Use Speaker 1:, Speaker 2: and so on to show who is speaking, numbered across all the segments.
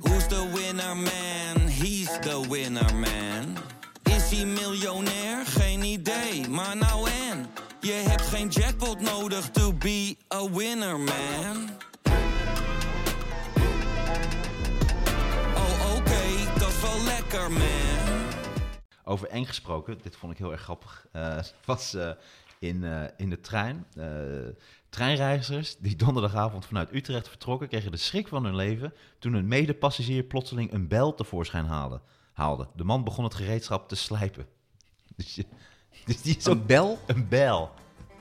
Speaker 1: Who's the winner man? He's the winner man. Is hij miljonair? Geen idee, maar nou en. Je hebt geen jackpot nodig to be a winner man. Oh oké, dat is wel lekker man.
Speaker 2: Over eng gesproken, dit vond ik heel erg grappig. eh, was eh, in, eh, in de trein. eh, treinreizigers die donderdagavond vanuit Utrecht vertrokken, kregen de schrik van hun leven toen een medepassagier plotseling een bel tevoorschijn haalde. haalde. De man begon het gereedschap te slijpen. Dus, je, dus die is ook
Speaker 3: Een bel?
Speaker 2: een bel.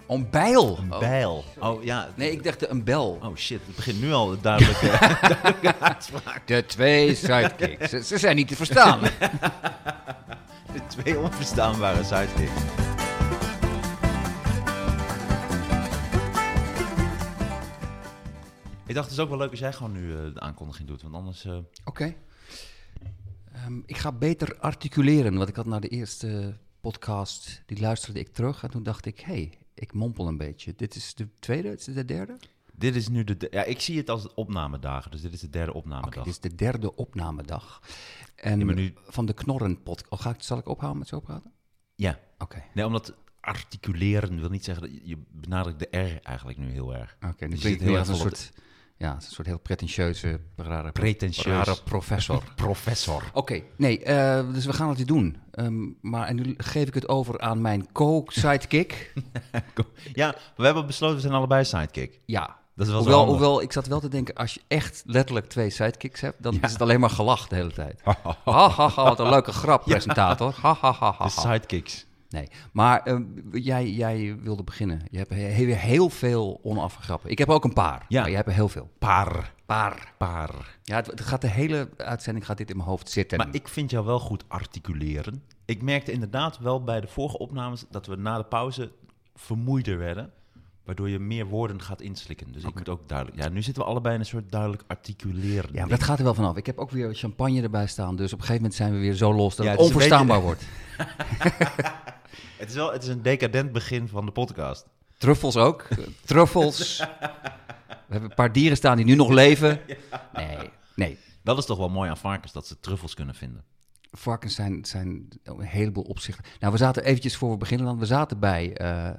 Speaker 3: Een bijl?
Speaker 2: Een
Speaker 3: Oh.
Speaker 2: bijl. Oh ja.
Speaker 3: Nee, ik dacht een bel.
Speaker 2: Oh shit, het begint nu al duidelijk. eh,
Speaker 3: De twee sidekicks. ze, ze zijn niet te verstaan.
Speaker 2: de twee onverstaanbare sidekicks. Ik dacht, het is ook wel leuk als jij gewoon nu eh, de aankondiging doet, want anders... eh,
Speaker 3: Oké. Ehm, ik ga beter articuleren, want ik had naar de eerste podcast, die luisterde ik terug. En toen dacht ik, hé, hey, ik mompel een beetje. Dit is de tweede, dit is de derde? Oké,
Speaker 2: dit is nu de... de- ja, ik zie het als de opnamedagen, dus dit is de derde opnamedag.
Speaker 3: dit is de derde opnamedag. En
Speaker 2: Ja, maar nu-
Speaker 3: van de Knorren podcast. Oh, ga ik, zal ik ophouden met zo praten?
Speaker 2: Ja.
Speaker 3: Oké.
Speaker 2: Nee, omdat articuleren wil niet zeggen... Dat je benadrukt de R eigenlijk nu heel erg.
Speaker 3: Oké, nu
Speaker 2: Dus je
Speaker 3: klinkt
Speaker 2: zit
Speaker 3: het heel
Speaker 2: heel
Speaker 3: erg als
Speaker 2: erg
Speaker 3: een
Speaker 2: vol
Speaker 3: soort, ja, als een soort heel pretentieuze, rare,
Speaker 2: Pretentieus.
Speaker 3: rare professor.
Speaker 2: Professor.
Speaker 3: Oké, nee, eh, dus we gaan het hier doen. Ehm, maar en nu geef ik het over aan mijn co-sidekick.
Speaker 2: Ja, we hebben besloten, we zijn allebei sidekick.
Speaker 3: ja.
Speaker 2: Dat is wel zo
Speaker 3: hoewel,
Speaker 2: handig.
Speaker 3: hoewel, ik zat wel te denken, als je echt letterlijk twee sidekicks hebt, dan is het alleen maar gelach de hele tijd. Ha, ha, ha, wat een leuke grap, presentator. Ha, ha, ha, ha,
Speaker 2: De
Speaker 3: ha.
Speaker 2: sidekicks.
Speaker 3: Nee, maar ehm, jij, jij wilde beginnen. Je hebt he- he- heel veel onafgegrappen. Ik heb ook een paar,
Speaker 2: Ja.
Speaker 3: maar jij hebt er heel veel.
Speaker 2: Paar.
Speaker 3: Paar.
Speaker 2: Paar.
Speaker 3: Ja, het, het gaat de hele uitzending gaat dit in mijn hoofd zitten.
Speaker 2: Maar ik vind jou wel goed articuleren. Ik merkte inderdaad wel bij de vorige opnames dat we na de pauze vermoeider werden. Waardoor je meer woorden gaat inslikken. Dus ik moet ook duidelijk. Ja, nu zitten we allebei in een soort duidelijk articuleren.
Speaker 3: Ja, maar dat gaat er wel vanaf. Ik heb ook weer champagne erbij staan. Dus op een gegeven moment zijn we weer zo los dat
Speaker 2: Ja, dus
Speaker 3: het
Speaker 2: het is een
Speaker 3: onverstaanbaar wordt.
Speaker 2: Het is wel het is een decadent begin van de podcast.
Speaker 3: Truffels ook. Truffels. We hebben een paar dieren staan die nu nog leven. Nee, nee.
Speaker 2: Dat is toch wel mooi aan varkens dat ze truffels kunnen vinden.
Speaker 3: Varkens zijn, zijn een heleboel opzichten. Nou, we zaten eventjes voor we beginnen dan. We zaten bij eh, eh,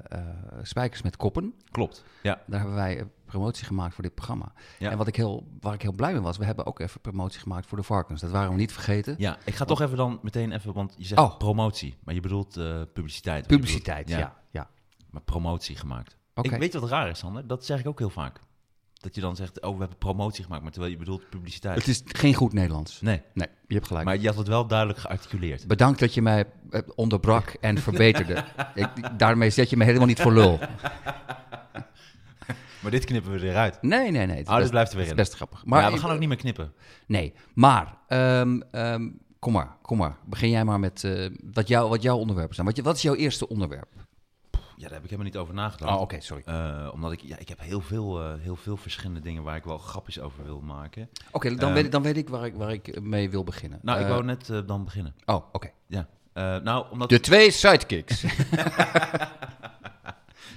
Speaker 3: Spijkers met Koppen.
Speaker 2: Klopt. Ja.
Speaker 3: Daar hebben wij eh, promotie gemaakt voor dit programma.
Speaker 2: Ja.
Speaker 3: En wat ik heel, waar ik heel blij mee was, we hebben ook even promotie gemaakt voor de varkens. Dat waren we niet vergeten.
Speaker 2: Ja, ik ga toch even dan meteen even, want je zegt
Speaker 3: Oh.
Speaker 2: promotie, maar je bedoelt eh, publiciteit.
Speaker 3: Publiciteit,
Speaker 2: Je bedoelt-
Speaker 3: ja. ja.
Speaker 2: maar promotie gemaakt.
Speaker 3: Oké.
Speaker 2: Ik weet wat raar is, Sander. Dat zeg ik ook heel vaak. Dat je dan zegt, oh, we hebben promotie gemaakt, maar terwijl je bedoelt publiciteit.
Speaker 3: Het is geen goed Nederlands.
Speaker 2: Nee,
Speaker 3: Nee, je hebt gelijk.
Speaker 2: maar je had het wel duidelijk gearticuleerd.
Speaker 3: Bedankt dat je mij eh, onderbrak en verbeterde. Ik, daarmee zet je me helemaal niet voor lul.
Speaker 2: Maar dit knippen we eruit.
Speaker 3: Nee, nee, nee. Het is
Speaker 2: Oh, dit blijft er weer
Speaker 3: het
Speaker 2: in.
Speaker 3: is best grappig.
Speaker 2: Maar
Speaker 3: Maar
Speaker 2: ja, we
Speaker 3: ik-
Speaker 2: gaan ook niet meer knippen.
Speaker 3: Nee, maar ehm, ehm, kom maar, kom maar. Begin jij maar met eh, wat, jou, wat jouw onderwerpen zijn. Wat, je- wat is jouw eerste onderwerp?
Speaker 2: Ja, daar heb ik helemaal niet over nagedacht.
Speaker 3: Oh, oké, sorry. Oké,
Speaker 2: Eh, omdat ik, ja, ik heb heel veel, eh, heel veel verschillende dingen waar ik wel grapjes over wil maken.
Speaker 3: dan,
Speaker 2: ehm,
Speaker 3: weet, ik- dan weet ik waar ik, waar ik mee wil beginnen.
Speaker 2: Nou, ik
Speaker 3: Eh,
Speaker 2: wou net eh, dan beginnen.
Speaker 3: Oh, oké.
Speaker 2: Ja. Eh, nou, omdat...
Speaker 3: De twee sidekicks.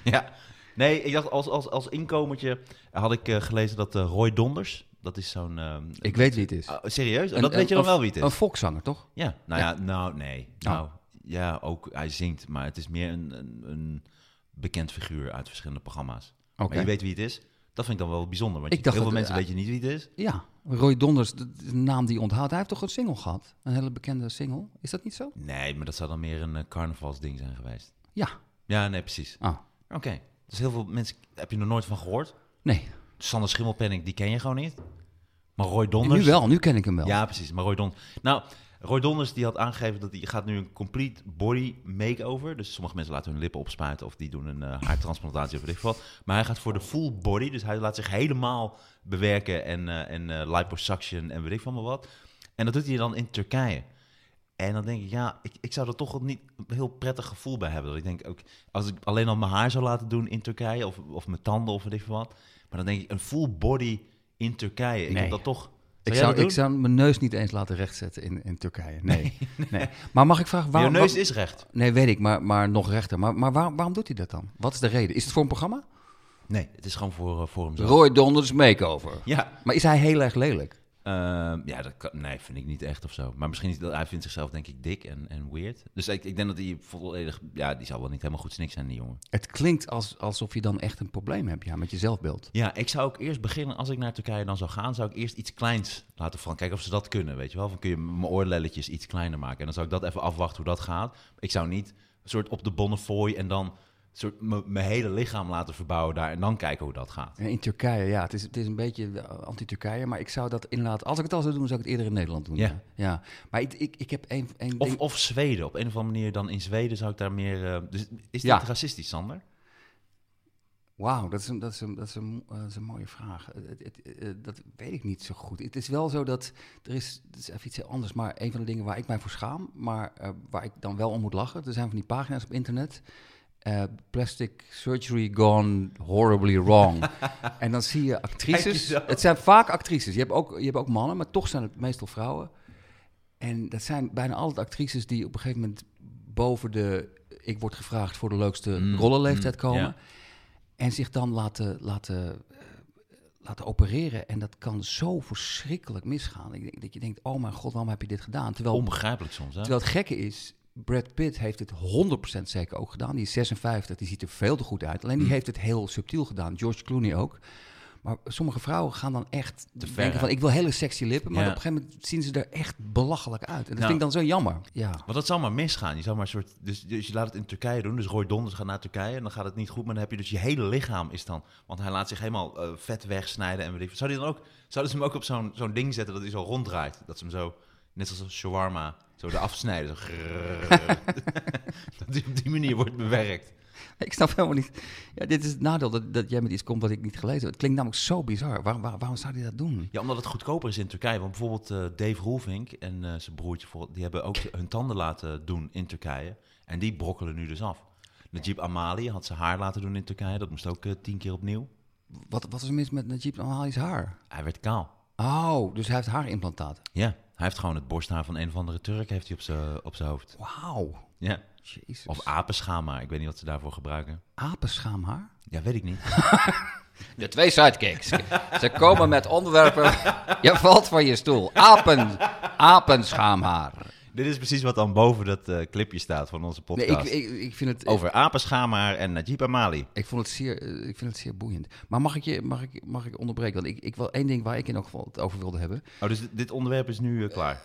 Speaker 2: Ja. Nee, ik dacht als, als, als inkomertje had ik eh, gelezen dat eh, Roy Donders, dat is zo'n... eh,
Speaker 3: ik weet wie het is.
Speaker 2: oh, serieus? Oh,
Speaker 3: Een-
Speaker 2: dat weet je
Speaker 3: een-
Speaker 2: dan wel wie het is?
Speaker 3: Een volkszanger, toch?
Speaker 2: Ja, nou
Speaker 3: Ja.
Speaker 2: ja, nou nee. Nou ja, ook hij zingt, maar het is meer een, een, een bekend figuur uit verschillende programma's.
Speaker 3: Oké.
Speaker 2: Maar je weet wie het is. Dat vind ik dan wel bijzonder, want
Speaker 3: Ik
Speaker 2: je-
Speaker 3: dacht
Speaker 2: heel veel
Speaker 3: dat-
Speaker 2: mensen
Speaker 3: eh,
Speaker 2: weten niet wie het is.
Speaker 3: Ja, Roy Donders, de, de naam die je onthoudt. Hij heeft toch een single gehad? Een hele bekende single. Is dat niet zo?
Speaker 2: Nee, maar dat zou dan meer een eh, carnavalsding zijn geweest.
Speaker 3: Ja.
Speaker 2: Ja, nee, precies.
Speaker 3: Ah,
Speaker 2: Oké, dus heel veel mensen heb je nog nooit van gehoord.
Speaker 3: nee.
Speaker 2: Sander Schimmelpenning, die ken je gewoon niet. Maar Roy
Speaker 3: En
Speaker 2: Donders...
Speaker 3: Nu wel, nu ken ik hem wel.
Speaker 2: Ja, precies. Maar Roy Donders... Nou, Roy Donders die had aangegeven dat hij gaat nu een complete body makeover. Dus sommige mensen laten hun lippen opspuiten of die doen een eh, haartransplantatie of weet ik wat. Maar hij gaat voor de full body. Dus hij laat zich helemaal bewerken en, eh, en eh, liposuction en weet ik van maar wat. En dat doet hij dan in Turkije. En dan denk ik, ja, ik, ik zou er toch wel niet een heel prettig gevoel bij hebben. Dat ik denk, ook, als ik alleen al mijn haar zou laten doen in Turkije, of, of mijn tanden of weet ik van wat. Maar dan denk ik, een full body in Turkije. Ik
Speaker 3: Nee.
Speaker 2: heb dat toch... Zou
Speaker 3: Ik
Speaker 2: jij
Speaker 3: zou,
Speaker 2: dat doen?
Speaker 3: ik zou mijn neus niet eens laten rechtzetten in, in Turkije. Nee. nee. Maar mag ik vragen waarom.
Speaker 2: Jouw neus
Speaker 3: wat-
Speaker 2: is recht.
Speaker 3: Nee, weet ik, maar, maar nog rechter. Maar, maar waarom, waarom doet hij dat dan? Wat is de reden? Is het voor een programma?
Speaker 2: Nee, het is gewoon voor, eh, voor hem zo.
Speaker 3: Roy Donders Makeover.
Speaker 2: Ja,
Speaker 3: Maar is hij heel erg lelijk?
Speaker 2: Ehm, ja, dat kan, nee, vind ik niet echt of zo. Maar misschien is dat, hij vindt zichzelf denk ik dik en, en weird. Dus ik, ik denk dat hij volledig... Ja, die zal wel niet helemaal goed snik zijn, die jongen.
Speaker 3: Het klinkt als, alsof je dan echt een probleem hebt ja, met je zelfbeeld.
Speaker 2: Ja, ik zou ook eerst beginnen, als ik naar Turkije dan zou gaan, zou ik eerst iets kleins laten van kijken of ze dat kunnen, weet je wel. Van kun je mijn oorlelletjes iets kleiner maken. En dan zou ik dat even afwachten hoe dat gaat. Ik zou niet een soort op de bonnefooi en dan soort m- mijn hele lichaam laten verbouwen daar en dan kijken hoe dat gaat.
Speaker 3: Ja, In Turkije, ja, het is, het is een beetje eh, anti-Turkije, maar ik zou dat inderdaad, als ik het al zou doen, zou ik het eerder in Nederland doen.
Speaker 2: Ja.
Speaker 3: Ja, ja. maar ik, ik, ik heb één één
Speaker 2: Of,
Speaker 3: ding.
Speaker 2: of Zweden, op een of andere manier dan in Zweden zou ik daar meer... eh, dus is dit
Speaker 3: Ja.
Speaker 2: racistisch, Sander?
Speaker 3: Wauw, dat is een, dat is een, dat is een, mo- eh, dat is een mooie vraag. Eh, het- het- eh, dat weet ik niet zo goed. Het is wel zo dat er is, het is even iets heel anders, maar een van de dingen waar ik mij voor schaam, maar eh, waar ik dan wel om moet lachen, er zijn van die pagina's op internet. eh, plastic surgery gone horribly wrong. en dan zie je actrices.
Speaker 2: zo.
Speaker 3: Het zijn vaak actrices. Je hebt, ook, je hebt ook mannen, maar toch zijn het meestal vrouwen. En dat zijn bijna altijd actrices die op een gegeven moment boven de ik word gevraagd voor de leukste
Speaker 2: Mm,
Speaker 3: rollenleeftijd
Speaker 2: mm,
Speaker 3: komen.
Speaker 2: ja.
Speaker 3: En zich dan laten, laten, eh, laten opereren. En dat kan zo verschrikkelijk misgaan. Ik denk, dat je denkt, oh mijn god, waarom heb je dit gedaan? Terwijl,
Speaker 2: Onbegrijpelijk soms, hè?
Speaker 3: terwijl het gekke is, Brad Pitt heeft het 100% zeker ook gedaan. Die is 56, die ziet er veel te goed uit.
Speaker 2: Mm.
Speaker 3: Alleen die heeft het heel subtiel gedaan. George Clooney ook. Maar sommige vrouwen gaan dan echt
Speaker 2: ver,
Speaker 3: denken
Speaker 2: hè?
Speaker 3: van... ik wil hele sexy lippen, maar
Speaker 2: Ja.
Speaker 3: op een gegeven moment zien ze er echt belachelijk uit. En dat
Speaker 2: Nou.
Speaker 3: vind ik dan zo jammer. Ja.
Speaker 2: Want dat zou maar misgaan. Je zou maar een soort, dus, dus je laat het in Turkije doen. Dus Roy Donders gaat naar Turkije en dan gaat het niet goed. Maar dan heb je dus je hele lichaam is dan... Want hij laat zich helemaal eh, vet wegsnijden en weet ik veel. Zou die dan ook, zouden ze hem ook op zo'n zo'n ding zetten dat hij zo ronddraait? Dat ze hem zo, net als een shawarma, zo eraf snijden. Zo grrrr. dat hij op die manier wordt bewerkt.
Speaker 3: Ik snap helemaal niet. Ja, dit is het nadeel dat, dat jij met iets komt wat ik niet gelezen heb. Het klinkt namelijk zo bizar. Waarom, waar- waarom zou hij dat doen?
Speaker 2: Ja, omdat het goedkoper is in Turkije. Want bijvoorbeeld eh, Dave Roelvink en eh, zijn broertje, voor- die hebben ook hun tanden laten doen in Turkije. En die brokkelen nu dus af. Najib Amali had zijn haar laten doen in Turkije. Dat moest ook eh, tien keer opnieuw.
Speaker 3: Wat, wat is er mis met Najib Amali's haar?
Speaker 2: Hij werd kaal.
Speaker 3: Oh, dus hij heeft haarimplantaten.
Speaker 2: Ja, hij heeft gewoon het borsthaar van een of andere Turk heeft hij op zijn op zijn hoofd.
Speaker 3: Wauw.
Speaker 2: Ja.
Speaker 3: Jezus.
Speaker 2: Of apenschaamhaar. Ik weet niet wat ze daarvoor gebruiken.
Speaker 3: apenschaamhaar?
Speaker 2: Ja, weet ik niet.
Speaker 3: De twee sidekicks. Ze komen met onderwerpen. Je valt van je stoel. Apen, apenschaamhaar.
Speaker 2: Dit is precies wat dan boven dat eh, clipje staat van onze
Speaker 3: Nee,
Speaker 2: podcast.
Speaker 3: ik, ik, ik vind het...
Speaker 2: Over apenschaamhaar en Najib Amali.
Speaker 3: Ik, vond het zeer, eh, ik vind het zeer boeiend. Maar mag ik je mag ik, mag ik onderbreken? Want ik, ik wil één ding waar ik in elk geval het over wilde hebben.
Speaker 2: Oh, dus dit- dit onderwerp is nu eh, klaar.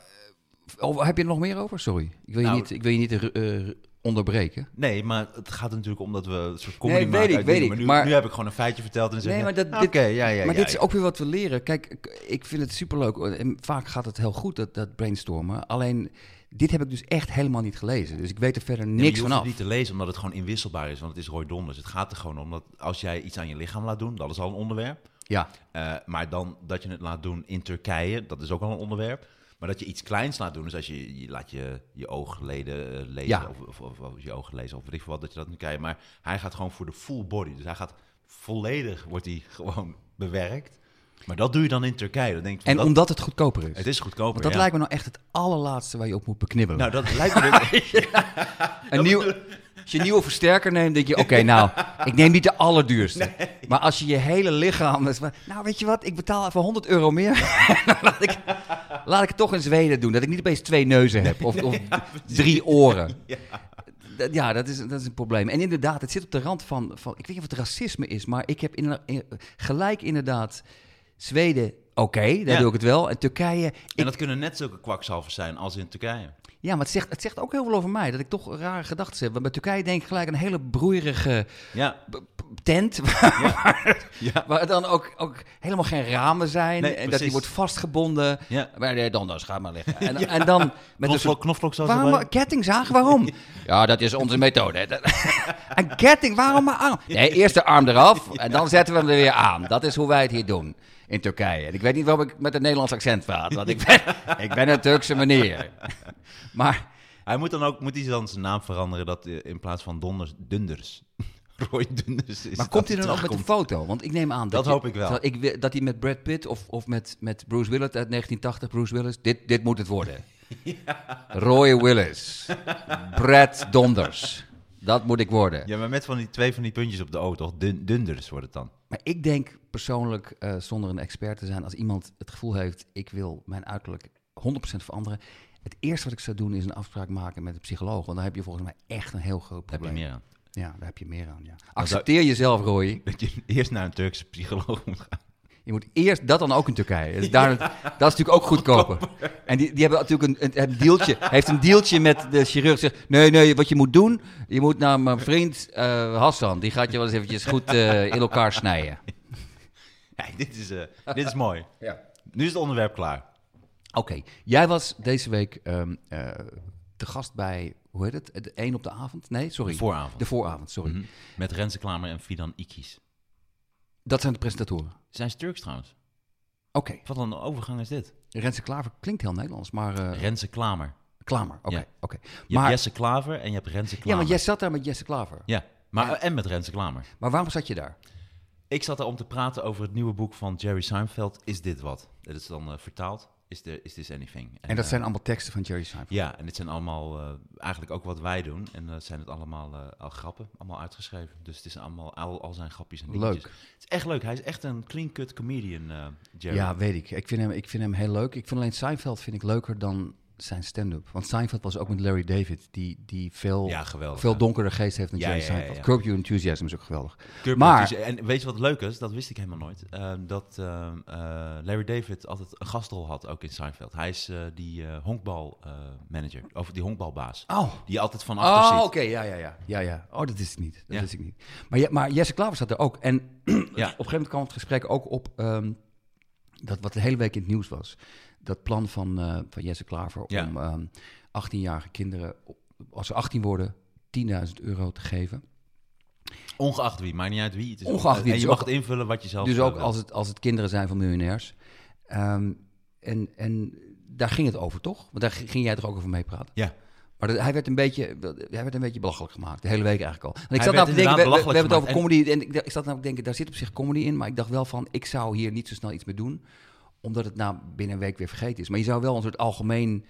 Speaker 3: Oh, heb je er nog meer over? Sorry. Ik wil je
Speaker 2: Nou,
Speaker 3: niet, ik wil je niet eh, eh, onderbreken.
Speaker 2: Nee, maar het gaat er natuurlijk om dat we een soort comedy
Speaker 3: Nee, weet
Speaker 2: maken.
Speaker 3: ik,
Speaker 2: uit
Speaker 3: weet
Speaker 2: dingen.
Speaker 3: ik,
Speaker 2: Maar nu,
Speaker 3: maar-
Speaker 2: nu heb ik gewoon een feitje verteld en dan zeg
Speaker 3: Nee,
Speaker 2: je,
Speaker 3: maar dat,
Speaker 2: "Ah,
Speaker 3: dit,
Speaker 2: oké, ja, ja,
Speaker 3: maar
Speaker 2: ja,
Speaker 3: dit is
Speaker 2: ja."
Speaker 3: ook weer wat we leren. Kijk, ik- ik vind het superleuk. Oh, En vaak gaat het heel goed, dat, dat brainstormen. Alleen, dit heb ik dus echt helemaal niet gelezen. Dus ik weet er verder
Speaker 2: Ja, maar
Speaker 3: niks
Speaker 2: je hoeft
Speaker 3: vanaf.
Speaker 2: het niet te lezen, omdat het gewoon inwisselbaar is. Want het is Roy Donders. Het gaat er gewoon om dat als jij iets aan je lichaam laat doen, dat is al een onderwerp.
Speaker 3: Ja.
Speaker 2: Eh, maar dan dat je het laat doen in Turkije, dat is ook al een onderwerp. Maar dat je iets kleins laat doen, dus als je, je laat je, je oogleden eh, lezen,
Speaker 3: Ja.
Speaker 2: of, of, of, of je ogen lezen, of weet ik veel wat, dat je dat in Turkije... Maar hij gaat gewoon voor de full body. Dus hij gaat volledig, wordt hij gewoon bewerkt. Maar dat doe je dan in Turkije. Dan denk ik van,
Speaker 3: En
Speaker 2: dat-
Speaker 3: omdat het goedkoper is.
Speaker 2: Het is goedkoper,
Speaker 3: Want dat
Speaker 2: Oh, ja.
Speaker 3: lijkt me nou echt het allerlaatste waar je op moet beknibbelen.
Speaker 2: Nou, dat lijkt me dus...
Speaker 3: een nieuw, als je een nieuwe versterker neemt, denk je... Oké, nou, ik neem niet de allerduurste. Maar als je je hele lichaam... dat is maar- nou, weet je wat? Ik betaal even 100 euro meer. Dan laat, ik, laat ik het toch in Zweden doen. Dat ik niet opeens twee neuzen heb. Of, of drie oren.
Speaker 2: Ja.
Speaker 3: D- Ja, dat is, dat is een probleem. En inderdaad, het zit op de rand van... van ik weet niet of het racisme is, maar ik heb inderdaad- in- eh, gelijk inderdaad... Zweden, oké, daar
Speaker 2: Ja.
Speaker 3: doe ik het wel. En Turkije,
Speaker 2: En dat kunnen net zulke kwakzalvers zijn als in Turkije.
Speaker 3: Ja, maar het zegt, het zegt ook heel veel over mij. Dat ik toch rare gedachten heb. Want bij Turkije denk ik gelijk aan een hele broeierige
Speaker 2: Ja,
Speaker 3: b- p- tent. Waar,
Speaker 2: ja.
Speaker 3: waar dan ook, ook helemaal geen ramen zijn.
Speaker 2: Nee,
Speaker 3: en dat die
Speaker 2: precies.
Speaker 3: wordt vastgebonden.
Speaker 2: Ja.
Speaker 3: Maar nee, dan, dan ga maar liggen. En, en dan met een soort...
Speaker 2: Knoflook, knoflook zoals
Speaker 3: Waarom een
Speaker 2: dat
Speaker 3: kettingzaag? Waarom? Ja, dat is onze methode. Dat- Een ketting, waarom maar arm? Nee, eerst de arm eraf en dan zetten we hem er weer aan. Dat is hoe wij het hier doen in Turkije. En ik weet niet waarom ik met een Nederlands accent praat, want ik ben, ik ben een Turkse meneer. Maar
Speaker 2: Hij moet dan ook moet hij dan zijn naam veranderen dat eh, in plaats van Donders, Dunders. Roy Dunders is
Speaker 3: Maar
Speaker 2: dat
Speaker 3: komt hij
Speaker 2: hij
Speaker 3: dan ook met een
Speaker 2: terugkomt.
Speaker 3: foto? Want ik neem aan dat...
Speaker 2: Dat
Speaker 3: je-
Speaker 2: hoop ik wel.
Speaker 3: Dat, ik, wi- dat hij met Brad Pitt of, of met, met Bruce Willis uit 1980... Bruce Willis, dit, dit moet het worden. Roy Willis. Brad Donders. Dat moet ik worden.
Speaker 2: Ja, maar met van die twee van die puntjes op de O, toch? Dun, dunders wordt het dan.
Speaker 3: Maar ik denk persoonlijk, eh, zonder een expert te zijn, als iemand het gevoel heeft, ik wil mijn uiterlijk 100% veranderen. Het eerste wat ik zou doen is een afspraak maken met een psycholoog. Want daar heb je volgens mij echt een heel groot
Speaker 2: Heb je
Speaker 3: probleem.
Speaker 2: meer aan.
Speaker 3: Ja, daar heb je meer aan. Ja. Accepteer jezelf, Roy.
Speaker 2: Dat je eerst naar een Turkse psycholoog moet gaan.
Speaker 3: Je moet eerst dat dan ook in Turkije. Dus daar, Dat is natuurlijk ook goedkoper. En die, die hebben natuurlijk een, een, een dealtje. Hij heeft een dealtje met de chirurg. Zegt, nee, nee, wat je moet doen. Je moet naar mijn vriend eh, Hassan. Die gaat je wel eens eventjes goed eh, in elkaar snijden.
Speaker 2: Ja, dit, is, eh, dit is mooi.
Speaker 3: Ja.
Speaker 2: Nu is het onderwerp klaar.
Speaker 3: Oké, jij was deze week ehm, eh, te gast bij, hoe heet het? De één op de avond? Nee, sorry.
Speaker 2: De vooravond.
Speaker 3: De vooravond, sorry.
Speaker 2: Mhm. Met Renze Klamer en Fidan Ikis.
Speaker 3: Dat zijn de presentatoren. Oké,
Speaker 2: Zijn ze Turks trouwens? Wat een overgang is dit?
Speaker 3: Renze Klaver klinkt heel Nederlands, maar eh,
Speaker 2: Renze Klamer.
Speaker 3: Klamer. Oké,
Speaker 2: Ja.
Speaker 3: oké.
Speaker 2: Je
Speaker 3: Maar,
Speaker 2: hebt Jesse Klaver en je hebt Renze Klamer.
Speaker 3: ja, maar jij zat daar met Jesse Klaver.
Speaker 2: Ja, maar, en met Renze Klamer.
Speaker 3: Maar waarom zat je daar?
Speaker 2: Ik zat er om te praten over het nieuwe boek van Jerry Seinfeld. Is dit wat? Dat is dan eh, vertaald. Is, the, is this anything?
Speaker 3: En dat
Speaker 2: eh,
Speaker 3: zijn allemaal teksten van Jerry Seinfeld.
Speaker 2: Ja, en dit zijn allemaal eh, eigenlijk ook wat wij doen. En dat zijn het allemaal eh, al grappen, allemaal uitgeschreven. Dus het is allemaal al, al zijn grapjes en dingetjes.
Speaker 3: Leuk.
Speaker 2: Het is echt leuk. Hij is echt een clean-cut comedian, eh, Jerry.
Speaker 3: Ja, weet ik. Ik vind, hem, ik vind hem heel leuk. Ik vind alleen Seinfeld vind ik leuker dan zijn stand-up. Want Seinfeld was ook met Larry David, die, die veel,
Speaker 2: Ja, geweldig,
Speaker 3: veel
Speaker 2: hè?
Speaker 3: donkerder geest heeft dan
Speaker 2: Ja,
Speaker 3: Jerry
Speaker 2: ja, ja,
Speaker 3: Seinfeld.
Speaker 2: ja.
Speaker 3: Curb Your Enthusiasm is ook geweldig.
Speaker 2: Curb
Speaker 3: Maar-
Speaker 2: Your Enthusiasm. En weet je wat leuk is? Dat wist ik helemaal nooit. Eh, dat eh, eh, Larry David altijd een gastrol had, ook in Seinfeld. Hij is eh, die eh honkbalmanager, of die honkbalbaas.
Speaker 3: Oh,
Speaker 2: Die altijd van achter
Speaker 3: Oh,
Speaker 2: zit.
Speaker 3: oké, ja, ja, ja, ja, ja. Oh, dat is het niet. Dat
Speaker 2: Ja.
Speaker 3: is ik niet. Maar, ja, maar Jesse Klaver zat er ook. En op een
Speaker 2: Ja.
Speaker 3: gegeven moment kwam het gesprek ook op ehm, dat wat de hele week in het nieuws was. Dat plan van, eh, van Jesse Klaver
Speaker 2: Ja.
Speaker 3: om ehm, 18-jarige kinderen, op- als ze 18 worden, 10.000 euro te geven.
Speaker 2: Ongeacht wie, maakt niet uit wie. Het is
Speaker 3: Ongeacht wie,
Speaker 2: En je
Speaker 3: dus
Speaker 2: mag
Speaker 3: ook-
Speaker 2: het invullen wat je zelf
Speaker 3: Dus
Speaker 2: eh,
Speaker 3: ook
Speaker 2: wil.
Speaker 3: als het, als het kinderen zijn van miljonairs. Ehm, en, en daar ging het over, toch? Want daar g- ging jij toch ook over meepraten?
Speaker 2: Ja.
Speaker 3: Maar dat- hij, werd een beetje, hij werd een beetje belachelijk gemaakt, de hele week eigenlijk al. En ik
Speaker 2: Hij
Speaker 3: zat
Speaker 2: werd
Speaker 3: nou te denken, we, we- we
Speaker 2: inderdaad
Speaker 3: hebben het over
Speaker 2: belachelijk
Speaker 3: comedy. En ik, dacht- ik zat nou te denken, daar zit op zich comedy in. Maar ik dacht wel van, ik zou hier niet zo snel iets mee doen. Omdat het na binnen een week weer vergeten is. Maar je zou wel een soort algemeen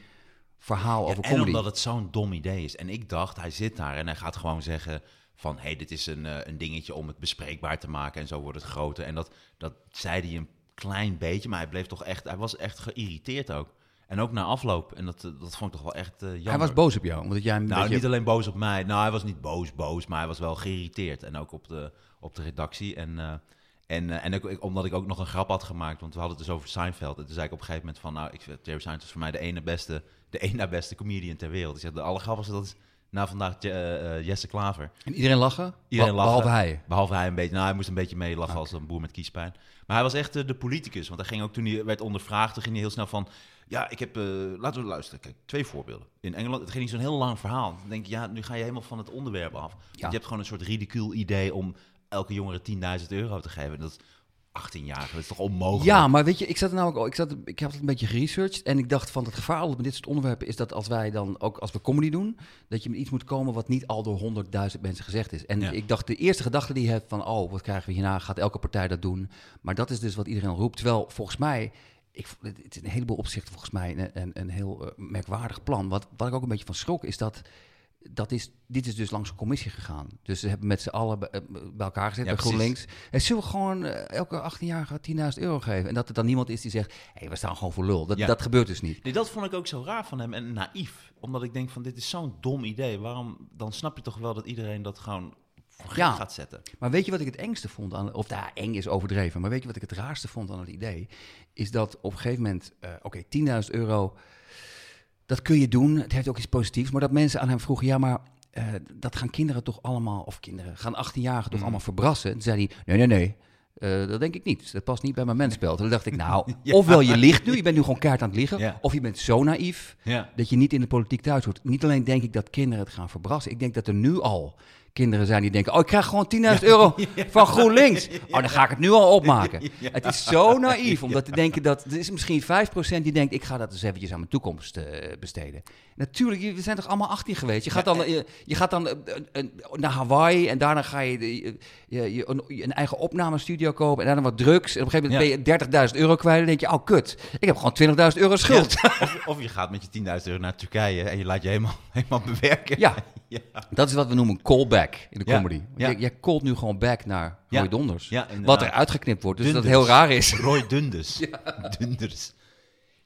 Speaker 3: verhaal over
Speaker 2: en
Speaker 3: comedy...
Speaker 2: omdat het zo'n dom idee is. En ik dacht, hij zit daar en hij gaat gewoon zeggen van... hé, hey, dit is een, eh, een dingetje om het bespreekbaar te maken en zo wordt het groter. En dat, dat zei hij een klein beetje, maar hij bleef toch echt... Hij was echt geïrriteerd ook. En ook na afloop. En dat, eh, dat vond ik toch wel echt eh, jammer.
Speaker 3: hij was boos op jou, omdat jij een
Speaker 2: Nou,
Speaker 3: beetje...
Speaker 2: niet alleen boos op mij. Nou, hij was niet boos, boos, maar hij was wel geïrriteerd. En ook op de, op de redactie. En, eh, en, eh, en ook, ik- omdat ik ook nog een grap had gemaakt, want we hadden het dus over Seinfeld. En toen zei ik op een gegeven moment van, nou, ik, vind Jerry Seinfeld is voor mij de ene beste, de ene na beste comedian ter wereld. Ik zeg, de allergrappigste, dat is na vandaag Je- eh, eh, Jesse Klaver.
Speaker 3: En iedereen lachen,
Speaker 2: Iedereen
Speaker 3: Be-
Speaker 2: lachen.
Speaker 3: behalve hij. Ah.
Speaker 2: Behalve hij een beetje. Nou, hij moest een beetje meelachen als een boer met kiespijn. Maar hij was echt eh, de politicus. Want hij ging ook toen hij werd ondervraagd, toen ging hij heel snel van. Ja, ik heb. eh, laten we luisteren. Kijk, twee voorbeelden. In Engeland, het ging niet zo'n heel lang verhaal. Dan denk je, ja, nu ga je helemaal van het onderwerp af. Want
Speaker 3: Ja.
Speaker 2: je hebt gewoon een soort ridicuul idee om elke jongere 10.000 euro te geven. En Dat is 18 jaar, dat is toch onmogelijk?
Speaker 3: Ja, maar weet je, ik zat er namelijk al, ik, zat, ik heb het een beetje geresearched en ik dacht van het gevaar met dit soort onderwerpen is dat als wij dan ook als we comedy doen, dat je met iets moet komen wat niet al door honderdduizend mensen gezegd is. En
Speaker 2: Ja.
Speaker 3: ik dacht de eerste gedachte die je hebt van oh, wat krijgen we hierna? Gaat elke partij dat doen? Maar dat is dus wat iedereen roept. Terwijl volgens mij, ik, v- het is in een heleboel opzichten volgens mij een, een, een heel eh, merkwaardig plan. Wat, wat ik ook een beetje van schrok is dat dat is, dit is dus langs een commissie gegaan. Dus ze hebben met z'n allen bij eh, bij elkaar gezet,
Speaker 2: Ja,
Speaker 3: bij
Speaker 2: precies.
Speaker 3: GroenLinks. En zullen we gewoon eh, elke 18-jarige 10.000 euro geven? En dat er dan niemand is die zegt, hé, we staan gewoon voor lul. Dat,
Speaker 2: Ja.
Speaker 3: dat gebeurt dus niet.
Speaker 2: Nee, dat vond ik ook zo raar van hem en naïef. Omdat ik denk van, dit is zo'n dom idee. Waarom, dan snap je toch wel dat iedereen dat gewoon voor gek
Speaker 3: Ja.
Speaker 2: gaat zetten.
Speaker 3: Maar weet je wat ik het engste vond aan... Of daar eng is overdreven. Maar weet je wat ik het raarste vond aan het idee? Is dat op een gegeven moment... eh, Oké, 10.000 euro, dat kun je doen. Het heeft ook iets positiefs. Maar dat mensen aan hem vroegen... Ja, maar eh, dat gaan kinderen toch allemaal... Of kinderen, gaan 18-jarigen
Speaker 2: Mm.
Speaker 3: toch allemaal verbrassen? Toen zei hij, nee, nee, nee. eh, dat denk ik niet. Dat past niet bij mijn mensbeeld. Toen dacht ik, nou,
Speaker 2: Ja.
Speaker 3: ofwel je liegt nu, je bent nu gewoon kaart aan het liegen,
Speaker 2: Ja.
Speaker 3: of je bent zo naïef,
Speaker 2: Ja.
Speaker 3: dat je niet in de politiek thuis hoort. Niet alleen denk ik dat kinderen het gaan verbrassen. Ik denk dat er nu al kinderen zijn die denken... oh, ik krijg gewoon 10.000 euro van GroenLinks. Oh, dan ga ik het nu al opmaken. Het is zo naïef om dat te denken dat... Er is misschien 5% die denkt... ik ga dat eens eventjes aan mijn toekomst eh, besteden. Natuurlijk, je- we zijn toch allemaal 18 geweest? Je gaat dan, je, je gaat dan eh, eh, naar Hawaii en daarna ga je, de- je, je- een, je een eigen opnamestudio kopen... en daarna wat drugs. En op een gegeven moment ben je 30.000 euro kwijt en denk je... oh, kut, ik heb gewoon 20.000 euro schuld.
Speaker 2: Ja, of, of je gaat met je 10.000 euro naar Turkije en je laat je helemaal, helemaal bewerken.
Speaker 3: Ja, Dat is wat we noemen callback in de
Speaker 2: Ja,
Speaker 3: comedy.
Speaker 2: ja.
Speaker 3: Jij, jij callt nu gewoon back naar
Speaker 2: Ja,
Speaker 3: Roy Donders.
Speaker 2: ja, inderdaad.
Speaker 3: wat er uitgeknipt wordt, dus dat heel
Speaker 2: Dunders.
Speaker 3: raar is.
Speaker 2: Roy Dunders. Dunders.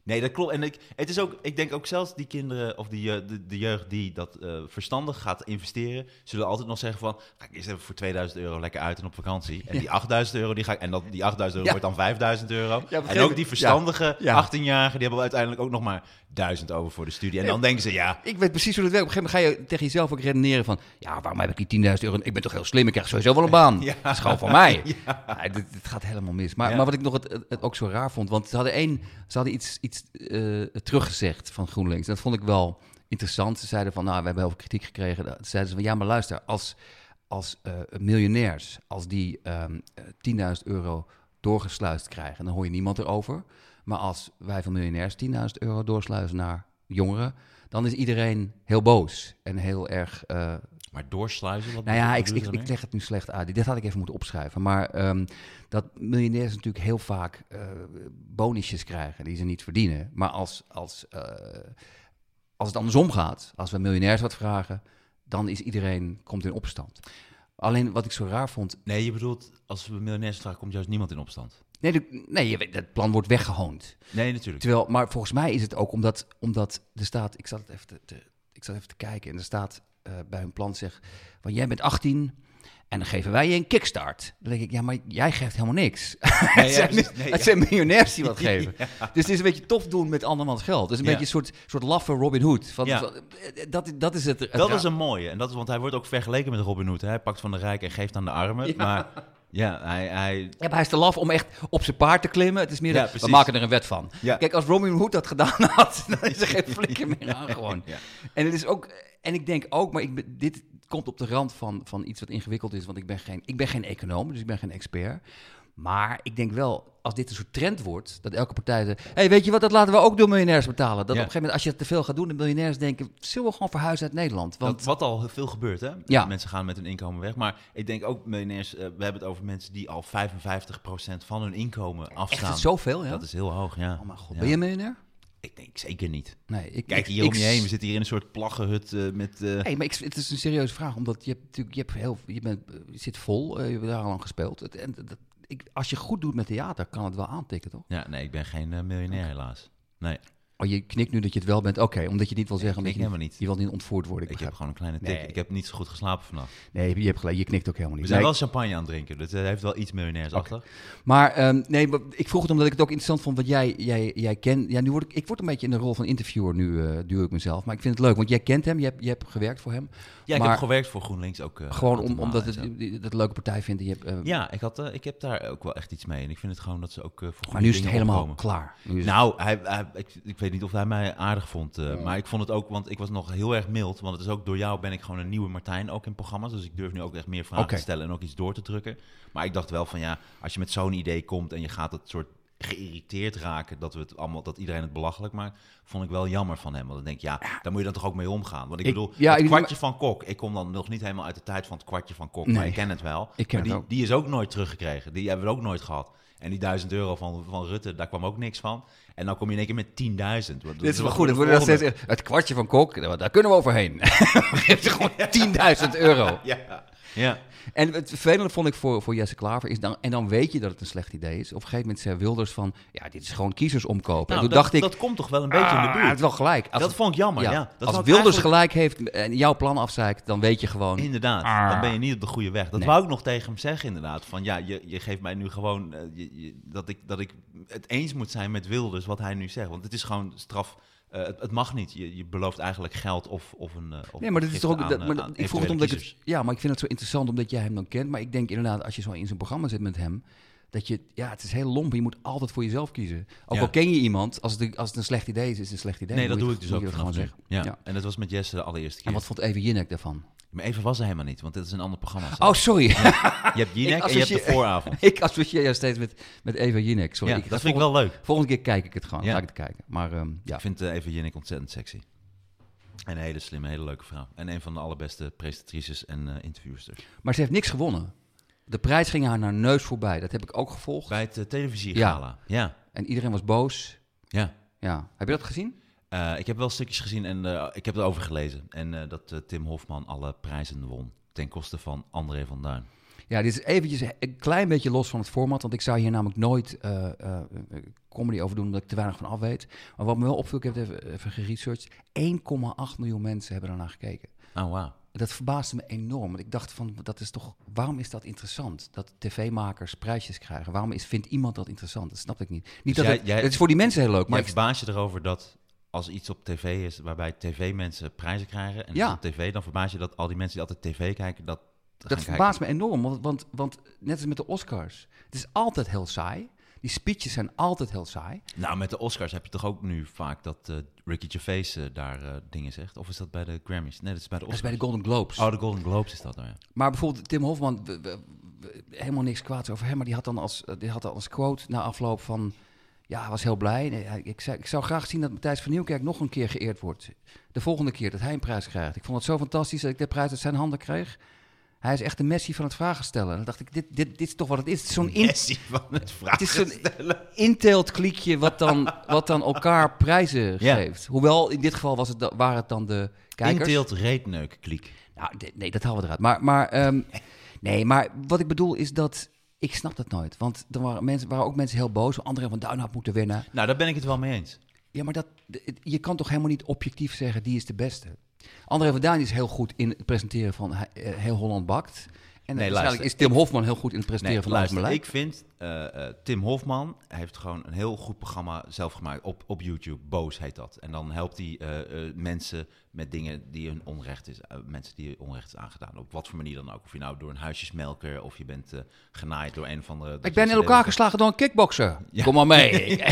Speaker 2: Nee, dat klopt. En ik, het is ook, ik denk ook zelfs die kinderen of die, je- de, de jeugd die dat eh, verstandig gaat investeren, zullen altijd nog zeggen van, ga ik eerst even voor 2000 euro lekker uit en op vakantie. En die 8000 euro, die ga ik, en dat, die 8000 euro
Speaker 3: Ja.
Speaker 2: wordt dan 5000 euro.
Speaker 3: een gegeven
Speaker 2: en ook
Speaker 3: moment-
Speaker 2: die verstandige
Speaker 3: ja.
Speaker 2: 18-jarigen, die hebben uiteindelijk ook nog maar 1000 over voor de studie. En dan denken ze, ja,
Speaker 3: Ik weet precies hoe dat werkt. Op een gegeven moment ga je tegen jezelf ook redeneren van... ja, waarom heb ik die 10.000 euro? Ik ben toch heel slim, ik krijg sowieso wel een baan.
Speaker 2: Ja.
Speaker 3: Dat is gewoon van mij. Nee, dit, dit gaat helemaal mis. Maar,
Speaker 2: Ja.
Speaker 3: maar wat ik nog het, het- het ook zo raar vond... want ze hadden, één, ze hadden iets, iets eh, teruggezegd van GroenLinks. Dat vond ik wel interessant. Ze zeiden van, nou, we hebben heel veel kritiek gekregen. Ze zeiden ze van, ja, maar luister, als, als eh, miljonairs... als die ehm, eh, 10.000 euro doorgesluist krijgen... dan hoor je niemand erover. Maar als wij van miljonairs 10.000 euro doorsluizen naar jongeren, dan is iedereen heel boos en heel erg. eh,
Speaker 2: maar doorsluizen. Wat
Speaker 3: nou ja,
Speaker 2: wat
Speaker 3: ik,
Speaker 2: bedoel je
Speaker 3: ik,
Speaker 2: daarmee?
Speaker 3: ik leg het nu slecht uit. Dit had ik even moeten opschrijven. Maar ehm, dat miljonairs natuurlijk heel vaak eh bonusjes krijgen die ze niet verdienen. Maar als, als, eh, als het andersom gaat, als we miljonairs wat vragen, dan is iedereen komt in opstand. Alleen wat ik zo raar vond.
Speaker 2: Nee, je bedoelt, als we miljonairs vragen, komt juist niemand in opstand.
Speaker 3: Nee, de- nee je weet, dat plan wordt weggehoond.
Speaker 2: Nee, natuurlijk.
Speaker 3: Terwijl, maar volgens mij is het ook omdat, omdat er staat, ik zat het even te, te- ik zat even te kijken, en er staat eh, bij hun plan zeg, van jij bent 18 en dan geven wij je een kickstart. Dan denk ik, ja, maar jij geeft helemaal niks. het
Speaker 2: ja,
Speaker 3: zijn,
Speaker 2: precies. Nee,
Speaker 3: het
Speaker 2: ja.
Speaker 3: zijn miljonairs die wat geven. Dus het is een beetje tof doen met andermans geld. Dus een
Speaker 2: Ja.
Speaker 3: beetje een soort, soort laffe Robin Hood. Van,
Speaker 2: Ja.
Speaker 3: van, eh, dat, dat is het. het
Speaker 2: Dat
Speaker 3: ra-
Speaker 2: is een mooie. En dat, want hij wordt ook vergeleken met Robin Hood. hè. Hij pakt van de rijk en geeft aan de armen. Maar ja, hij... hij
Speaker 3: Ja, maar hij is te laf om echt op zijn paard te klimmen. Het is meer,
Speaker 2: Ja,
Speaker 3: dat- we
Speaker 2: precies.
Speaker 3: maken er een wet van.
Speaker 2: Ja.
Speaker 3: Kijk, als Robin Hood dat gedaan had, dan is er geen flikker meer aan gewoon.
Speaker 2: ja.
Speaker 3: En het is ook, en ik denk ook, maar ik, ben- dit komt op de rand van, van iets wat ingewikkeld is, want ik ben, geen, ik ben geen econoom, dus ik ben geen expert. Maar ik denk wel, als dit een soort trend wordt, dat elke partij zegt, hé, hey, weet je wat, dat laten we ook door miljonairs betalen. Dat op een gegeven moment, als je dat te veel gaat doen, de miljonairs denken, zullen we gewoon verhuizen uit Nederland? Want
Speaker 2: dat- wat al veel gebeurt, hè?
Speaker 3: Ja.
Speaker 2: Mensen gaan met hun inkomen weg. Maar ik denk ook, miljonairs, eh, we hebben het over mensen die al 55% van hun inkomen
Speaker 3: echt,
Speaker 2: afstaan.
Speaker 3: het is zoveel, ja?
Speaker 2: Dat is heel hoog, ja.
Speaker 3: Oh mijn god,
Speaker 2: Ja.
Speaker 3: ben je miljonair?
Speaker 2: Ik denk zeker niet.
Speaker 3: Nee, ik
Speaker 2: Kijk
Speaker 3: ik-
Speaker 2: hier
Speaker 3: ik
Speaker 2: om je heen. We zitten hier in een soort plaggenhut eh, met... eh,
Speaker 3: Nee, maar ik, het is een serieuze vraag, omdat je, hebt, natuurlijk, je, hebt heel, je, bent, je zit vol, eh, je hebt daar al lang gespeeld. Het, en, dat, ik, als je goed doet met theater, kan het wel aantikken, toch?
Speaker 2: Ja, nee, ik ben geen eh, miljonair helaas. Nee,
Speaker 3: Oh, je knikt nu dat je het wel bent. Oké, omdat je het niet wil zeggen.
Speaker 2: ik
Speaker 3: Omdat je,
Speaker 2: knik helemaal niet.
Speaker 3: Je wil niet ontvoerd worden, ik,
Speaker 2: ik heb
Speaker 3: begrijp.
Speaker 2: gewoon een kleine tik.
Speaker 3: Nee.
Speaker 2: Ik heb niet zo goed geslapen vannacht.
Speaker 3: Nee, je hebt gelijk. Je knikt ook helemaal
Speaker 2: We
Speaker 3: niet.
Speaker 2: zijn
Speaker 3: Nee,
Speaker 2: wel champagne aan het drinken. Dat eh, heeft wel iets miljonairs achter.
Speaker 3: Maar ehm, nee, maar ik vroeg het omdat ik het ook interessant vond. Want jij, jij, jij kent... Ja, nu word ik, ik word een beetje in de rol van interviewer nu, eh, duw ik mezelf. Maar ik vind het leuk, want jij kent hem. Je hebt, je hebt gewerkt voor hem.
Speaker 2: Ja, ik
Speaker 3: maar
Speaker 2: heb gewerkt voor GroenLinks ook. eh,
Speaker 3: Gewoon om,
Speaker 2: Guatemala
Speaker 3: omdat
Speaker 2: en
Speaker 3: het,
Speaker 2: zo.
Speaker 3: dat het een leuke partij vindt. en Je hebt, eh,
Speaker 2: Ja, ik, had, eh, ik heb daar ook wel echt iets mee. En ik vind het gewoon dat ze ook eh voor
Speaker 3: maar
Speaker 2: goede
Speaker 3: nu is het
Speaker 2: dingen
Speaker 3: helemaal
Speaker 2: opkomen.
Speaker 3: klaar. Nu is het-
Speaker 2: Nou, hij, hij- ik, ik weet niet of hij mij aardig vond. eh, Maar ik vond het ook, want ik was nog heel erg mild. Want het is ook door jou ben ik gewoon een nieuwe Martijn ook in programma's. Dus ik durf nu ook echt meer vragen
Speaker 3: Oké.
Speaker 2: te stellen en ook iets door te drukken. Maar ik dacht wel van ja, als je met zo'n idee komt en je gaat het soort geïrriteerd raken dat we het allemaal dat iedereen het belachelijk maakt, vond ik wel jammer van hem. Want dan denk ik ja, daar moet je dan toch ook mee omgaan. Want ik,
Speaker 3: Ik-
Speaker 2: bedoel,
Speaker 3: ja,
Speaker 2: het
Speaker 3: ik-
Speaker 2: kwartje van Kok. Ik kom dan nog niet helemaal uit de tijd van het kwartje van Kok, maar
Speaker 3: Nee.
Speaker 2: ik ken het wel.
Speaker 3: Ik ken
Speaker 2: Maar
Speaker 3: het
Speaker 2: die,
Speaker 3: ook.
Speaker 2: die is ook nooit teruggekregen. Die hebben we ook nooit gehad. En die 1000 euro van, van Rutte, daar kwam ook niks van. En dan kom je in één keer met 10.000. Wat-
Speaker 3: Dit is wel
Speaker 2: wat
Speaker 3: goed.
Speaker 2: de
Speaker 3: Het, wordt dan
Speaker 2: volgende?
Speaker 3: steeds, het kwartje van Kok, daar- daar kunnen we overheen. Geef ze gewoon 10.000 euro.
Speaker 2: Ja. Nou, ja.
Speaker 3: En het vervelende vond ik voor, voor Jesse Klaver is, dan, en dan weet je dat het een slecht idee is. Op een gegeven moment zei Wilders van, ja, dit is gewoon kiezers omkopen.
Speaker 2: Nou,
Speaker 3: en toen
Speaker 2: dat,
Speaker 3: dacht ik,
Speaker 2: dat komt toch wel een beetje in
Speaker 3: ah,
Speaker 2: de
Speaker 3: hij heeft
Speaker 2: buurt.
Speaker 3: wel gelijk. Als,
Speaker 2: dat vond ik jammer, ja.
Speaker 3: ja,
Speaker 2: Dat
Speaker 3: als
Speaker 2: vond ik
Speaker 3: Wilders
Speaker 2: eigenlijk-
Speaker 3: gelijk heeft en jouw plan afzeikt, dan weet je gewoon...
Speaker 2: Inderdaad, dan ben je niet op de goede weg. Dat
Speaker 3: Ah. Nee.
Speaker 2: wou ik nog tegen hem zeggen, inderdaad. Van ja, je, je geeft mij nu gewoon eh, je- je- dat, ik, dat ik het eens moet zijn met Wilders wat hij nu zegt. Want het is gewoon straf. eh, het, het mag niet. Je, je belooft eigenlijk geld of, of een. eh, of
Speaker 3: Nee, maar dat is
Speaker 2: giften
Speaker 3: toch ook.
Speaker 2: aan,
Speaker 3: dat-
Speaker 2: eh,
Speaker 3: maar dat-
Speaker 2: aan
Speaker 3: ik vroeg
Speaker 2: eventuele
Speaker 3: het omdat ik
Speaker 2: kiezers.
Speaker 3: het. Ja, maar ik vind het zo interessant omdat jij hem dan kent. Maar ik denk inderdaad, als je zo in zo'n programma zit met hem. Dat je, ja, het is heel lomp. Je moet altijd voor jezelf kiezen. Ook
Speaker 2: Ja.
Speaker 3: al ken je iemand, als het, als het een slecht idee is, is het een slecht idee.
Speaker 2: Nee, dat
Speaker 3: Dan
Speaker 2: doe
Speaker 3: moet
Speaker 2: ik
Speaker 3: je
Speaker 2: dus
Speaker 3: het-
Speaker 2: ook
Speaker 3: moet je
Speaker 2: vanaf
Speaker 3: het
Speaker 2: nu. Ja.
Speaker 3: gewoon zeggen. Ja.
Speaker 2: En dat was met Jesse de allereerste
Speaker 3: En
Speaker 2: keer.
Speaker 3: wat vond Even Jinek daarvan?
Speaker 2: Maar even was hij helemaal niet, want dit is een ander programma.
Speaker 3: Oh, sorry.
Speaker 2: je hebt
Speaker 3: Ik
Speaker 2: Jinek en je hebt de
Speaker 3: associeer-
Speaker 2: vooravond.
Speaker 3: ik associeer jou steeds met, met Eva Jinek. Sorry.
Speaker 2: Ja,
Speaker 3: ga
Speaker 2: dat vind ik
Speaker 3: volgende-
Speaker 2: wel leuk.
Speaker 3: Volgende keer kijk ik het gewoon.
Speaker 2: Ja.
Speaker 3: Ga ik het kijken. Maar ehm, ja.
Speaker 2: Ik vind eh, even Jinek ontzettend sexy. En een hele slimme, hele leuke vrouw. En een van de allerbeste presentatrices en eh interviewsters.
Speaker 3: Maar ze heeft niks gewonnen. De prijs ging haar naar neus voorbij. Dat heb ik ook gevolgd.
Speaker 2: Bij het televisie televisiegala. Ja.
Speaker 3: En iedereen was boos.
Speaker 2: eh, ja.
Speaker 3: Ja. Heb je dat gezien?
Speaker 2: Eh, ik heb wel stukjes gezien en eh, ik heb erover gelezen. En eh, dat eh, Tim Hofman alle prijzen won. Ten koste van André van Duin.
Speaker 3: Ja, dit is eventjes een klein beetje los van het format. Want ik zou hier namelijk nooit eh, eh, comedy over doen, omdat ik te weinig van af weet. Maar wat me wel opviel, ik heb het even, even geresearched. 1,8 miljoen mensen hebben ernaar gekeken.
Speaker 2: Oh, wauw.
Speaker 3: Dat verbaasde me enorm. Want ik dacht van, dat is toch, waarom is dat interessant? Dat tv-makers prijsjes krijgen. Waarom is, vindt iemand dat interessant? Dat snapte ik niet.
Speaker 2: Dus
Speaker 3: niet dat
Speaker 2: jij-
Speaker 3: het,
Speaker 2: jij-
Speaker 3: het is voor die mensen heel leuk.
Speaker 2: Maar
Speaker 3: Maar
Speaker 2: ik
Speaker 3: ik-
Speaker 2: verbaas je erover dat als iets op tv is waarbij tv-mensen prijzen krijgen en
Speaker 3: Ja.
Speaker 2: ja. op tv, dan verbaas je dat al die mensen die altijd tv kijken, dat
Speaker 3: dat verbaast me enorm. Want, want, want net als met de Oscars. Het is altijd heel saai. Die speeches zijn altijd heel saai.
Speaker 2: Nou, met de Oscars heb je toch ook nu vaak dat eh, Ricky Gervais eh, daar eh, dingen zegt? Of is dat bij de Grammys? Nee, dat is bij de
Speaker 3: Dat is
Speaker 2: Oscars.
Speaker 3: bij de Golden Globes.
Speaker 2: Oh, de Golden Globes is dat nou, ja.
Speaker 3: Maar bijvoorbeeld Tim Hofman, we- we- we- helemaal niks kwaads over hem, maar die had dan als, eh, die had dan als quote na afloop van, ja, hij was heel blij. Nee, hij- Ik, zei, ik zou graag zien dat Matthijs van Nieuwkerk nog een keer geëerd wordt. De volgende keer dat hij een prijs krijgt. Ik vond het zo fantastisch dat ik de prijs uit zijn handen kreeg. Hij is echt de Messi van het vragen stellen. En dan dacht ik, dit, dit, dit is toch wat het is. Het is zo'n in,
Speaker 2: Messi van het
Speaker 3: het is
Speaker 2: vragen.
Speaker 3: zo'n intelt kliekje wat dan, wat dan elkaar prijzen
Speaker 2: Ja.
Speaker 3: geeft. Hoewel, in dit geval was het, da- waren het dan de kijkers.
Speaker 2: Inteelt reetneuk, kliek.
Speaker 3: Nou, d- nee, dat halen we eruit. Maar, maar, ehm, nee, maar wat ik bedoel is dat... Ik snap dat nooit. Want er waren, mensen, waren ook mensen heel boos. Anderen van Duin had moeten winnen.
Speaker 2: Nou, daar ben ik het wel mee eens.
Speaker 3: Ja, maar dat, d- het- je kan toch helemaal niet objectief zeggen... die is de beste. André van Duin is heel goed in het presenteren van eh, Heel Holland Bakt. En
Speaker 2: Nee,
Speaker 3: waarschijnlijk
Speaker 2: luister,
Speaker 3: is Tim Hofman heel goed in het presenteren
Speaker 2: Nee,
Speaker 3: van
Speaker 2: luister,
Speaker 3: Lars
Speaker 2: ik vind eh, eh, Tim Hofman hij heeft gewoon een heel goed programma zelf gemaakt op, op YouTube. Boos heet dat. En dan helpt hij eh, eh, mensen met dingen die hun onrecht is, eh, mensen die hun onrecht is aangedaan. Op wat voor manier dan ook. Of je nou door een huisjesmelker of je bent eh, genaaid door een van de.
Speaker 3: Ik ben in elkaar geslagen door een kickboxer. Kom maar mee. Ik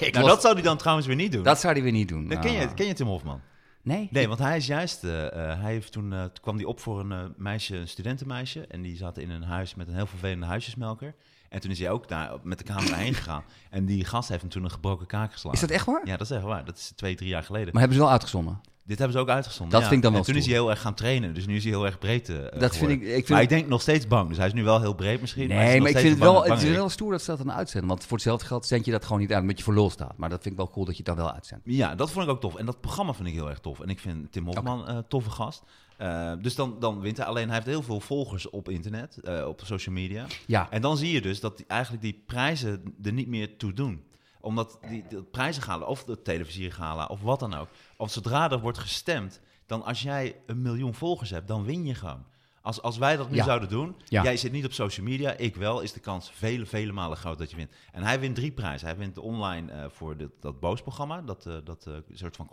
Speaker 2: Nou,
Speaker 3: was-
Speaker 2: dat zou hij dan trouwens weer niet doen.
Speaker 3: dat zou hij weer niet doen.
Speaker 2: Dan ken, je,
Speaker 3: Ah.
Speaker 2: ken je Tim Hofman?
Speaker 3: Nee?
Speaker 2: Nee, want hij is juist. eh, eh, hij heeft toen, eh, toen kwam hij op voor een eh, meisje, een studentenmeisje. En die zaten in een huis met een heel vervelende huisjesmelker. En toen is hij ook daar met de camera heen gegaan. En die gast heeft hem toen een gebroken kaak
Speaker 3: Is
Speaker 2: geslagen.
Speaker 3: dat echt waar?
Speaker 2: Ja, dat is echt waar. Dat is twee, drie jaar geleden.
Speaker 3: Maar hebben ze wel uitgezonden?
Speaker 2: Dit hebben ze ook uitgezonden.
Speaker 3: Dat
Speaker 2: ja.
Speaker 3: vind ik dan wel
Speaker 2: En toen is
Speaker 3: stoer.
Speaker 2: hij heel erg gaan trainen. Dus nu is hij heel erg breed. eh,
Speaker 3: vind
Speaker 2: geworden.
Speaker 3: ik- ik vind
Speaker 2: maar
Speaker 3: het-
Speaker 2: ik denk nog steeds bang. Dus hij is nu wel heel breed misschien. hij is
Speaker 3: Nee,
Speaker 2: nog
Speaker 3: maar ik
Speaker 2: steeds
Speaker 3: vind het
Speaker 2: een
Speaker 3: wel,
Speaker 2: bange-
Speaker 3: het is
Speaker 2: bangerik.
Speaker 3: wel stoer dat ze dat dan uitzenden. Want voor hetzelfde geld zend je dat gewoon niet uit, omdat je verlost staat. Maar dat vind ik wel cool dat je het dan wel uitzendt.
Speaker 2: Ja, dat vond ik ook tof. En dat programma vind ik heel erg tof. En ik vind Tim Hofman een toffe gast. Eh, dus dan, dan wint hij. Alleen hij heeft heel veel volgers op internet, eh, op social media.
Speaker 3: Ja.
Speaker 2: En dan zie je dus dat die, eigenlijk die prijzen er niet meer toe doen. Omdat die, de prijzen gala, of de televisiergala, of wat dan ook. Of zodra er wordt gestemd, dan als jij een miljoen volgers hebt, dan win je gewoon. Als, als wij dat nu
Speaker 3: Ja.
Speaker 2: zouden doen,
Speaker 3: Ja.
Speaker 2: jij zit niet op social media, ik wel, is de kans vele, vele malen groot dat je wint. En hij wint drie prijzen. Hij wint online eh, voor dit- dat Boos-programma, dat, eh, dat eh, soort van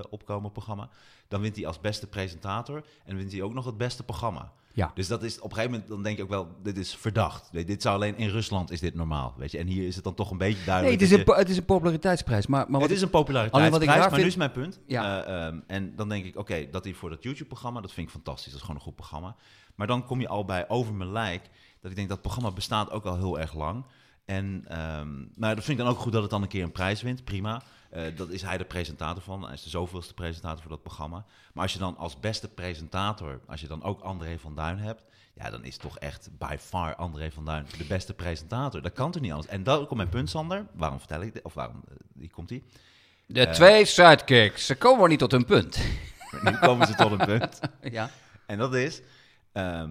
Speaker 2: consumentenopkomen-programma. Dan wint hij als beste presentator en wint hij ook nog het beste programma.
Speaker 3: Ja.
Speaker 2: Dus dat is op een gegeven moment, dan denk ik ook wel, dit is verdacht. Weet je, Dit zou alleen in Rusland is dit normaal, weet je. En hier is het dan toch een beetje
Speaker 3: Nee,
Speaker 2: duidelijk.
Speaker 3: het is
Speaker 2: dat
Speaker 3: een,
Speaker 2: je-
Speaker 3: po- het is een populariteitsprijs. Maar, maar wat
Speaker 2: het is
Speaker 3: ik-
Speaker 2: een populariteitsprijs,
Speaker 3: Alleen wat ik raar
Speaker 2: maar
Speaker 3: vind-
Speaker 2: nu is mijn punt.
Speaker 3: Ja.
Speaker 2: Eh, ehm, en dan denk ik, oké, dat hij voor dat YouTube-programma, dat vind ik fantastisch. Dat is gewoon een goed programma. Maar dan kom je al bij Over Mijn Lijk, dat ik denk, dat programma bestaat ook al heel erg lang. En ehm nou, dat vind ik dan ook goed dat het dan een keer een prijs wint, prima. Eh, dat is hij de presentator van. Hij is de zoveelste presentator voor dat programma. Maar als je dan als beste presentator, als je dan ook André van Duin hebt... Ja, dan is toch echt by far André van Duin de beste presentator. Dat kan toch niet anders? En dat komt mijn punt, Sander. Waarom vertel ik dit? Of waarom, eh, hier komt hij. Eh.
Speaker 3: de twee sidekicks, ze komen niet tot hun punt.
Speaker 2: Maar nu komen ze tot een punt.
Speaker 3: ja.
Speaker 2: En dat is, ehm,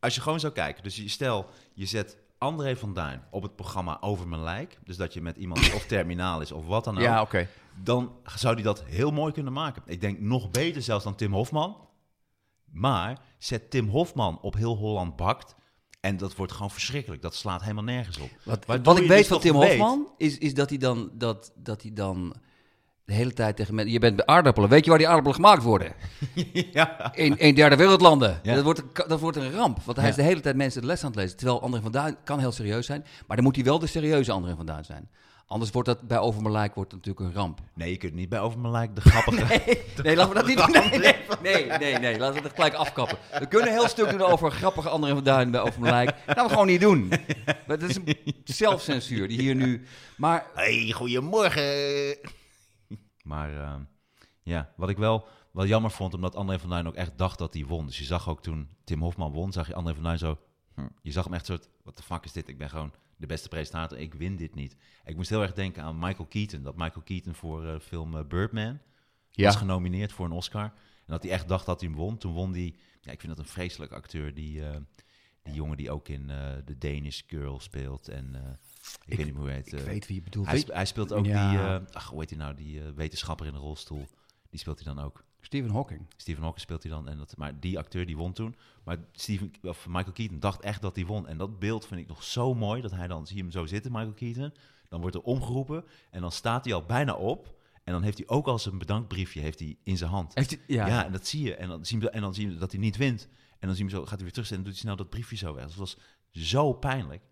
Speaker 2: als je gewoon zou kijken. Dus je, stel, je zet André van Duin op het programma Over Mijn Lijk. Dus dat je met iemand die of terminaal is of wat dan ook.
Speaker 3: ja, oké.
Speaker 2: Dan zou die dat heel mooi kunnen maken. Ik denk nog beter zelfs dan Tim Hofman. Maar zet Tim Hofman op heel Holland bakt. En dat wordt gewoon verschrikkelijk. Dat slaat helemaal nergens op.
Speaker 3: Wat,
Speaker 2: Waardoor
Speaker 3: wat ik
Speaker 2: je
Speaker 3: weet
Speaker 2: dus
Speaker 3: van
Speaker 2: toch
Speaker 3: Tim
Speaker 2: weet-
Speaker 3: Hofman, is, is dat hij dan, dat, dat hij dan de hele tijd tegen mensen... Je bent bij aardappelen. Weet je waar die aardappelen gemaakt worden?
Speaker 2: ja.
Speaker 3: In, in derde wereldlanden.
Speaker 2: Ja.
Speaker 3: Dat, wordt een, ka- dat wordt een ramp. Want hij is de hele tijd mensen de les aan het lezen. Terwijl André van Duin kan heel serieus zijn. Maar dan moet hij wel de serieuze André van Duin zijn. Anders wordt dat bij Over mijn Lijk wordt het natuurlijk een ramp.
Speaker 2: Nee, je kunt niet bij Over Mijn Lijk de grappige...
Speaker 3: Nee, laten we dat niet doen. Nee, nee, nee, nee, nee. Laten we dat gelijk afkappen. We kunnen een heel stuk doen over grappige André van Duin bij Over mijn Lijk. Dat gaan we gewoon niet doen. Dat is een zelfcensuur die hier nu... Maar
Speaker 2: Hey, goedemorgen. Maar eh, ja, wat ik wel, wel jammer vond, omdat André van Duin ook echt dacht dat hij won. Dus je zag ook toen Tim Hofman won, zag je André van Duin zo... hm, je zag hem echt soort, wat de fuck is dit? Ik ben gewoon de beste presentator, ik win dit niet. Ik moest heel erg denken aan Michael Keaton. Dat Michael Keaton voor eh, film eh, Birdman was
Speaker 3: Ja.
Speaker 2: genomineerd voor een Oscar. En dat hij echt dacht dat hij hem won. Toen won hij, ja, ik vind dat een vreselijk acteur, die, eh, die jongen die ook in eh The Danish Girl speelt. En eh, ik, weet niet meer hoe hij heet.
Speaker 3: Ik
Speaker 2: eh,
Speaker 3: weet wie je bedoelt.
Speaker 2: hij,
Speaker 3: Weet-
Speaker 2: sp- hij speelt ook
Speaker 3: Ja.
Speaker 2: die, eh, ach, hoe heet hij nou, die eh, wetenschapper in de rolstoel. Die speelt hij dan ook.
Speaker 3: Stephen Hawking.
Speaker 2: Stephen Hawking speelt hij dan. En dat, maar die acteur die won toen. Maar Stephen, of Michael Keaton dacht echt dat hij won. En dat beeld vind ik nog zo mooi. Dat hij dan, zie je hem zo zitten, Michael Keaton. Dan wordt er omgeroepen. En dan staat hij al bijna op. En dan heeft hij ook al zijn bedankbriefje heeft hij in zijn hand.
Speaker 3: Heeft hij- ja.
Speaker 2: ja. en dat zie je. En dan zien we, en dan zien we dat hij niet wint. En dan zien we zo, gaat hij weer terug en doet hij snel dat briefje zo weg. Dus Dat was zo pijnlijk.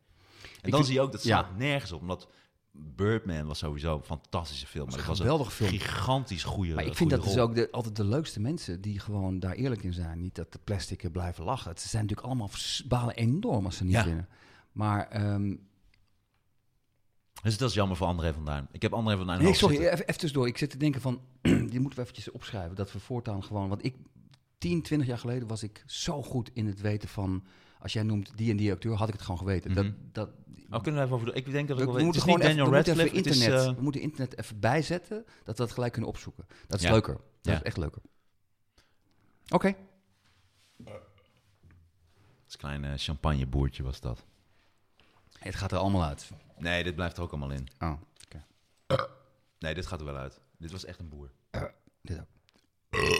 Speaker 2: En
Speaker 3: Ik
Speaker 2: dan
Speaker 3: vind-
Speaker 2: zie je ook, dat
Speaker 3: ja.
Speaker 2: staat nergens op. Omdat Birdman was sowieso een fantastische film. Maar
Speaker 3: een
Speaker 2: dat was een
Speaker 3: geweldige film.
Speaker 2: gigantisch goede
Speaker 3: Maar ik vind
Speaker 2: goede
Speaker 3: dat dus
Speaker 2: rol.
Speaker 3: ook de, altijd de leukste mensen die gewoon daar eerlijk in zijn. Niet dat de plastic er blijven lachen. Ze zijn natuurlijk allemaal vers- balen enorm als ze niet
Speaker 2: Ja.
Speaker 3: winnen. Maar, ehm,
Speaker 2: Dus dat is jammer voor André van Duin. Ik heb André van Duin
Speaker 3: nee,
Speaker 2: hoog
Speaker 3: sorry,
Speaker 2: zitten.
Speaker 3: even, even tussendoor. Ik zit te denken van, die moeten we eventjes opschrijven. Dat we voortaan gewoon, want ik, 10, 20 jaar geleden was ik zo goed in het weten van, als jij noemt die en die acteur, had ik het gewoon geweten.
Speaker 2: Mhm.
Speaker 3: Dat, dat,
Speaker 2: Oh, kunnen we even over doen? Ik denk dat
Speaker 3: eh, We,
Speaker 2: ik
Speaker 3: we
Speaker 2: wel weet. Het is
Speaker 3: moeten
Speaker 2: niet
Speaker 3: gewoon even,
Speaker 2: Daniel
Speaker 3: we moeten even
Speaker 2: Radcliffe. Het is,
Speaker 3: internet,
Speaker 2: eh,
Speaker 3: we moeten internet even bijzetten, dat we dat gelijk kunnen opzoeken. Dat is
Speaker 2: Ja.
Speaker 3: leuker. Dat
Speaker 2: Ja.
Speaker 3: is echt leuker. Oké.
Speaker 2: het is een klein eh, champagneboertje was dat.
Speaker 3: Het gaat er allemaal uit.
Speaker 2: Nee, dit blijft er ook allemaal in.
Speaker 3: Oh, oké.
Speaker 2: Nee, dit gaat er wel uit. Dit was echt een boer.
Speaker 3: Eh, Dit ook.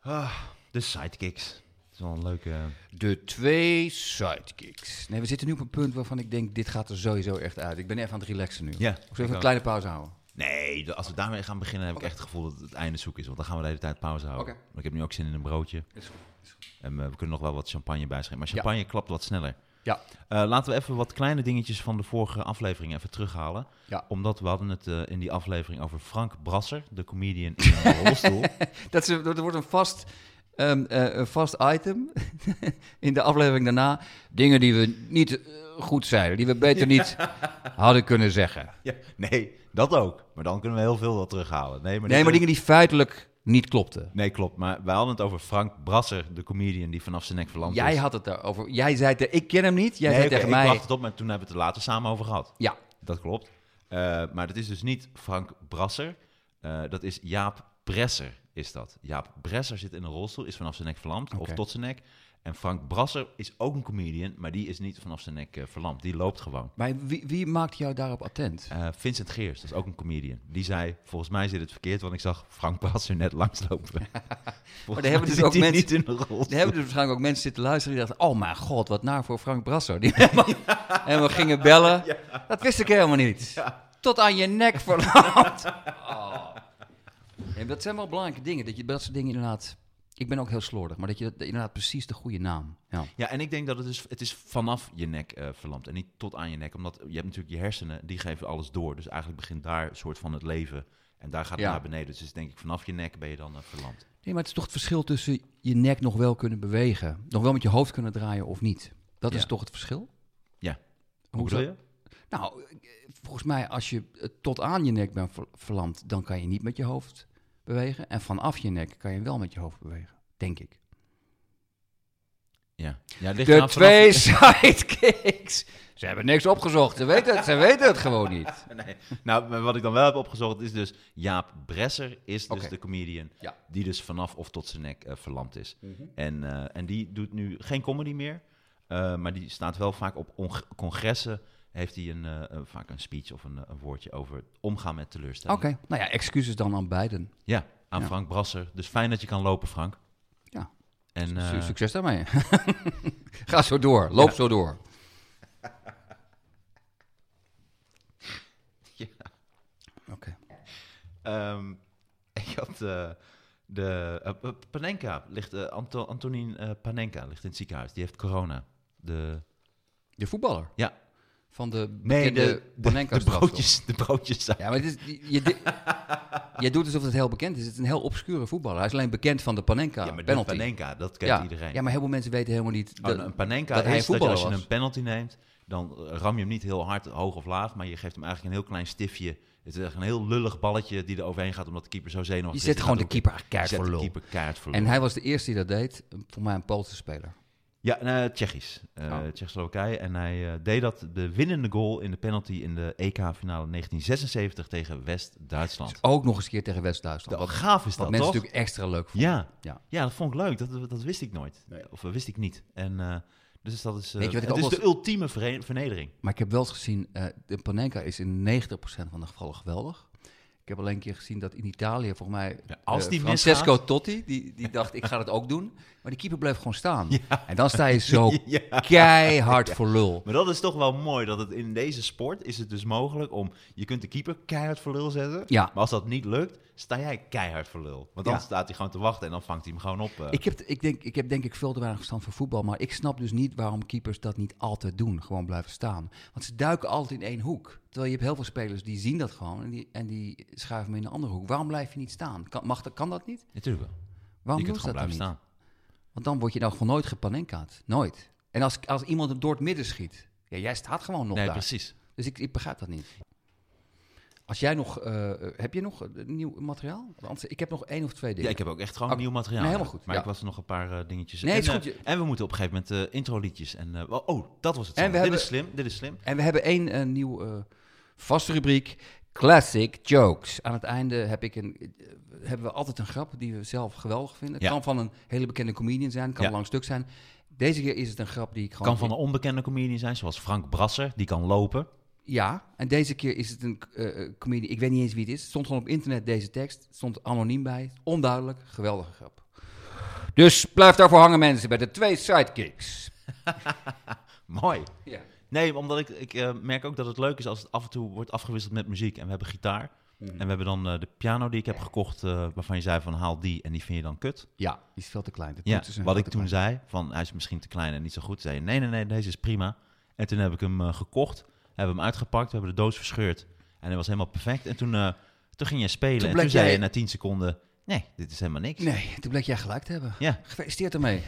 Speaker 2: Ah, De sidekicks. Dat is wel een leuke... eh,
Speaker 3: De twee sidekicks. Nee, we zitten nu op een punt waarvan ik denk, dit gaat er sowieso echt uit. Ik ben even aan het relaxen nu.
Speaker 2: Ja,
Speaker 3: Of
Speaker 2: ik
Speaker 3: zullen we
Speaker 2: ook.
Speaker 3: een kleine pauze houden?
Speaker 2: Nee, de- als we daarmee gaan beginnen heb ik echt het gevoel dat het einde zoek is. Want dan gaan we de hele tijd pauze houden.
Speaker 3: Oké.
Speaker 2: Want Ik heb nu ook zin in een broodje. En eh, we kunnen nog wel wat champagne bijschrijven. Maar champagne klapt wat sneller.
Speaker 3: Ja.
Speaker 2: Eh, laten we even wat kleine dingetjes van de vorige aflevering even terughalen.
Speaker 3: Ja.
Speaker 2: Omdat we hadden het eh, in die aflevering over Frank Brasser, de comedian in een rolstoel.
Speaker 3: Dat, is, dat wordt een vast, ehm, eh, een vast item in de aflevering daarna. Dingen die we niet eh, goed zeiden, die we beter niet hadden kunnen zeggen.
Speaker 2: Ja, nee, dat ook. Maar dan kunnen we heel veel wel terughalen. Nee, maar,
Speaker 3: Nee,
Speaker 2: dit
Speaker 3: maar
Speaker 2: is-
Speaker 3: dingen die feitelijk niet klopten.
Speaker 2: Nee, klopt. Maar wij hadden het over Frank Brasser, de comedian die vanaf zijn nek verlamd
Speaker 3: Jij
Speaker 2: is.
Speaker 3: had het daarover. Jij zei te, ik ken hem niet. Jij
Speaker 2: dus- nee,
Speaker 3: zei
Speaker 2: oké,
Speaker 3: tegen
Speaker 2: ik
Speaker 3: mij.
Speaker 2: wacht het op, maar toen hebben we het er later samen over gehad.
Speaker 3: Ja,
Speaker 2: Dat klopt. Eh, maar dat is dus niet Frank Brasser. Eh, dat is Jaap Bresser, is dat. Jaap Bresser zit in een rolstoel, is vanaf zijn nek verlamd
Speaker 3: Oké.
Speaker 2: of tot zijn nek. En Frank Brasser is ook een comedian, maar die is niet vanaf zijn nek eh, verlamd. Die loopt gewoon.
Speaker 3: maar wie, wie maakt jou daarop attent?
Speaker 2: Eh, Vincent Geers, dat is ook een comedian. Die zei, volgens mij zit het verkeerd, want ik zag Frank Brasser net langslopen. maar
Speaker 3: hebben dus ook mensen-
Speaker 2: niet in een rolstoel.
Speaker 3: Er hebben dus waarschijnlijk ook mensen zitten luisteren die dachten... oh mijn god, wat naar voor Frank Brasser. Die helemaal- en we gingen bellen. Dat wist ik helemaal niet. Tot aan je nek verlamd. Oh. En dat zijn wel belangrijke dingen. Dat je dat soort dingen inderdaad... Ik ben ook heel slordig, maar dat je dat, inderdaad precies de goede naam... Ja.
Speaker 2: Ja, en ik denk dat het is, het is vanaf je nek eh, verlamd en niet tot aan je nek. Omdat je hebt natuurlijk je hersenen, die geven alles door. Dus eigenlijk begint daar een soort van het leven. En daar gaat het
Speaker 3: Ja.
Speaker 2: naar beneden. Dus het is denk ik vanaf je nek ben je dan eh, verlamd.
Speaker 3: Nee, maar het is toch het verschil tussen je nek nog wel kunnen bewegen... nog wel met je hoofd kunnen draaien of niet. Dat is
Speaker 2: Ja.
Speaker 3: toch het verschil?
Speaker 2: Ja.
Speaker 3: Hoe
Speaker 2: bedoel
Speaker 3: zou- Nou, eh, volgens mij als je eh, tot aan je nek bent ver- verlamd, dan kan je niet met je hoofd bewegen. En vanaf je nek kan je wel met je hoofd bewegen, denk ik.
Speaker 2: Ja. ja het ligt
Speaker 3: De
Speaker 2: eraan vanaf-
Speaker 3: twee sidekicks. Ze hebben niks opgezocht. Ze weten het, ze weten het gewoon niet.
Speaker 2: Nee. Nou, maar wat ik dan wel heb opgezocht is dus Jaap Bresser is dus
Speaker 3: Oké.
Speaker 2: de comedian
Speaker 3: Ja.
Speaker 2: die dus vanaf of tot zijn nek eh, verlamd is.
Speaker 3: Mhm.
Speaker 2: En, eh, en die doet nu geen comedy meer, eh, maar die staat wel vaak op onge- congressen. Heeft hij een, eh, een- vaak een speech of een, eh, een woordje over omgaan met
Speaker 3: Oké,
Speaker 2: teleurstelling.
Speaker 3: nou ja, excuses dan aan beiden.
Speaker 2: Ja, aan
Speaker 3: Ja.
Speaker 2: Frank Brasser. Dus fijn dat je kan lopen, Frank.
Speaker 3: Ja.
Speaker 2: En,
Speaker 3: Su-
Speaker 2: eh,
Speaker 3: Succes daarmee. Nou. Ga zo door, loop
Speaker 2: Ja.
Speaker 3: zo door.
Speaker 2: Ja.
Speaker 3: Oké.
Speaker 2: ehm, ik had eh, de eh, eh, Panenka ligt eh, Anto- Antonin eh, Panenka ligt in het ziekenhuis. Die heeft corona. De
Speaker 3: De voetballer.
Speaker 2: Ja.
Speaker 3: Van de
Speaker 2: Nee,
Speaker 3: bekende
Speaker 2: de, de,
Speaker 3: Panenka
Speaker 2: de broodjes. De broodjes zijn.
Speaker 3: Ja, maar het is, je- je, di- je doet alsof het heel bekend is. Het is een heel obscure voetballer. Hij is alleen bekend van de Panenka
Speaker 2: Ja, maar de
Speaker 3: penalty.
Speaker 2: Panenka, dat kent
Speaker 3: ja.
Speaker 2: iedereen.
Speaker 3: ja, maar heel veel mensen weten helemaal niet...
Speaker 2: Oh,
Speaker 3: dat-
Speaker 2: een Panenka
Speaker 3: dat hij
Speaker 2: is dat je
Speaker 3: voetballer
Speaker 2: als je
Speaker 3: was.
Speaker 2: een penalty neemt, dan ram je hem niet heel hard, hoog of laag, maar je geeft hem eigenlijk een heel klein stiftje. Het is echt een heel lullig balletje die er overheen gaat, omdat de keeper zo zenuwachtig
Speaker 3: je
Speaker 2: is.
Speaker 3: zet
Speaker 2: Die
Speaker 3: gewoon de
Speaker 2: gaat
Speaker 3: keeper eigenlijk
Speaker 2: er ook in.
Speaker 3: keihard
Speaker 2: Je zet de keeper keihard voor
Speaker 3: voor lul.
Speaker 2: lul.
Speaker 3: En hij was de eerste die dat deed. Voor mij een Poolse speler.
Speaker 2: Ja, eh, Tsjechisch. Eh
Speaker 3: Oh.
Speaker 2: Tsjechoslowakije. En hij eh, deed dat de winnende goal in de penalty in de E EK-finale 1976 tegen West-Duitsland.
Speaker 3: Ook nog eens een keer tegen West-Duitsland.
Speaker 2: Wat
Speaker 3: Wat,
Speaker 2: gaaf is
Speaker 3: wat
Speaker 2: dat,
Speaker 3: mensen
Speaker 2: toch?
Speaker 3: natuurlijk extra leuk vonden.
Speaker 2: Ja.
Speaker 3: Ja.
Speaker 2: Ja. dat vond ik leuk. Dat, dat wist ik nooit.
Speaker 3: Nee.
Speaker 2: Of eh, wist ik niet. En eh, dus dat is, eh,
Speaker 3: Weet je wat ik
Speaker 2: het
Speaker 3: ook
Speaker 2: is
Speaker 3: wel
Speaker 2: de ultieme vere- vernedering.
Speaker 3: Maar ik heb wel eens gezien, eh, de Panenka is in 90% van de gevallen geweldig. Ik heb alleen een keer gezien dat in Italië, volgens mij,
Speaker 2: Ja, als
Speaker 3: eh,
Speaker 2: die
Speaker 3: Francesco
Speaker 2: misgaat-
Speaker 3: Totti, die, die dacht, ik ga dat ook doen. Maar die keeper bleef gewoon staan. En dan sta je zo
Speaker 2: Ja.
Speaker 3: keihard voor lul.
Speaker 2: Maar dat is toch wel mooi, dat het in deze sport is het dus mogelijk om... Je kunt de keeper keihard voor lul zetten,
Speaker 3: Ja.
Speaker 2: maar als dat niet lukt, sta jij keihard voor lul. Want dan
Speaker 3: Ja.
Speaker 2: staat hij gewoon te wachten en dan vangt hij hem gewoon op. eh.
Speaker 3: Ik heb, ik, denk, ik heb denk ik veel te weinig verstand voor voetbal, maar ik snap dus niet waarom keepers dat niet altijd doen, gewoon blijven staan. Want ze duiken altijd in één hoek. Terwijl je hebt heel veel spelers die zien dat gewoon en die, en die schuiven me in een andere hoek. Waarom blijf je niet staan? Kan, mag, dat- kan dat niet?
Speaker 2: Natuurlijk wel.
Speaker 3: Waarom
Speaker 2: je kunt
Speaker 3: doen ze
Speaker 2: gewoon
Speaker 3: dat dan
Speaker 2: blijven
Speaker 3: niet?
Speaker 2: staan.
Speaker 3: Want dan word je dan gewoon nooit gepanenkaat. Nooit. En als, als iemand hem door het midden schiet, ja, jij staat gewoon nog
Speaker 2: Nee,
Speaker 3: daar.
Speaker 2: precies.
Speaker 3: Dus ik, ik begrijp dat niet. Als jij nog, eh, heb je nog eh, nieuw materiaal? Want anders- ik heb nog één of twee dingen.
Speaker 2: Ja, ik heb ook echt gewoon
Speaker 3: Oké.
Speaker 2: nieuw materiaal.
Speaker 3: Oh. Nee, helemaal
Speaker 2: nodig.
Speaker 3: goed,
Speaker 2: Maar
Speaker 3: ja.
Speaker 2: ik was er nog een paar eh, dingetjes.
Speaker 3: Nee,
Speaker 2: en,
Speaker 3: is goed,
Speaker 2: eh,
Speaker 3: je-
Speaker 2: en we moeten op een gegeven moment eh, introliedjes. En, eh, wel- oh, dat was het.
Speaker 3: En
Speaker 2: zo.
Speaker 3: we
Speaker 2: dit
Speaker 3: hebben-
Speaker 2: is slim, dit is slim.
Speaker 3: En we hebben één eh, nieuw eh, vaste rubriek, Classic Jokes. Aan het einde heb ik een, eh, hebben we altijd een grap die we zelf geweldig vinden. Het
Speaker 2: Ja.
Speaker 3: kan van een hele bekende comedian zijn, kan
Speaker 2: Ja.
Speaker 3: een lang stuk zijn. Deze keer is het een grap die ik gewoon...
Speaker 2: Kan van een onbekende comedian zijn, zoals Frank Brasser. Die kan lopen.
Speaker 3: Ja, en deze keer is het een eh eh, comedian. Ik weet niet eens wie het is. Het stond gewoon op internet deze tekst. Het Stond anoniem bij. Onduidelijk. Geweldige grap. Dus blijf daarvoor hangen mensen bij de twee sidekicks.
Speaker 2: Mooi.
Speaker 3: Ja.
Speaker 2: Nee, omdat ik, ik eh, merk ook dat het leuk is als het af en toe wordt afgewisseld met muziek. En we hebben gitaar.
Speaker 3: Mhm.
Speaker 2: En we hebben dan eh, de piano die ik heb gekocht, eh, waarvan je zei van haal die en die vind je dan kut.
Speaker 3: ja, die is veel te klein. De
Speaker 2: Ja,
Speaker 3: toetsen zijn
Speaker 2: wat
Speaker 3: veel
Speaker 2: ik
Speaker 3: te
Speaker 2: toen
Speaker 3: klein.
Speaker 2: zei, van hij is misschien te klein en niet zo goed. Zei je, nee, nee, nee, deze is prima. En toen heb ik hem eh, gekocht, hebben hem uitgepakt, we hebben de doos verscheurd. En hij was helemaal perfect. En toen, eh, toen ging jij spelen
Speaker 3: Toen
Speaker 2: en
Speaker 3: bleek
Speaker 2: toen zei
Speaker 3: jij-
Speaker 2: je na 10 seconden, nee, dit is helemaal niks.
Speaker 3: Nee, toen bleek jij gelijk te hebben.
Speaker 2: Ja,
Speaker 3: Gefeliciteerd ermee.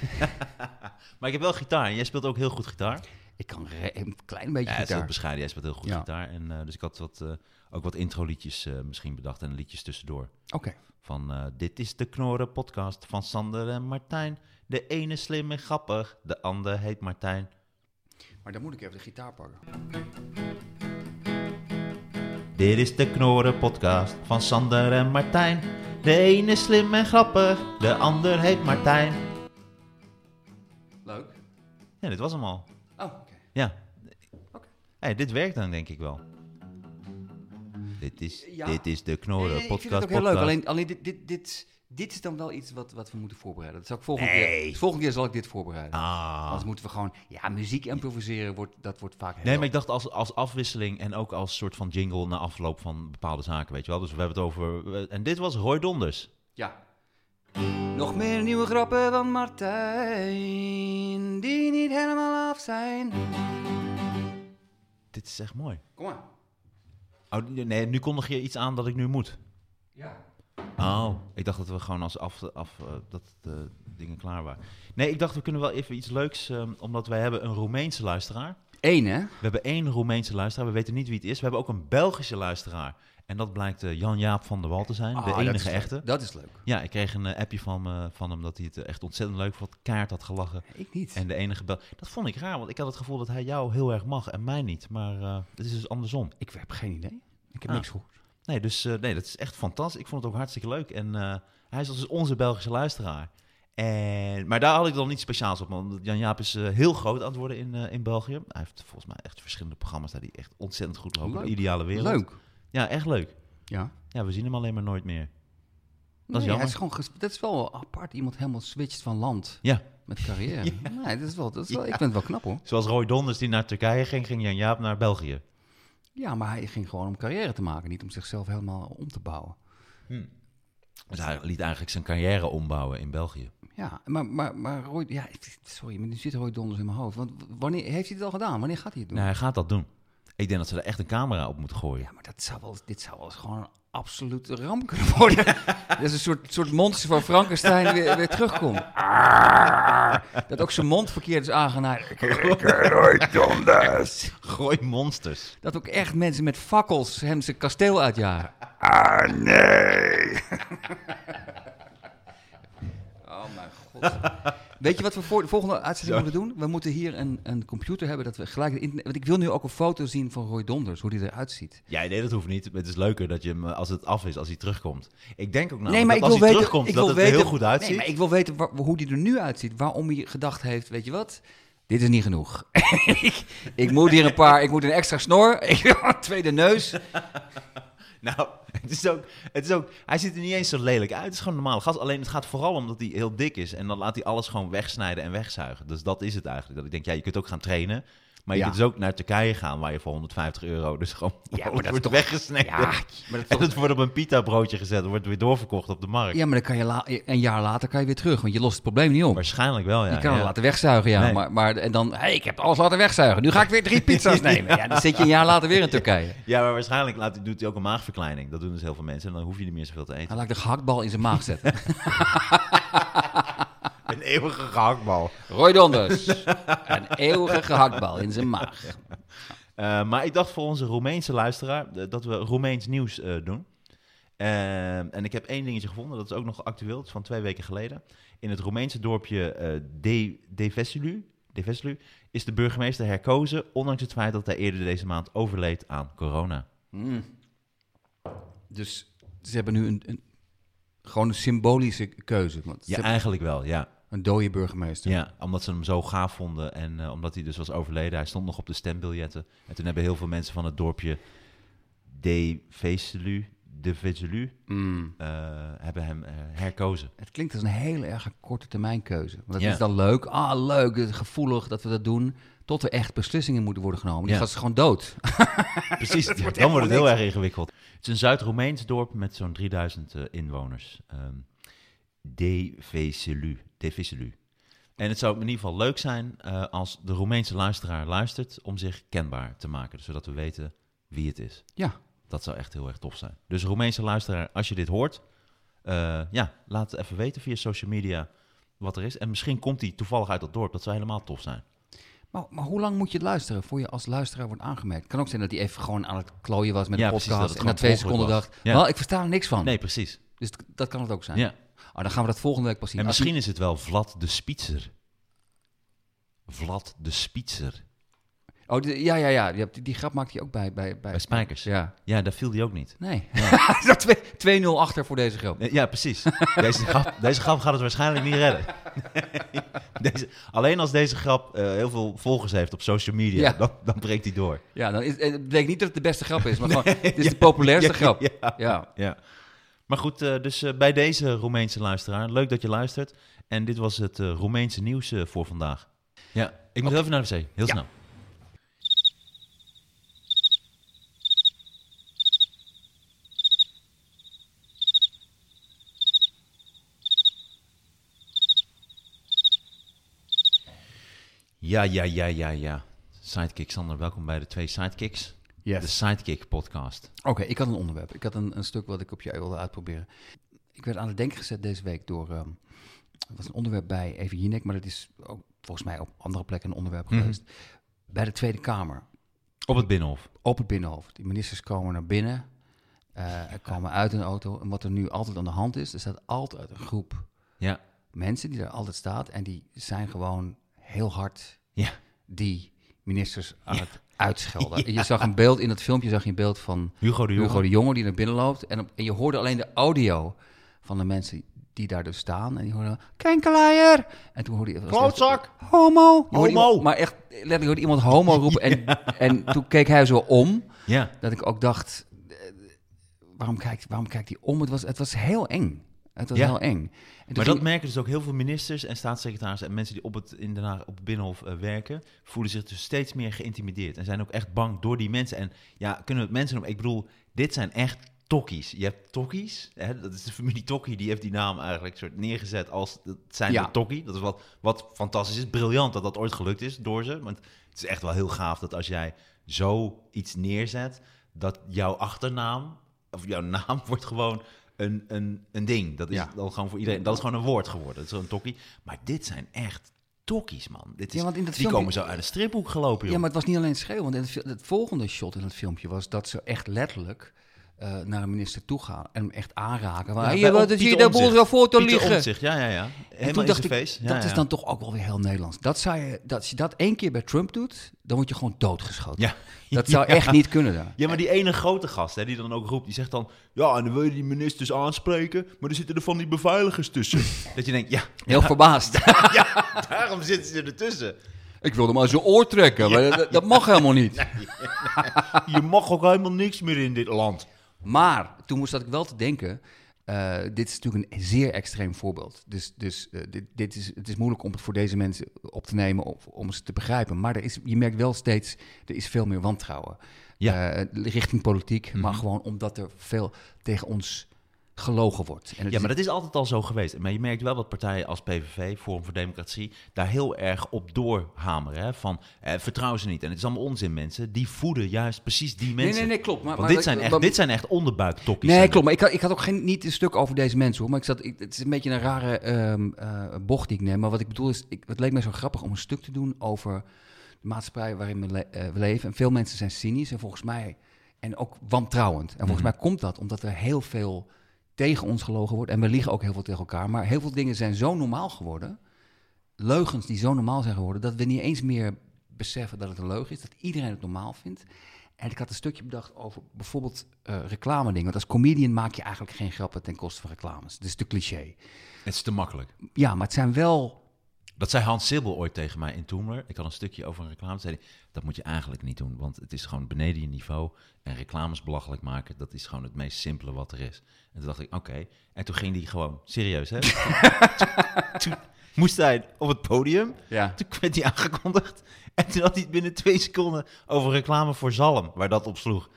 Speaker 2: maar ik heb wel gitaar en jij speelt ook heel goed gitaar.
Speaker 3: ik kan re- een klein beetje
Speaker 2: Ja, hij is heel
Speaker 3: gitaar.
Speaker 2: bescheiden, jij speelt heel goed
Speaker 3: Ja.
Speaker 2: gitaar. En, eh, dus ik had wat, eh, ook wat introliedjes eh, misschien bedacht en liedjes tussendoor.
Speaker 3: Oké.
Speaker 2: Van eh, dit is de Knorren podcast van Sander en Martijn. De ene slim en grappig, de ander heet Martijn.
Speaker 3: Maar dan moet ik even de gitaar pakken.
Speaker 2: Dit is de Knorren podcast van Sander en Martijn. De ene is slim en grappig, de ander heet Martijn.
Speaker 3: Leuk.
Speaker 2: Ja, dit was hem al.
Speaker 3: Oh, oké.
Speaker 2: Ja.
Speaker 3: Oké.
Speaker 2: Hey, dit werkt dan denk ik wel. Dit is,
Speaker 3: Ja.
Speaker 2: dit is de
Speaker 3: Nee,
Speaker 2: Knorren
Speaker 3: nee, ik
Speaker 2: podcast.
Speaker 3: vind het ook heel leuk.
Speaker 2: podcast.
Speaker 3: Alleen, alleen dit, dit, dit, dit is dan wel iets wat, wat we moeten voorbereiden. Dat zal ik volgende,
Speaker 2: Nee.
Speaker 3: keer, volgende keer zal ik dit voorbereiden.
Speaker 2: Ah.
Speaker 3: Anders moeten we gewoon... Ja, muziek improviseren, wordt, dat wordt vaak... heel-
Speaker 2: Nee, maar ik dacht als, als afwisseling en ook als soort van jingle na afloop van bepaalde zaken, weet je wel. Dus we hebben het over... En dit was Roy Donders.
Speaker 3: Ja. Nog meer nieuwe grappen van Martijn... die niet helemaal af zijn.
Speaker 2: Dit is echt mooi.
Speaker 3: Kom maar.
Speaker 2: Oh, nee, nu kondig je iets aan dat ik nu moet.
Speaker 3: Ja.
Speaker 2: Oh, ik dacht dat we gewoon als af, af eh, dat de dingen klaar waren. Nee, ik dacht we kunnen wel even iets leuks, ehm, omdat wij hebben een Roemeense luisteraar.
Speaker 3: Eén, hè?
Speaker 2: We hebben één Roemeense luisteraar, we weten niet wie het is. We hebben ook een Belgische luisteraar. En dat blijkt eh, Jan-Jaap van der Wal te zijn,
Speaker 3: Ah,
Speaker 2: de
Speaker 3: dat is
Speaker 2: enige
Speaker 3: leuk.
Speaker 2: echte.
Speaker 3: Dat is leuk.
Speaker 2: Ja, ik kreeg een eh, appje van, eh, van hem dat hij het eh, echt ontzettend leuk vond. Kaart had gelachen.
Speaker 3: Ik niet.
Speaker 2: En de enige Bel... Dat vond ik raar, want ik had het gevoel dat hij jou heel erg mag en mij niet. Maar eh, het is dus andersom.
Speaker 3: Ik heb geen idee. Ik heb
Speaker 2: Ah.
Speaker 3: niks gehoord.
Speaker 2: Nee, dus eh, nee, dat is echt fantastisch. Ik vond het ook hartstikke leuk. En eh, hij is dus onze Belgische luisteraar. En, maar daar had ik dan niet speciaals op, want Jan Jaap is eh, heel groot aan het worden in, eh, in België. Hij heeft volgens mij echt verschillende programma's daar die echt ontzettend goed lopen.
Speaker 3: Leuk.
Speaker 2: De ideale wereld.
Speaker 3: Leuk.
Speaker 2: Ja, echt leuk.
Speaker 3: Ja.
Speaker 2: Ja, we zien hem alleen maar nooit meer.
Speaker 3: Nee,
Speaker 2: jammer.
Speaker 3: hij is gewoon ges- dat is wel apart. Iemand helemaal switcht van land
Speaker 2: Ja,
Speaker 3: met carrière. Nee, dat is wel, dat is wel, ik vind het wel knap hoor.
Speaker 2: zoals Roy Donders die naar Turkije ging, ging Jan Jaap naar België.
Speaker 3: Ja, maar hij ging gewoon om carrière te maken, niet om zichzelf helemaal om te bouwen.
Speaker 2: Dus hij liet eigenlijk zijn carrière ombouwen in België.
Speaker 3: Ja, maar, maar, maar Roy, ja, sorry, maar nu zit Roy Donders in mijn hoofd. Want w- wanneer heeft hij dit al gedaan? Wanneer gaat hij het doen?
Speaker 2: Nou, hij gaat dat doen. Ik denk dat ze er echt een camera op moeten gooien.
Speaker 3: Ja, maar dat zou wel, dit zou wel eens gewoon een absolute ramp kunnen worden. dat is een soort, soort monster van Frankenstein weer, weer terugkomt. Arr, dat ook zijn mond verkeerd is aangenaaid. Roy Donders.
Speaker 2: Gooi monsters.
Speaker 3: Dat ook echt mensen met fakkels hem zijn kasteel uitjagen. Ah, nee. Oh mijn god. Weet je wat we voor de volgende uitzending moeten doen? We moeten hier een, een computer hebben dat we gelijk... de internet- want ik wil nu ook een foto zien van Roy Donders, hoe die eruit ziet.
Speaker 2: Ja, nee, dat hoeft niet. Het is leuker dat je hem, eh, als het af is, als hij terugkomt. Ik denk ook nou,
Speaker 3: nee, maar
Speaker 2: dat
Speaker 3: ik
Speaker 2: als
Speaker 3: wil
Speaker 2: hij
Speaker 3: weten,
Speaker 2: terugkomt,
Speaker 3: ik
Speaker 2: dat
Speaker 3: wil
Speaker 2: het er
Speaker 3: weten,
Speaker 2: heel goed uitziet.
Speaker 3: Nee, maar ik wil weten wa- hoe die er nu uitziet. Waarom hij gedacht heeft, weet je wat? Dit is niet genoeg. ik, ik moet hier een paar, ik moet een extra snor, ik wil een tweede neus.
Speaker 2: Nou, het is, ook, het is ook... Hij ziet er niet eens zo lelijk uit. Het is gewoon normaal gast. Alleen het gaat vooral om dat hij heel dik is. En dan laat hij alles gewoon wegsnijden en wegzuigen. Dus dat is het eigenlijk. Dat ik denk, ja, je kunt ook gaan trainen. Maar je
Speaker 3: Ja.
Speaker 2: kunt dus ook naar Turkije gaan, waar je voor 150 euro dus gewoon
Speaker 3: maar
Speaker 2: alles
Speaker 3: dat
Speaker 2: wordt
Speaker 3: is toch-
Speaker 2: weggesneden.
Speaker 3: Ja, maar dat is
Speaker 2: en
Speaker 3: toch-
Speaker 2: het wordt op een pita broodje gezet. en wordt weer doorverkocht op de markt.
Speaker 3: ja, maar dan kan je la- een jaar later kan je weer terug, want je lost het probleem niet op.
Speaker 2: Waarschijnlijk wel, ja.
Speaker 3: je kan
Speaker 2: ja.
Speaker 3: het laten wegzuigen, ja.
Speaker 2: Nee.
Speaker 3: Maar, maar en dan, hey, ik heb alles laten wegzuigen. Nu ga ik weer drie pizza's nemen. Ja, dan zit je een jaar later weer in Turkije.
Speaker 2: Ja, maar waarschijnlijk laat, doet hij ook een maagverkleining. Dat doen dus heel veel mensen. En dan hoef je niet meer zoveel te eten.
Speaker 3: Hij laat ik de gehaktbal in zijn maag zetten.
Speaker 2: Een eeuwige gehaktbal.
Speaker 3: Roy Donders, een eeuwige gehaktbal in zijn maag.
Speaker 2: Eh, maar ik dacht voor onze Roemeense luisteraar eh, dat we Roemeens nieuws eh, doen. Eh, en ik heb één dingetje gevonden, dat is ook nog actueel, het is van twee weken geleden. In het Roemeense dorpje eh De- Deveselu, Deveselu is de burgemeester herkozen, ondanks het feit dat hij eerder deze maand overleed aan corona.
Speaker 3: Mm. Dus ze hebben nu een, een, gewoon een symbolische keuze. Want ze
Speaker 2: Ja,
Speaker 3: hebben
Speaker 2: eigenlijk wel, ja.
Speaker 3: een dode burgemeester.
Speaker 2: ja. Omdat ze hem zo gaaf vonden en eh, omdat hij dus was overleden. Hij stond nog op de stembiljetten. En toen hebben heel veel mensen van het dorpje Deveselu, Deveselu,
Speaker 3: Mm.
Speaker 2: eh, hebben hem eh, herkozen.
Speaker 3: Het klinkt als een hele erg korte termijn keuze. Want dat
Speaker 2: Ja.
Speaker 3: is dan leuk. Ah, leuk, het is gevoelig dat we dat doen. Tot er echt beslissingen moeten worden genomen. Die
Speaker 2: Ja.
Speaker 3: gast is gewoon dood.
Speaker 2: Precies, dan
Speaker 3: helemaal
Speaker 2: wordt het heel erg ingewikkeld. Het is een Zuid-Roemeens dorp met zo'n 3000 eh, inwoners. Ehm Deveselu. Deveselu. En het zou in ieder geval leuk zijn eh, als de Roemeense luisteraar luistert om zich kenbaar te maken, zodat we weten wie het is.
Speaker 3: Ja.
Speaker 2: Dat zou echt heel erg tof zijn. Dus Roemeense luisteraar, als je dit hoort, eh, ja, laat het even weten via social media wat er is. En misschien komt hij toevallig uit dat dorp. Dat zou helemaal tof zijn.
Speaker 3: Maar, maar hoe lang moet je luisteren voor je als luisteraar wordt aangemerkt? Het kan ook zijn dat hij even gewoon aan het klooien was met
Speaker 2: Ja,
Speaker 3: een
Speaker 2: precies,
Speaker 3: podcast.
Speaker 2: dat het
Speaker 3: en na
Speaker 2: gewoon
Speaker 3: twee
Speaker 2: per ongeluk
Speaker 3: seconden dacht,
Speaker 2: was. Ja.
Speaker 3: wel, ik versta er niks van.
Speaker 2: Nee, precies.
Speaker 3: Dus dat, dat kan het ook zijn.
Speaker 2: Ja.
Speaker 3: Ah, dan gaan we dat volgende week pas zien.
Speaker 2: En
Speaker 3: Als
Speaker 2: misschien is het wel Vlad de Spitser. Vlad de Spitser.
Speaker 3: die- oh, die- ja, ja, ja. Die, die grap maakt hij ook bij... bij, bij,
Speaker 2: Bij Spijkers. Ja.
Speaker 3: ja.
Speaker 2: daar viel die ook niet.
Speaker 3: Nee. Dat twee- 2-0 achter voor deze grap.
Speaker 2: Eh, Ja, precies. Deze grap, deze grap gaat het waarschijnlijk niet redden. Deze, alleen als deze grap eh, heel veel volgers heeft op social media,
Speaker 3: Ja.
Speaker 2: dan, dan breekt hij door.
Speaker 3: Ja, dan is, eh, het bleek niet dat het de beste grap is, maar gewoon, het is de populairste
Speaker 2: Ja,
Speaker 3: grap.
Speaker 2: ja.
Speaker 3: Ja.
Speaker 2: Ja. Maar goed, eh, dus eh, bij deze Roemeense luisteraar, leuk dat je luistert. En dit was het eh, Roemeense nieuws eh, voor vandaag. Ja, ik moet even naar de wc, heel
Speaker 3: Ja.
Speaker 2: snel. Ja, ja, ja, ja, ja. Sidekick Sander, welkom bij de twee Sidekicks.
Speaker 3: Yes.
Speaker 2: De Sidekick podcast.
Speaker 3: Oké, ik had een onderwerp. Ik had een, een stuk wat ik op jou wilde uitproberen. Ik werd aan het denken gezet deze week door... ehm, het was een onderwerp bij Even Jinek, maar dat is ook volgens mij op andere plekken een onderwerp geweest. Bij de Tweede Kamer,
Speaker 2: Op het Binnenhof.
Speaker 3: op het Binnenhof. Die ministers komen naar binnen, eh, komen uit een auto. En wat er nu altijd aan de hand is, er staat altijd een groep
Speaker 2: Ja,
Speaker 3: mensen die daar altijd staat. En die zijn gewoon heel hard
Speaker 2: ja.
Speaker 3: die ministers aan het uitschelden. Je zag een beeld in dat filmpje, zag je een beeld van
Speaker 2: Hugo de Jonge.
Speaker 3: Hugo de Jonge die naar binnen loopt. En, op- en je hoorde alleen de audio van de mensen die daar dus staan. En die hoorden, kenkelaaier! En toen hoorde je...
Speaker 2: Klootzak!
Speaker 3: Homo! Je hoorde
Speaker 2: Homo!
Speaker 3: iemand- maar echt, letterlijk hoorde iemand homo roepen. En, en toen keek hij zo om,
Speaker 2: Ja.
Speaker 3: dat ik ook dacht, eh, waarom kijkt, waarom kijkt hij om? Het was, het was heel eng. Het was
Speaker 2: Ja.
Speaker 3: heel eng. En toen
Speaker 2: Maar
Speaker 3: ging-
Speaker 2: dat merken dus ook heel veel ministers en staatssecretarissen en mensen die op het, in Den Haag op het Binnenhof eh, werken, voelen zich dus steeds meer geïntimideerd en zijn ook echt bang door die mensen. En ja, kunnen we het mensen noemen? Ik bedoel, dit zijn echt tokkies. Je hebt tokkies, hè? dat is de familie Tokkie, die heeft die naam eigenlijk soort neergezet als dat zijn
Speaker 3: Ja.
Speaker 2: de Tokkie. Dat is wat, wat fantastisch is, briljant dat dat ooit gelukt is door ze. Want het is echt wel heel gaaf dat als jij zo iets neerzet, dat jouw achternaam of jouw naam wordt gewoon... Een, een, een ding. Dat is,
Speaker 3: Ja.
Speaker 2: dan gewoon voor iedereen. Dat is gewoon een woord geworden. Dat is een tokkie. Maar dit zijn echt tokkies, man. Dit is,
Speaker 3: Ja, want in dat
Speaker 2: die
Speaker 3: filmpje-
Speaker 2: komen zo uit de striphoek gelopen, joh.
Speaker 3: Ja, maar het was niet alleen schreeuwen. Want het, het volgende shot in het filmpje was dat ze echt letterlijk eh, naar een minister toe gaan en hem echt aanraken.
Speaker 2: Ja,
Speaker 3: Maar,
Speaker 2: bij
Speaker 3: je wat
Speaker 2: Om-
Speaker 3: is hier
Speaker 2: Pieter
Speaker 3: de boel
Speaker 2: Omtzigt.
Speaker 3: zo voor te
Speaker 2: Pieter
Speaker 3: liggen?
Speaker 2: Omtzigt, ja, ja, ja.
Speaker 3: En
Speaker 2: Helemaal
Speaker 3: toen
Speaker 2: in
Speaker 3: dacht
Speaker 2: zijn
Speaker 3: ik,
Speaker 2: face. Ja,
Speaker 3: dat
Speaker 2: ja.
Speaker 3: is dan toch ook wel weer heel Nederlands. Dat zou je, dat, als je dat één keer bij Trump doet, dan word je gewoon doodgeschoten.
Speaker 2: Ja.
Speaker 3: Dat zou echt niet kunnen daar.
Speaker 2: Ja, maar die ene grote gast, hè, die dan ook roept, die zegt dan... Ja, en dan wil je die ministers aanspreken, maar er zitten er van die beveiligers tussen. dat je denkt, ja,
Speaker 3: Heel verbaasd.
Speaker 2: daarom zitten ze ertussen.
Speaker 3: ik wilde maar zijn oor trekken, maar dat, dat mag helemaal niet.
Speaker 2: Je mag ook helemaal niks meer in dit land.
Speaker 3: Maar toen moest dat ik wel te denken. eh, dit is natuurlijk een zeer extreem voorbeeld. Dus, dus eh, dit, dit is, het is moeilijk om het voor deze mensen op te nemen, of, om ze te begrijpen. Maar er is, je merkt wel steeds, er is veel meer wantrouwen.
Speaker 2: Ja. Mhm.
Speaker 3: Eh, richting politiek, maar gewoon omdat er veel tegen ons gelogen wordt. En het
Speaker 2: Ja,
Speaker 3: is-
Speaker 2: maar dat is altijd al zo geweest. Maar je merkt wel dat partijen als PVV, Forum voor Democratie, daar heel erg op doorhameren. Hè? Van eh, vertrouw ze niet. En het is allemaal onzin, mensen. Die voeden juist precies die mensen.
Speaker 3: nee, nee, klopt. Maar-
Speaker 2: Want
Speaker 3: maar-
Speaker 2: dit,
Speaker 3: maar-
Speaker 2: zijn echt,
Speaker 3: maar-
Speaker 2: dit zijn echt onderbuiktokkies.
Speaker 3: Nee,
Speaker 2: zijn
Speaker 3: klopt. Maar ik had, ik had ook geen, niet een stuk over deze mensen hoor. Maar ik zat, ik, het is een beetje een rare ehm, eh, bocht die ik neem. Maar wat ik bedoel is, ik, het leek mij zo grappig om een stuk te doen over de maatschappij waarin we, le- eh, we leven. En veel mensen zijn cynisch en volgens mij, en ook wantrouwend. En volgens mij komt dat omdat er heel veel tegen ons gelogen wordt. En we liegen ook heel veel tegen elkaar. Maar heel veel dingen zijn zo normaal geworden. Leugens die zo normaal zijn geworden, dat we niet eens meer beseffen dat het een leugen is. Dat iedereen het normaal vindt. En ik had een stukje bedacht over bijvoorbeeld reclame reclamedingen. Want als comedian maak je eigenlijk geen grappen ten koste van reclames. Dat is te cliché.
Speaker 2: Het is te makkelijk.
Speaker 3: Ja, maar het zijn wel...
Speaker 2: Dat zei Hans Sibbel ooit tegen mij in Toemler. Ik had een stukje over een reclame. Zei hij, dat moet je eigenlijk niet doen, want het is gewoon beneden je niveau. En reclames belachelijk maken, dat is gewoon het meest simpele wat er is. En toen dacht ik, oké. En toen ging hij gewoon, serieus hè. Toen- toen moest hij op het podium.
Speaker 3: Ja.
Speaker 2: Toen werd hij aangekondigd. En toen had hij het binnen twee seconden over reclame voor zalm, waar dat op sloeg.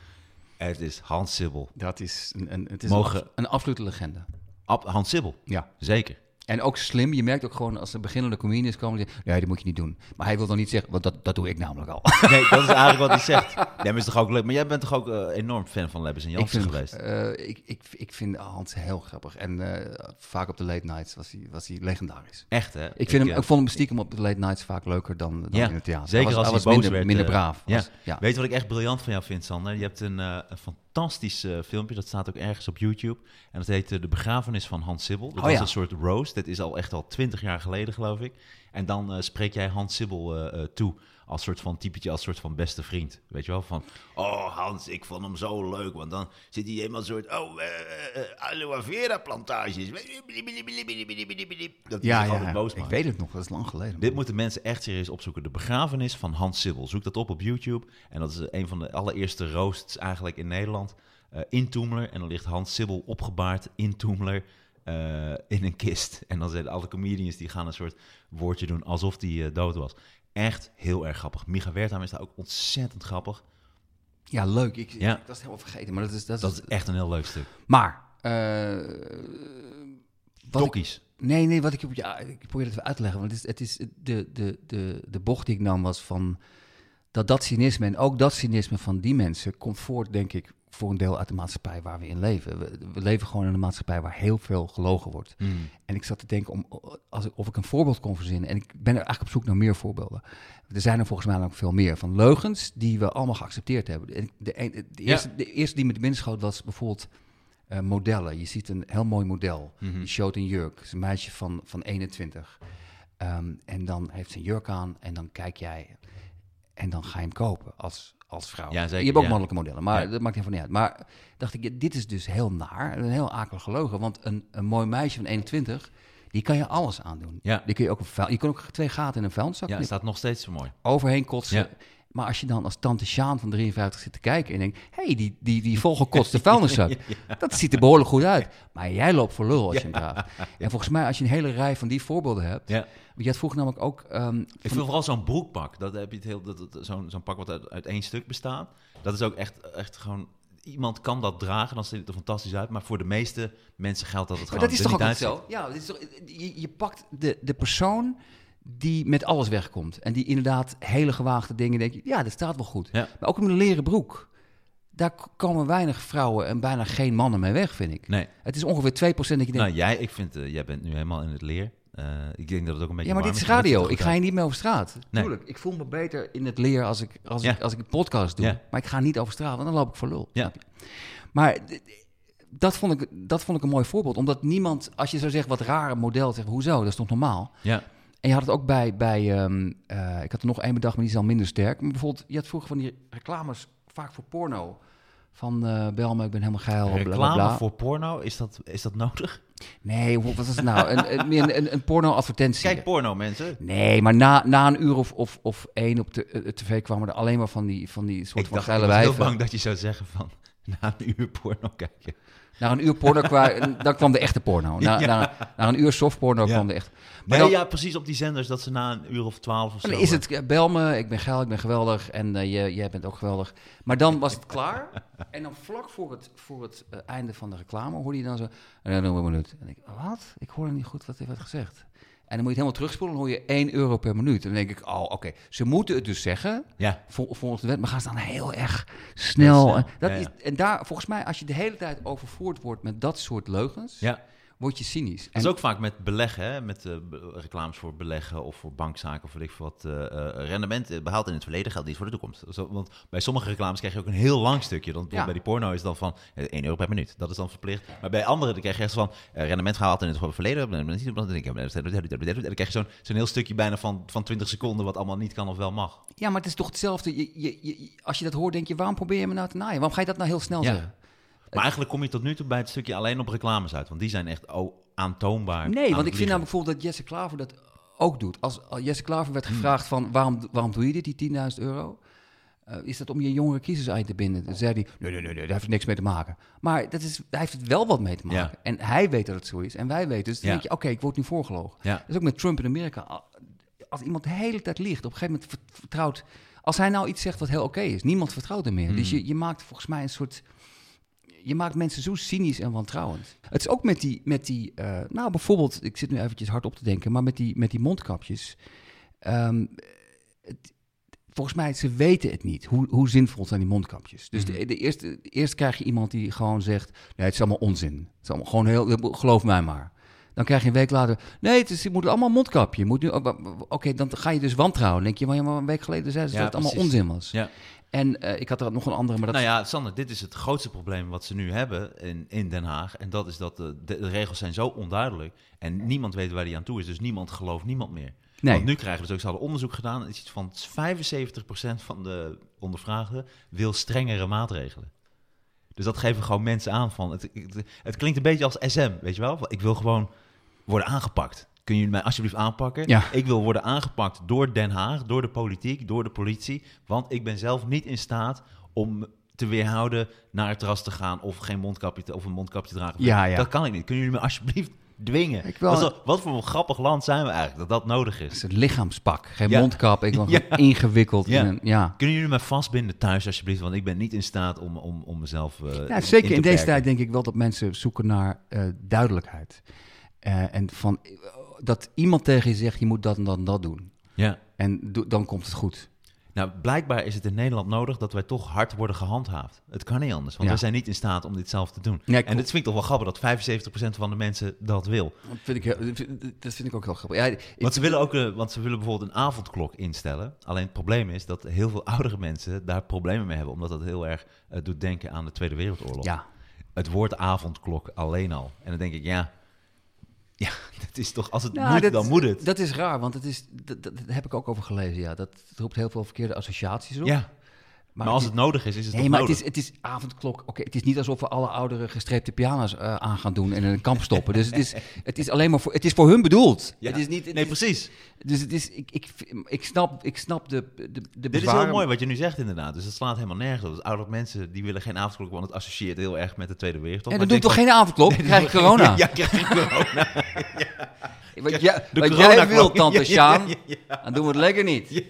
Speaker 2: Het is Hans Sibbel.
Speaker 3: Dat is een, een- het is
Speaker 2: Mogen-
Speaker 3: een, abs- een absolute legende.
Speaker 2: Ab- Hans Sibbel,
Speaker 3: Ja.
Speaker 2: zeker.
Speaker 3: En ook slim. Je merkt ook gewoon als er beginnende comedians komen... Die, zeggen, nee, dat moet je niet doen. Maar hij wil dan niet zeggen... Want dat, dat doe ik namelijk al.
Speaker 2: Nee, dat is eigenlijk wat hij zegt. Nee, maar is toch ook leuk. Maar jij bent toch ook eh, enorm fan van Lebbes en
Speaker 3: ik,
Speaker 2: Jansen
Speaker 3: vind,
Speaker 2: geweest?
Speaker 3: eh, ik, ik, ik vind Hans heel grappig. En eh, vaak op de late nights was hij, was hij legendarisch.
Speaker 2: Echt, hè?
Speaker 3: Ik, vind hem,
Speaker 2: eh,
Speaker 3: ik vond hem stiekem op de late nights vaak leuker dan, dan
Speaker 2: ja,
Speaker 3: in het theater.
Speaker 2: Zeker
Speaker 3: hij was,
Speaker 2: als hij boos
Speaker 3: hij was minder,
Speaker 2: werd.
Speaker 3: minder
Speaker 2: eh,
Speaker 3: braaf.
Speaker 2: ja.
Speaker 3: Was- ja.
Speaker 2: Weet je wat ik echt briljant van jou vind, Sander? Je hebt een, eh, een fantastisch eh, filmpje, dat staat ook ergens op YouTube. En dat heet eh, De Begrafenis van Hans Sibbel. Dat
Speaker 3: Oh,
Speaker 2: was
Speaker 3: ja.
Speaker 2: een soort roast. Dat is al echt al twintig jaar geleden, geloof ik. En dan eh, spreek jij Hans Sibbel eh, eh, toe als soort van typetje, als soort van beste vriend. Weet je wel? Van, oh Hans, ik vond hem zo leuk. Want dan zit hij helemaal een soort, oh, eh, eh, eh, aloe vera plantages. Dat ja,
Speaker 3: Ja,
Speaker 2: zich
Speaker 3: ja,
Speaker 2: altijd boos
Speaker 3: ik
Speaker 2: maakt.
Speaker 3: weet het nog, dat is lang geleden.
Speaker 2: Dit moeten mensen echt serieus opzoeken. De begrafenis van Hans Sibbel. Zoek dat op op YouTube. En dat is eh, een van de allereerste roosts eigenlijk in Nederland. eh in Toemler. En dan ligt Hans Sibbel opgebaard in Toemler. eh, in een kist. En dan zijn alle comedians die gaan een soort woordje doen alsof die eh, dood was. Echt heel erg grappig. Micha Wertheim is daar ook ontzettend grappig.
Speaker 3: Ja, leuk. Ik,
Speaker 2: Ja.
Speaker 3: ik was het helemaal vergeten, maar dat is... Dat is,
Speaker 2: Dat is echt een heel leuk stuk.
Speaker 3: Maar, eh, wat ik-
Speaker 2: Tokkies.
Speaker 3: nee, nee, wat ik... op- Ja, ik probeer het even uit te leggen, want het is, het is de, de, de, de bocht die ik nam was van... Dat dat cynisme en ook dat cynisme van die mensen komt voort, denk ik, voor een deel uit de maatschappij waar we in leven. We, we leven gewoon in een maatschappij waar heel veel gelogen wordt. En ik zat te denken om, als ik, of ik een voorbeeld kon verzinnen. En ik ben er eigenlijk op zoek naar meer voorbeelden. Er zijn er volgens mij ook veel meer van leugens die we allemaal geaccepteerd hebben. En ik- de, een- de, eerste, de eerste die me te binnen schoot was bijvoorbeeld eh, modellen. Je ziet een heel mooi model.
Speaker 2: Mhm.
Speaker 3: Die showt een jurk. Het is een meisje van, van 21. Ehm, en dan heeft ze een jurk aan en dan kijk jij. En dan ga je hem kopen als, als vrouw.
Speaker 2: Ja, zeker,
Speaker 3: je hebt ook
Speaker 2: ja.
Speaker 3: mannelijke modellen, maar
Speaker 2: Ja.
Speaker 3: dat maakt helemaal niet uit. Maar dacht ik, ja, dit is dus heel naar. Een heel akelig gelogen. Want een, een mooi meisje van 21, die kan je alles aandoen.
Speaker 2: Ja.
Speaker 3: Die kun je ook een vuil, je kan ook twee gaten in een vuilniszak
Speaker 2: Ja,
Speaker 3: knippen
Speaker 2: staat nog steeds zo mooi.
Speaker 3: overheen kotsen.
Speaker 2: Ja.
Speaker 3: Maar als je dan als tante Sjaan van 53 zit te kijken en denkt... hé, hey, die, die, die volgekotste vuilniszak, dat ziet er behoorlijk goed uit. Maar jij loopt voor lul als je hem draagt. En volgens mij, als je een hele rij van die voorbeelden hebt...
Speaker 2: Ja.
Speaker 3: je had vroeger namelijk ook... ehm,
Speaker 2: Ik vind vooral zo'n broekpak. Dat heb je het heel, dat, dat- zo'n, zo'n pak wat uit, uit één stuk bestaat. Dat is ook echt, echt gewoon. Iemand kan dat dragen, dan ziet het er fantastisch uit. Maar voor de meeste mensen geldt dat het
Speaker 3: maar
Speaker 2: gewoon
Speaker 3: dat is
Speaker 2: er
Speaker 3: toch ook
Speaker 2: niet
Speaker 3: niet
Speaker 2: uitziet.
Speaker 3: zo? Ja, dat is toch, je, je pakt de, de persoon die met alles wegkomt. En die inderdaad hele gewaagde dingen denkt... ja, dat staat wel goed.
Speaker 2: Ja.
Speaker 3: Maar ook in een leren broek. Daar k- komen weinig vrouwen en bijna geen mannen mee weg, vind ik.
Speaker 2: Nee.
Speaker 3: Het is ongeveer 2% dat je denkt...
Speaker 2: Nou, jij, ik vind, eh, jij bent nu helemaal in het leer. Eh, ik denk dat het ook een beetje.
Speaker 3: Ja, maar
Speaker 2: warm
Speaker 3: dit is
Speaker 2: dat
Speaker 3: radio.
Speaker 2: het
Speaker 3: Ik
Speaker 2: goed
Speaker 3: ga hier niet meer over straat.
Speaker 2: Nee.
Speaker 3: Tuurlijk, ik voel me beter in het leer als ik, als
Speaker 2: Ja.
Speaker 3: ik, als ik een podcast doe.
Speaker 2: Ja.
Speaker 3: Maar ik ga niet over straat, want dan loop ik voor lul.
Speaker 2: Ja.
Speaker 3: snap je? Maar d- d- dat vond, ik, dat vond ik een mooi voorbeeld. Omdat niemand, als je zou zeggen wat rare model, zegt hoezo, dat is toch normaal?
Speaker 2: Ja,
Speaker 3: En je had het ook bij, bij ehm, eh, ik had er nog één bedacht, maar die is al minder sterk. Maar bijvoorbeeld, je had vroeger van die reclames, vaak voor porno. Van eh bel me, ik ben helemaal geil. bla, bla,
Speaker 2: reclame
Speaker 3: bla.
Speaker 2: voor porno, is dat, is dat nodig?
Speaker 3: Nee, hoe- wat is het nou? Een, een, meer een, een, een porno-advertentie.
Speaker 2: Kijk porno, mensen.
Speaker 3: Nee, maar na, na een uur of, of, of één op de eh, tv kwamen er alleen maar van die, van die soort
Speaker 2: Ik
Speaker 3: van
Speaker 2: dacht,
Speaker 3: geile
Speaker 2: ik was heel
Speaker 3: wijven.
Speaker 2: bang dat je zou zeggen van, na een uur porno kijken.
Speaker 3: Na een uur porno kwa- dan kwam de echte porno. Na, na, na een uur softporno
Speaker 2: Ja.
Speaker 3: kwam de echte. Maar
Speaker 2: Nee,
Speaker 3: dan,
Speaker 2: ja, precies op die zenders, dat ze na een uur of twaalf of zo...
Speaker 3: dan is het, eh, bel me, ik ben geil, ik ben geweldig en eh, jij- jij bent ook geweldig. Maar dan was het klaar en dan vlak voor het, voor het eh, einde van de reclame hoorde je dan zo... En dan doen we een minuut. En ik, wat? Ik hoor niet goed wat hij werd gezegd. En dan moet je het helemaal terugspoelen en dan hoor je 1 euro per minuut. En dan denk ik, oh oké, ze moeten het dus zeggen...
Speaker 2: Ja,
Speaker 3: vol, volgens de wet, maar gaan ze dan heel erg snel.
Speaker 2: Heel snel,
Speaker 3: En, dat
Speaker 2: ja, ja.
Speaker 3: Is, en daar, volgens mij, als je de hele tijd overvoerd wordt met dat soort leugens,
Speaker 2: ja.
Speaker 3: word je cynisch. En
Speaker 2: Dat is ook vaak met beleggen, hè? met eh, be- reclames voor beleggen of voor bankzaken of weet ik veel wat. eh eh, rendement behaald in het verleden geldt niet voor de toekomst. Zo, want bij sommige reclames krijg je ook een heel lang stukje. Dan,
Speaker 3: Ja.
Speaker 2: Bij die porno is het dan van eh, 1 euro per minuut. Dat is dan verplicht. Maar bij anderen dan krijg je echt van eh, rendement gehaald in het verleden. En dan krijg je zo'n zo'n heel stukje bijna van, van 20 seconden wat allemaal niet kan of wel mag.
Speaker 3: Ja, maar het is toch hetzelfde. Je, je, je- als je dat hoort, denk je, waarom probeer je me nou te naaien? Waarom ga je dat nou heel snel
Speaker 2: Ja.
Speaker 3: zeggen?
Speaker 2: Maar eigenlijk kom je tot nu toe bij het stukje alleen op reclames uit. Want die zijn echt oh, aantoonbaar.
Speaker 3: Nee,
Speaker 2: aan het
Speaker 3: want ik vind
Speaker 2: liegen.
Speaker 3: namelijk bijvoorbeeld dat Jesse Klaver dat ook doet. Als als Jesse Klaver
Speaker 2: Hmm.
Speaker 3: werd gevraagd van, waarom, waarom doe je dit, die 10.000 euro? Eh, is dat om je jongere kiezers uit te binden? Dan zei hij, nee, nee, nee, nee, daar heeft het niks mee te maken. Maar dat is, daar heeft het wel wat mee te maken.
Speaker 2: Ja.
Speaker 3: En hij weet dat het zo is. En wij weten. Dus dan
Speaker 2: Ja.
Speaker 3: denk je, oké, ik word nu voorgelogen.
Speaker 2: Ja.
Speaker 3: Dat is ook met Trump in Amerika. Al- Als iemand de hele tijd liegt, op een gegeven moment ver- vertrouwt... Als hij nou iets zegt wat heel oké is, niemand vertrouwt hem meer. Dus je, je maakt volgens mij een soort... Je maakt mensen zo cynisch en wantrouwend. Het is ook met die, met die eh, nou bijvoorbeeld, ik zit nu eventjes hard op te denken, maar met die, met die mondkapjes. Ehm, het- volgens mij, ze weten het niet. Hoe, hoe zinvol zijn die mondkapjes? Dus
Speaker 2: Mhm.
Speaker 3: de, de eerste, eerst krijg je iemand die gewoon zegt, nee, het is allemaal onzin. Het is allemaal gewoon heel, geloof mij maar. Dan krijg je een week later, nee, het is, je moet allemaal mondkapje. Je Moet nu, oh, oké, dan ga je dus wantrouwen. Dan denk je, maar, ja, maar een week geleden zeiden ze
Speaker 2: Ja,
Speaker 3: dat het allemaal
Speaker 2: precies.
Speaker 3: onzin was.
Speaker 2: Ja.
Speaker 3: En eh, ik had er nog een andere, maar dat
Speaker 2: Nou ja, Sander, dit is het grootste probleem wat ze nu hebben in, in Den Haag. En dat is dat eh, de, de, de regels zijn zo onduidelijk. En niemand weet waar die aan toe is. Dus niemand gelooft niemand meer.
Speaker 3: Nee.
Speaker 2: Want nu krijgen we dus ook, ze hadden onderzoek gedaan. Het is iets van 75% van de ondervraagden wil strengere maatregelen. Dus dat geven gewoon mensen aan van. Het, het, het klinkt een beetje als SM, weet je wel? Van, Ik wil gewoon worden aangepakt. Kun je mij alsjeblieft aanpakken?
Speaker 3: Ja.
Speaker 2: Ik wil worden aangepakt door Den Haag, door de politiek, door de politie. Want ik ben zelf niet in staat om te weerhouden naar het terras te gaan of geen mondkapje te- of een mondkapje te dragen.
Speaker 3: Ja, ja.
Speaker 2: Dat kan ik niet. Kunnen jullie me alsjeblieft dwingen?
Speaker 3: Ik wil-
Speaker 2: Dat is wel- wat voor een grappig land zijn we eigenlijk dat dat nodig is?
Speaker 3: Het is een lichaamspak, geen
Speaker 2: Ja.
Speaker 3: mondkap. Ik was
Speaker 2: Ja.
Speaker 3: gewoon ingewikkeld.
Speaker 2: Ja.
Speaker 3: In een, ja.
Speaker 2: Kunnen jullie me vastbinden thuis alsjeblieft? Want ik ben niet in staat om, om, om mezelf. eh,
Speaker 3: Ja, zeker
Speaker 2: te
Speaker 3: in, deze
Speaker 2: perken.
Speaker 3: tijd denk ik wel dat mensen zoeken naar eh, duidelijkheid. Eh, en van, eh, dat iemand tegen je zegt, je moet dat en dat en dat doen.
Speaker 2: Ja.
Speaker 3: En do- dan komt het goed.
Speaker 2: Nou, blijkbaar is het in Nederland nodig dat wij toch hard worden gehandhaafd. Het kan niet anders, want
Speaker 3: Ja.
Speaker 2: wij zijn niet in staat om dit zelf te doen.
Speaker 3: Nee,
Speaker 2: en
Speaker 3: klopt.
Speaker 2: het vind ik toch wel grappig dat 75% van de mensen dat wil.
Speaker 3: Dat vind ik, heel- dat vind ik ook heel grappig. Ja, ik-
Speaker 2: Want ze willen ook, eh, want ze willen bijvoorbeeld een avondklok instellen. Alleen het probleem is dat heel veel oudere mensen daar problemen mee hebben, omdat dat heel erg eh, doet denken aan de Tweede Wereldoorlog.
Speaker 3: ja.
Speaker 2: Het woord avondklok alleen al. En dan denk ik, ja, ja, dat is toch als het
Speaker 3: Nou,
Speaker 2: moet,
Speaker 3: dat-
Speaker 2: dan moet het.
Speaker 3: Dat is raar, want het is, dat, dat- daar heb ik ook over gelezen. Ja. Dat het roept heel veel verkeerde associaties op.
Speaker 2: ja, maar, als het nodig is, is het
Speaker 3: Nee,
Speaker 2: toch
Speaker 3: maar het
Speaker 2: nodig.
Speaker 3: is, het is avondklok. Oké, het is niet alsof we alle ouderen gestreepte piano's eh, aan gaan doen en in een kamp stoppen. Dus het is, het is alleen maar voor, het is voor hun bedoeld.
Speaker 2: Ja.
Speaker 3: Het is niet, het
Speaker 2: nee,
Speaker 3: is-
Speaker 2: precies.
Speaker 3: Dus het is, ik, ik, ik, snap, ik snap de, de, de
Speaker 2: Dit is
Speaker 3: bezwaren.
Speaker 2: heel mooi wat je nu zegt inderdaad. Dus dat slaat helemaal nergens op. Dus oudere mensen die willen geen avondklok, want het associeert heel erg met de Tweede Wereldoorlog.
Speaker 3: En
Speaker 2: Maar
Speaker 3: dan doe
Speaker 2: ik
Speaker 3: ik toch
Speaker 2: denk
Speaker 3: geen avondklok?
Speaker 2: van-
Speaker 3: krijg ik corona?
Speaker 2: Ja, krijg ik corona.
Speaker 3: wat jij-
Speaker 2: de
Speaker 3: wat
Speaker 2: coronaklok.
Speaker 3: jij wilt, tante
Speaker 2: Ja, ja,
Speaker 3: Sjaan, dan doen we het lekker niet.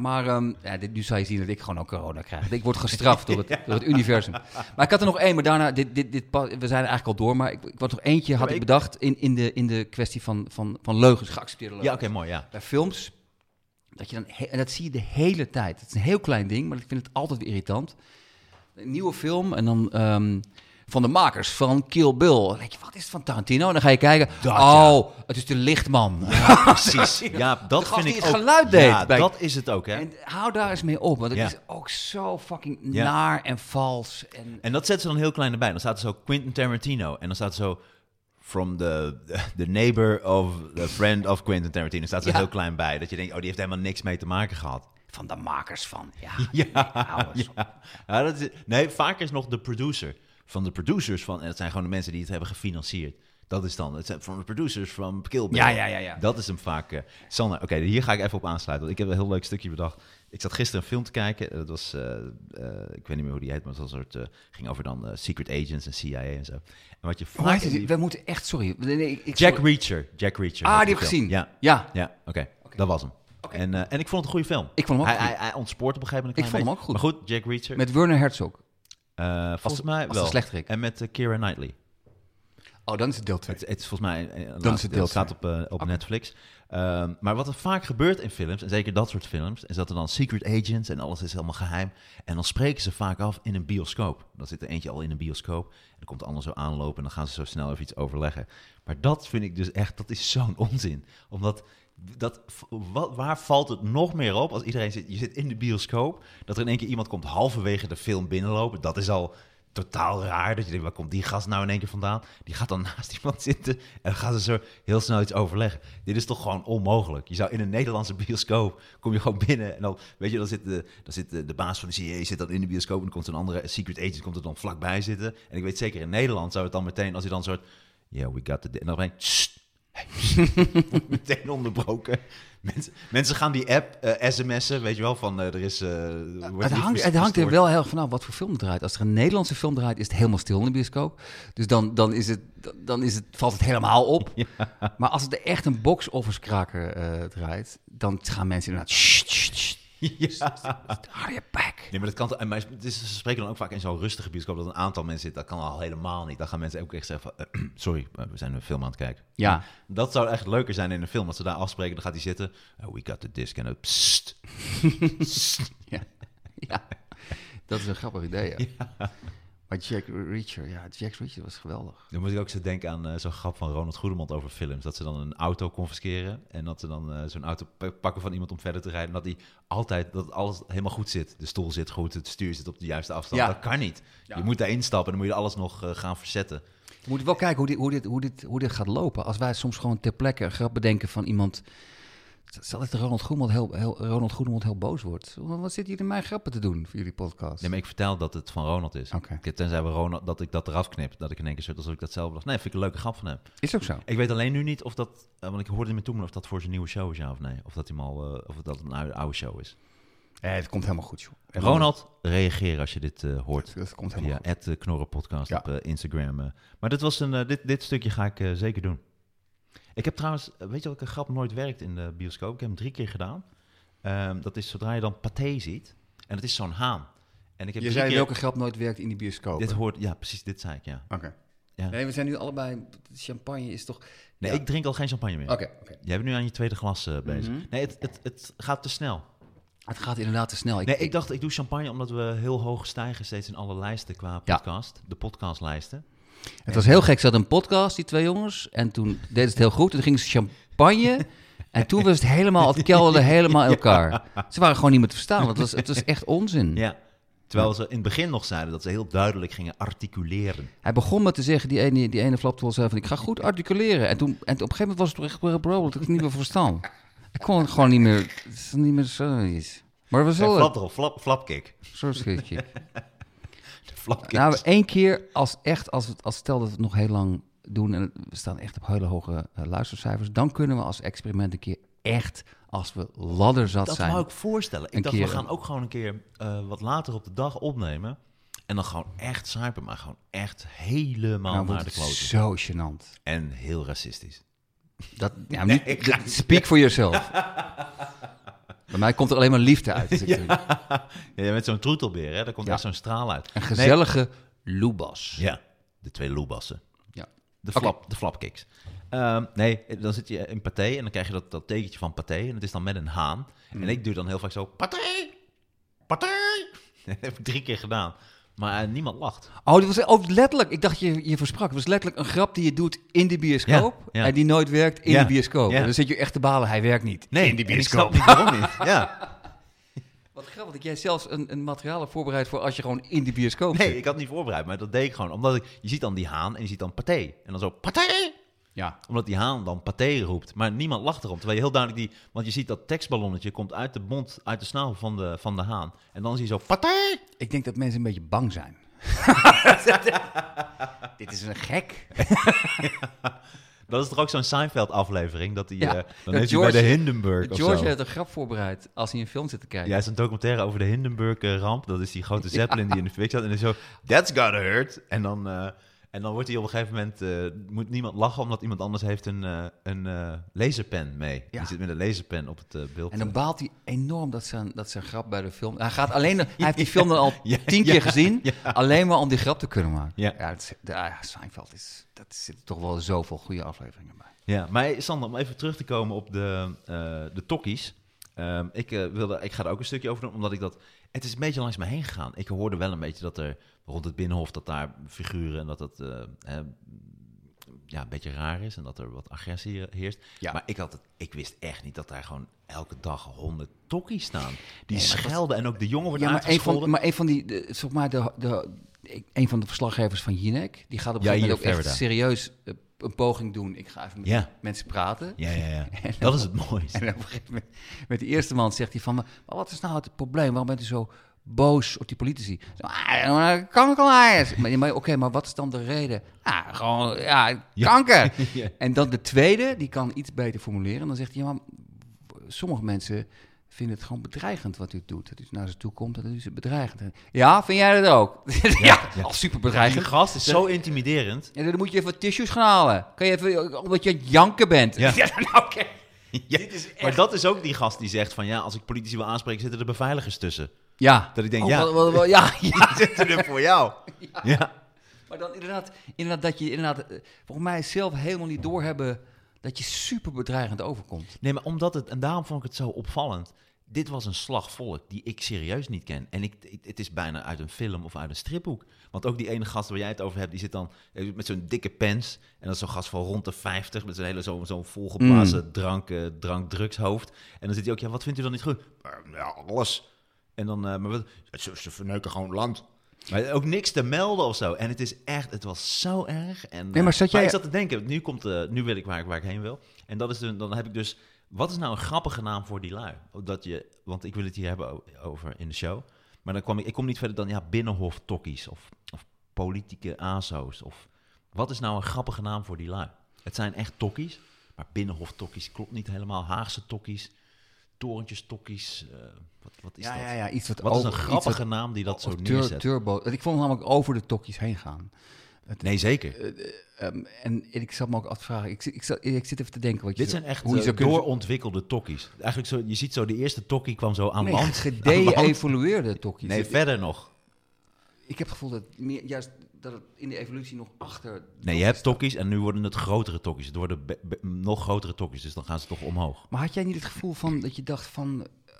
Speaker 3: Maar ehm, ja, dit, nu zou je zien dat ik gewoon ook corona krijg. Ik word gestraft door het, door het universum. Maar ik had er nog één, maar daarna, dit, dit, dit, pa- we zijn er eigenlijk al door, maar ik, ik had nog eentje, had
Speaker 2: maar
Speaker 3: ik
Speaker 2: ik-
Speaker 3: bedacht, in, in, de, in de kwestie van, van, van leugens, geaccepteerde leugens.
Speaker 2: Ja, oké, mooi, ja.
Speaker 3: bij films. Dat je dan he- en dat zie je de hele tijd. Het is een heel klein ding, maar ik vind het altijd weer irritant. Een nieuwe film en dan ehm, van de makers van Kill Bill. Dan denk je, wat is het van Tarantino? En dan ga je kijken,
Speaker 2: Dat, ja.
Speaker 3: oh, het is de lichtman.
Speaker 2: Precies. Ja, dat
Speaker 3: gast
Speaker 2: vind
Speaker 3: die
Speaker 2: ik
Speaker 3: het
Speaker 2: ook.
Speaker 3: geluid deed
Speaker 2: Ja,
Speaker 3: bij-
Speaker 2: dat is het ook, hè.
Speaker 3: En hou daar eens mee op, want het
Speaker 2: Ja.
Speaker 3: is ook zo fucking
Speaker 2: Ja.
Speaker 3: naar en vals. En
Speaker 2: En dat zetten ze dan heel klein erbij. Dan staat er zo Quentin Tarantino. En dan staat er zo... From the, the neighbor of the friend of Quentin Tarantino. Staat er
Speaker 3: Ja.
Speaker 2: heel klein bij. Dat je denkt, oh, die heeft helemaal niks mee te maken gehad.
Speaker 3: van de makers van, ja,
Speaker 2: Ja,
Speaker 3: hou eens op.
Speaker 2: ja. Ja, dat is, nee, vaak is nog de producer. Van de producers van... En dat zijn gewoon de mensen die het hebben gefinancierd. Dat is dan... Het zijn van de producers van Kill Bill.
Speaker 3: Ja, ja, ja, ja.
Speaker 2: Dat is hem vaak... eh. Sander, oké, hier ga ik even op aansluiten. Want ik heb een heel leuk stukje bedacht. Ik zat gisteren een film te kijken. Dat was... eh, eh, ik weet niet meer hoe die heet, maar het was een soort... eh, ging over dan eh, Secret Agents en CIA en zo. En wat je
Speaker 3: Maar
Speaker 2: vaak...
Speaker 3: het is-
Speaker 2: in die-
Speaker 3: we moeten echt, sorry. Nee, nee, ik, ik-
Speaker 2: Jack
Speaker 3: sorry.
Speaker 2: Reacher. Jack Reacher.
Speaker 3: Ah,
Speaker 2: was
Speaker 3: die heb ik
Speaker 2: film.
Speaker 3: gezien.
Speaker 2: Ja.
Speaker 3: ja.
Speaker 2: Ja, oké. Dat was hem. En, eh, en ik vond het een goede film.
Speaker 3: Ik vond hem ook
Speaker 2: hij,
Speaker 3: goed.
Speaker 2: hij, hij ontspoort op een gegeven moment een
Speaker 3: Ik
Speaker 2: klein
Speaker 3: vond hem
Speaker 2: beetje. Maar goed, Jack Reacher.
Speaker 3: Met Werner Herzog.
Speaker 2: Eh, volgens mij
Speaker 3: als
Speaker 2: wel.
Speaker 3: de slechterik.
Speaker 2: En met eh, Keira Knightley.
Speaker 3: Oh, dan is het deel 2.
Speaker 2: Het, het is volgens mij... eh,
Speaker 3: deel
Speaker 2: laatste deel staat op, eh, op
Speaker 3: Oké.
Speaker 2: Netflix. Ehm, maar wat er vaak gebeurt in films, en zeker dat soort films, is dat er dan secret agents en alles is helemaal geheim. En dan spreken ze vaak af in een bioscoop. Dan zit er eentje al in een bioscoop. En dan komt de ander zo aanlopen en dan gaan ze zo snel even iets overleggen. Maar dat vind ik dus echt, dat is zo'n onzin. Omdat... Dat, wat, waar valt het nog meer op als iedereen zit, je zit in de bioscoop, dat er in één keer iemand komt halverwege de film binnenlopen? Dat is al totaal raar. Dat je denkt, waar komt die gast nou in één keer vandaan? Die gaat dan naast iemand zitten en dan gaan ze zo heel snel iets overleggen. Dit is toch gewoon onmogelijk. Je zou in een Nederlandse bioscoop, kom je gewoon binnen en dan, weet je, dan zit de, dan zit de, de baas van de CIA zit dan in de bioscoop en dan komt een andere secret agent komt er dan vlakbij zitten. En ik weet zeker, in Nederland zou het dan meteen, als je dan een soort, yeah, we got the, di-" en dan ben meteen onderbroken. Mensen, mensen gaan die app eh, sms'en, weet je wel, van eh, er is... eh, wordt
Speaker 3: Het
Speaker 2: niet
Speaker 3: hangt, het
Speaker 2: verstoord.
Speaker 3: hangt er wel heel erg vanaf wat voor film het draait. Als er een Nederlandse film draait, is het helemaal stil in de bioscoop. Dus dan, dan, is het, dan is het, valt het helemaal op. Maar als het echt een box-office-kraker eh, draait, dan gaan mensen inderdaad... Sst, sst, sst. Hou je bek.
Speaker 2: Nee, maar dat kan. toch- en Maar het is, ze spreken dan ook vaak in zo'n rustige bioscoop dat een aantal mensen zit. Dat kan al helemaal niet. Dan gaan mensen ook echt zeggen: van, eh, Sorry, eh, we zijn een film aan het kijken.
Speaker 3: Ja.
Speaker 2: Dat zou echt leuker zijn in een film. Als ze daar afspreken, dan gaat hij zitten. Oh, we got the disc. En dan psst.
Speaker 3: Ja. ja, dat is een grappig idee. Ja. Maar Jack Reacher, ja, Jack Reacher was geweldig.
Speaker 2: Dan moet ik ook zo denken aan eh, zo'n grap van Ronald Goedemond over films. Dat ze dan een auto confisceren. En dat ze dan eh, zo'n auto p- pakken van iemand om verder te rijden. En dat die altijd, dat alles helemaal goed zit. De stoel zit goed, het stuur zit op de juiste afstand.
Speaker 3: Ja.
Speaker 2: Dat kan niet. Je moet daar instappen en dan moet je alles nog eh, gaan verzetten.
Speaker 3: We moeten wel kijken hoe dit, hoe, dit, hoe, dit, hoe dit gaat lopen. Als wij soms gewoon ter plekke een grap bedenken van iemand... Stel dat Ronald Goedemond heel, heel, Ronald Goedemond heel boos wordt. Wat zitten jullie mij grappen te doen voor jullie podcast?
Speaker 2: Nee, maar ik vertel dat het van Ronald is.
Speaker 3: Oké.
Speaker 2: Ik heb- Tenzij we Ronald, dat ik dat eraf knip. Dat ik in één keer zo, alsof ik dat zelf dacht. Nee, vind ik een leuke grap van hem.
Speaker 3: Is ook zo.
Speaker 2: Ik weet alleen nu niet of dat, eh, want ik hoorde hem toen of dat voor zijn nieuwe show is, ja of nee. Of dat, hij hem al, eh, of dat een oude, oude show is.
Speaker 3: Eh, het komt helemaal goed, joh. En
Speaker 2: Ronald, reageer als je dit eh, hoort.
Speaker 3: dat- Dat komt helemaal
Speaker 2: Via
Speaker 3: goed.
Speaker 2: het knorrenpodcast
Speaker 3: Ja.
Speaker 2: op eh, Instagram. eh. Maar dit, was een, eh, dit, dit stukje ga ik eh, zeker doen. Ik heb trouwens, eh, weet je welke grap nooit werkt in de bioscoop? Ik heb hem drie keer gedaan. Ehm, dat is zodra je dan paté ziet. En dat is zo'n haan. En ik heb
Speaker 3: Je
Speaker 2: drie
Speaker 3: zei
Speaker 2: keer-
Speaker 3: welke grap nooit werkt in die bioscoop.
Speaker 2: Dit hoort, ja, precies, dit zei ik, ja.
Speaker 3: Oké.
Speaker 2: Ja.
Speaker 3: Nee, we zijn nu allebei... Champagne is toch...
Speaker 2: Nee,
Speaker 3: Ja.
Speaker 2: ik drink al geen champagne meer.
Speaker 3: Oké, Mhm. oké.
Speaker 2: Jij bent nu aan je tweede glas eh, bezig. Nee, het, het, het gaat te snel.
Speaker 3: Het gaat inderdaad te snel. Ik,
Speaker 2: Nee, ik dacht, ik doe champagne omdat we heel hoog stijgen steeds in alle lijsten qua
Speaker 3: Ja. Mhm.
Speaker 2: podcast. De podcastlijsten.
Speaker 3: Het was heel gek. Ze hadden een podcast, die twee jongens. En toen deden ze het heel goed. En toen gingen ze champagne. En toen was het helemaal, het kelderde helemaal in elkaar. Ze waren gewoon niet meer te verstaan. want Het was, het was echt onzin.
Speaker 2: Ja. Terwijl ze in het begin nog zeiden dat ze heel duidelijk gingen articuleren.
Speaker 3: Hij begon met te zeggen, die ene, die ene flapte wel zei van, ik ga goed articuleren. En, toen, en op een gegeven moment was het echt wel bro, dat ik het niet meer verstaan. Ik kon het gewoon niet meer, het is niet meer zo iets. Maar het was
Speaker 2: Hey,
Speaker 3: wel
Speaker 2: flap
Speaker 3: een
Speaker 2: erop, flap, flapkick.
Speaker 3: soort schutje.
Speaker 2: De flapkick.
Speaker 3: Nou, één keer, als echt, als, het, als stel dat we het nog heel lang doen en we staan echt op hele hoge eh, luistercijfers, dan kunnen we als experiment een keer echt, als we ladderzat
Speaker 2: dat
Speaker 3: zijn.
Speaker 2: wou ik voorstellen.
Speaker 3: Een
Speaker 2: Ik dacht,
Speaker 3: keer,
Speaker 2: we gaan
Speaker 3: eh,
Speaker 2: ook gewoon een keer eh, wat later op de dag opnemen. En dan gewoon echt zuipen, maar gewoon echt helemaal naar
Speaker 3: nou, wordt
Speaker 2: de
Speaker 3: het
Speaker 2: kloten.
Speaker 3: zo gênant.
Speaker 2: En heel racistisch.
Speaker 3: Dat, ja,
Speaker 2: Nee,
Speaker 3: niet,
Speaker 2: ik
Speaker 3: dat- speak for yourself. Bij mij komt er alleen maar liefde uit. Dus ik denk,
Speaker 2: Ja, met zo'n troetelbeer, hè? daar komt
Speaker 3: Ja.
Speaker 2: echt zo'n straal uit.
Speaker 3: Een gezellige loebas.
Speaker 2: Ja, de twee loebassen.
Speaker 3: Ja.
Speaker 2: De,
Speaker 3: Oké.
Speaker 2: flap, de flapkicks. Ehm, nee, dan zit je in paté en dan krijg je dat, dat tekentje van paté. En het is dan met een haan.
Speaker 3: Mm.
Speaker 2: En ik doe dan heel vaak zo, paté, paté. Dat heb ik drie keer gedaan. Maar eh, niemand lacht.
Speaker 3: Oh, dat was oh, letterlijk. Ik dacht je je versprak. Het was letterlijk een grap die je doet in de bioscoop.
Speaker 2: Ja, ja.
Speaker 3: En die nooit werkt in
Speaker 2: Ja,
Speaker 3: de bioscoop.
Speaker 2: ja.
Speaker 3: En dan zit je echt te balen. Hij werkt niet in de
Speaker 2: en ik
Speaker 3: bioscoop.
Speaker 2: snap niet waarom niet. Ja.
Speaker 3: Wat grappig dat jij zelfs een, een materiaal hebt voorbereid voor als je gewoon in de bioscoop
Speaker 2: Nee,
Speaker 3: zit.
Speaker 2: ik had niet voorbereid, maar dat deed ik gewoon. Omdat ik, je ziet dan die haan en je ziet dan paté. En dan zo, paté!
Speaker 3: Ja.
Speaker 2: Omdat die haan dan paté roept. Maar niemand lacht erom. Terwijl je heel duidelijk die... Want je ziet dat tekstballonnetje komt uit de mond, uit de snavel van de, van de haan. En dan zie je zo, paté!
Speaker 3: Ik denk dat mensen een beetje bang zijn. Dit is een gek.
Speaker 2: Dat is toch ook zo'n Seinfeld-aflevering? Dat die,
Speaker 3: Ja,
Speaker 2: eh,
Speaker 3: dat
Speaker 2: dan heeft hij
Speaker 3: George-
Speaker 2: bij de Hindenburg of zo.
Speaker 3: George heeft een grap voorbereid als hij een film zit te kijken.
Speaker 2: Ja, het is een documentaire over de Hindenburg-ramp. Dat is die grote zeppelin die in de fik zat. En dan zo, that's gotta hurt. En dan, eh, en dan wordt hij op een gegeven moment... eh, moet niemand lachen, omdat iemand anders heeft een, eh, een eh, laserpen mee.
Speaker 3: Ja.
Speaker 2: Die zit met een laserpen op het eh, beeld.
Speaker 3: En dan baalt hij enorm dat zijn, dat zijn grap bij de film. Hij, gaat alleen, hij heeft die film dan al tien keer gezien. Alleen maar om die grap te kunnen maken.
Speaker 2: Ja.
Speaker 3: het is- de- ah ja, Seinfeld is. Dat zit toch wel zoveel goede afleveringen bij.
Speaker 2: Ja, maar hey, Sander, om even terug te komen op de, eh de tokkies. Ehm, ik, eh, wilde, ik ga er ook een stukje over doen, omdat ik dat... Het is een beetje langs me heen gegaan. Ik hoorde wel een beetje dat er rond het Binnenhof... dat daar figuren en dat dat eh, hè, ja, een beetje raar is... en dat er wat agressie heerst.
Speaker 3: Ja.
Speaker 2: Maar ik, had het, ik wist echt niet dat daar gewoon elke dag honderd tokkies staan. Die
Speaker 3: Nee, maar dat-
Speaker 2: schelden en ook de jongen wordt
Speaker 3: Ja, maar een
Speaker 2: aangescholden.
Speaker 3: van, maar een van die. De, zeg maar de, de, ik- een van de verslaggevers van Jinek. Die gaat op een
Speaker 2: Ja,
Speaker 3: gegeven moment ook
Speaker 2: hier,
Speaker 3: echt
Speaker 2: Verda.
Speaker 3: serieus eh, een poging doen. Ik ga even met
Speaker 2: Ja.
Speaker 3: mensen praten.
Speaker 2: Ja, ja, ja. Dat is het mooiste.
Speaker 3: En op een gegeven moment met die eerste man zegt hij van... maar wat is nou het probleem? Waarom bent u zo boos op die politici? Zo, ah, eh, Kankerlaars. Maar, maar oké, maar wat is dan de reden? Ah, gewoon, ja,
Speaker 2: Ja.
Speaker 3: kanker.
Speaker 2: Ja.
Speaker 3: En dan de tweede, die kan iets beter formuleren. Dan zegt hij, ja, maar sommige mensen vinden het gewoon bedreigend wat u doet. Dat u naar ze toe komt en dat u ze bedreigend. Ja, vind jij dat ook? ja,
Speaker 2: ja.
Speaker 3: al super
Speaker 2: Die
Speaker 3: bedreigend.
Speaker 2: gast is zo intimiderend.
Speaker 3: En dan moet je even wat tissues gaan halen. Kan je even, eh, omdat je aan het janken bent.
Speaker 2: Ja.
Speaker 3: nou, oké.
Speaker 2: Ja, Maar dat is ook die gast die zegt van ja, als ik politici wil aanspreken, zitten er beveiligers tussen.
Speaker 3: Ja.
Speaker 2: Dat ik denk,
Speaker 3: Oh,
Speaker 2: ja.
Speaker 3: wel- wel- wel- ja, ja.
Speaker 2: Die zitten er voor jou. Ja.
Speaker 3: Maar dan inderdaad, inderdaad dat je inderdaad, eh, volgens mij zelf helemaal niet doorhebben dat je super bedreigend overkomt.
Speaker 2: Nee, maar omdat het, en daarom vond ik het zo opvallend. Dit was een slag volk die ik serieus niet ken. En ik, ik- het is bijna uit een film of uit een stripboek. Want ook die ene gast waar jij het over hebt, die zit dan eh, met zo'n dikke pens. En dat is zo'n gast van rond de 50, met zo'n hele zo'n zo'n volgeblazen drank, eh, drank-drugshoofd. En dan zit hij ook, ja, wat vindt u dan niet goed? Eh, ja, alles. En dan, eh, maar wat, ze, ze verneuken gewoon land. Maar ook niks te melden of zo. En het is echt, het was zo erg. En,
Speaker 3: Nee, maar
Speaker 2: eh,
Speaker 3: zat jij-
Speaker 2: ik zat te denken, nu, komt, eh, nu weet ik waar, ik waar ik heen wil. En dat is de- dan heb ik dus, wat is nou een grappige naam voor die lui? Dat je, want ik wil het hier hebben o- over in de show. Maar dan kwam ik, ik kom niet verder dan, ja, binnenhof tokkies of, of politieke azo's. Of, wat is nou een grappige naam voor die lui? Het zijn echt tokkies, maar binnenhof tokkies klopt niet helemaal. Haagse tokkies, torentjes tokkies, eh, wat, wat is dat?
Speaker 3: iets
Speaker 2: Wat is een
Speaker 3: over- iets
Speaker 2: grappige
Speaker 3: wat-
Speaker 2: naam die dat zo
Speaker 3: of tur-
Speaker 2: neerzet?
Speaker 3: turbo. Want Ik vond hem namelijk over de tokjes heen gaan.
Speaker 2: nee, zeker.
Speaker 3: Ehm, en ik zat me ook af te vragen, ik, zit- ik, zat, ik zit even te denken wat je
Speaker 2: Dit
Speaker 3: zo-
Speaker 2: zijn echt
Speaker 3: hoe je
Speaker 2: eh,
Speaker 3: zou kunnen-
Speaker 2: doorontwikkelde tokkies. Eigenlijk zo, je ziet zo, de eerste tokkie kwam zo aan
Speaker 3: Nee, E
Speaker 2: land. aan land.
Speaker 3: gede-evolueerde tokjes.
Speaker 2: Nee,
Speaker 3: Ik-
Speaker 2: verder nog.
Speaker 3: ik heb het gevoel dat meer, juist dat het in de evolutie nog achter...
Speaker 2: Nee, je hebt tokkies en nu worden het grotere tokkies. Het worden be- be- nog grotere tokkies, dus dan gaan ze toch omhoog.
Speaker 3: Maar had jij niet het gevoel van dat je dacht van, eh,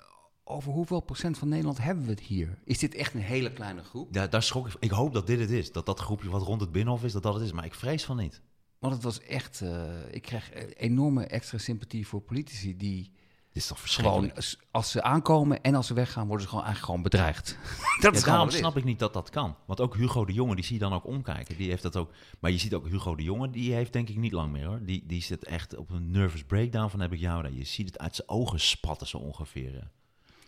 Speaker 3: over hoeveel procent van Nederland hebben we het hier? Is dit echt een hele kleine groep?
Speaker 2: Ja, daar schrok ik van. Ik hoop dat dit het is. Dat dat groepje wat rond het binnenhof is, dat dat het is. Maar ik vrees van niet.
Speaker 3: Want het was echt. eh, ik kreeg eh, enorme extra sympathie voor politici die
Speaker 2: Dit is toch
Speaker 3: gewoon
Speaker 2: verschrikkelijk.
Speaker 3: als, als ze aankomen en als ze weggaan, worden ze gewoon eigenlijk gewoon bedreigd. dat
Speaker 2: Ja,
Speaker 3: is gewoon.
Speaker 2: daarom
Speaker 3: wat het
Speaker 2: snap
Speaker 3: is.
Speaker 2: ik niet dat dat kan. Want ook Hugo de Jonge, die zie je dan ook omkijken. Die heeft dat ook. Maar je ziet ook Hugo de Jonge, die heeft denk ik niet lang meer hoor. Die, die zit echt op een nervous breakdown van heb ik jou daar. Je ziet het uit zijn ogen spatten zo ongeveer. eh.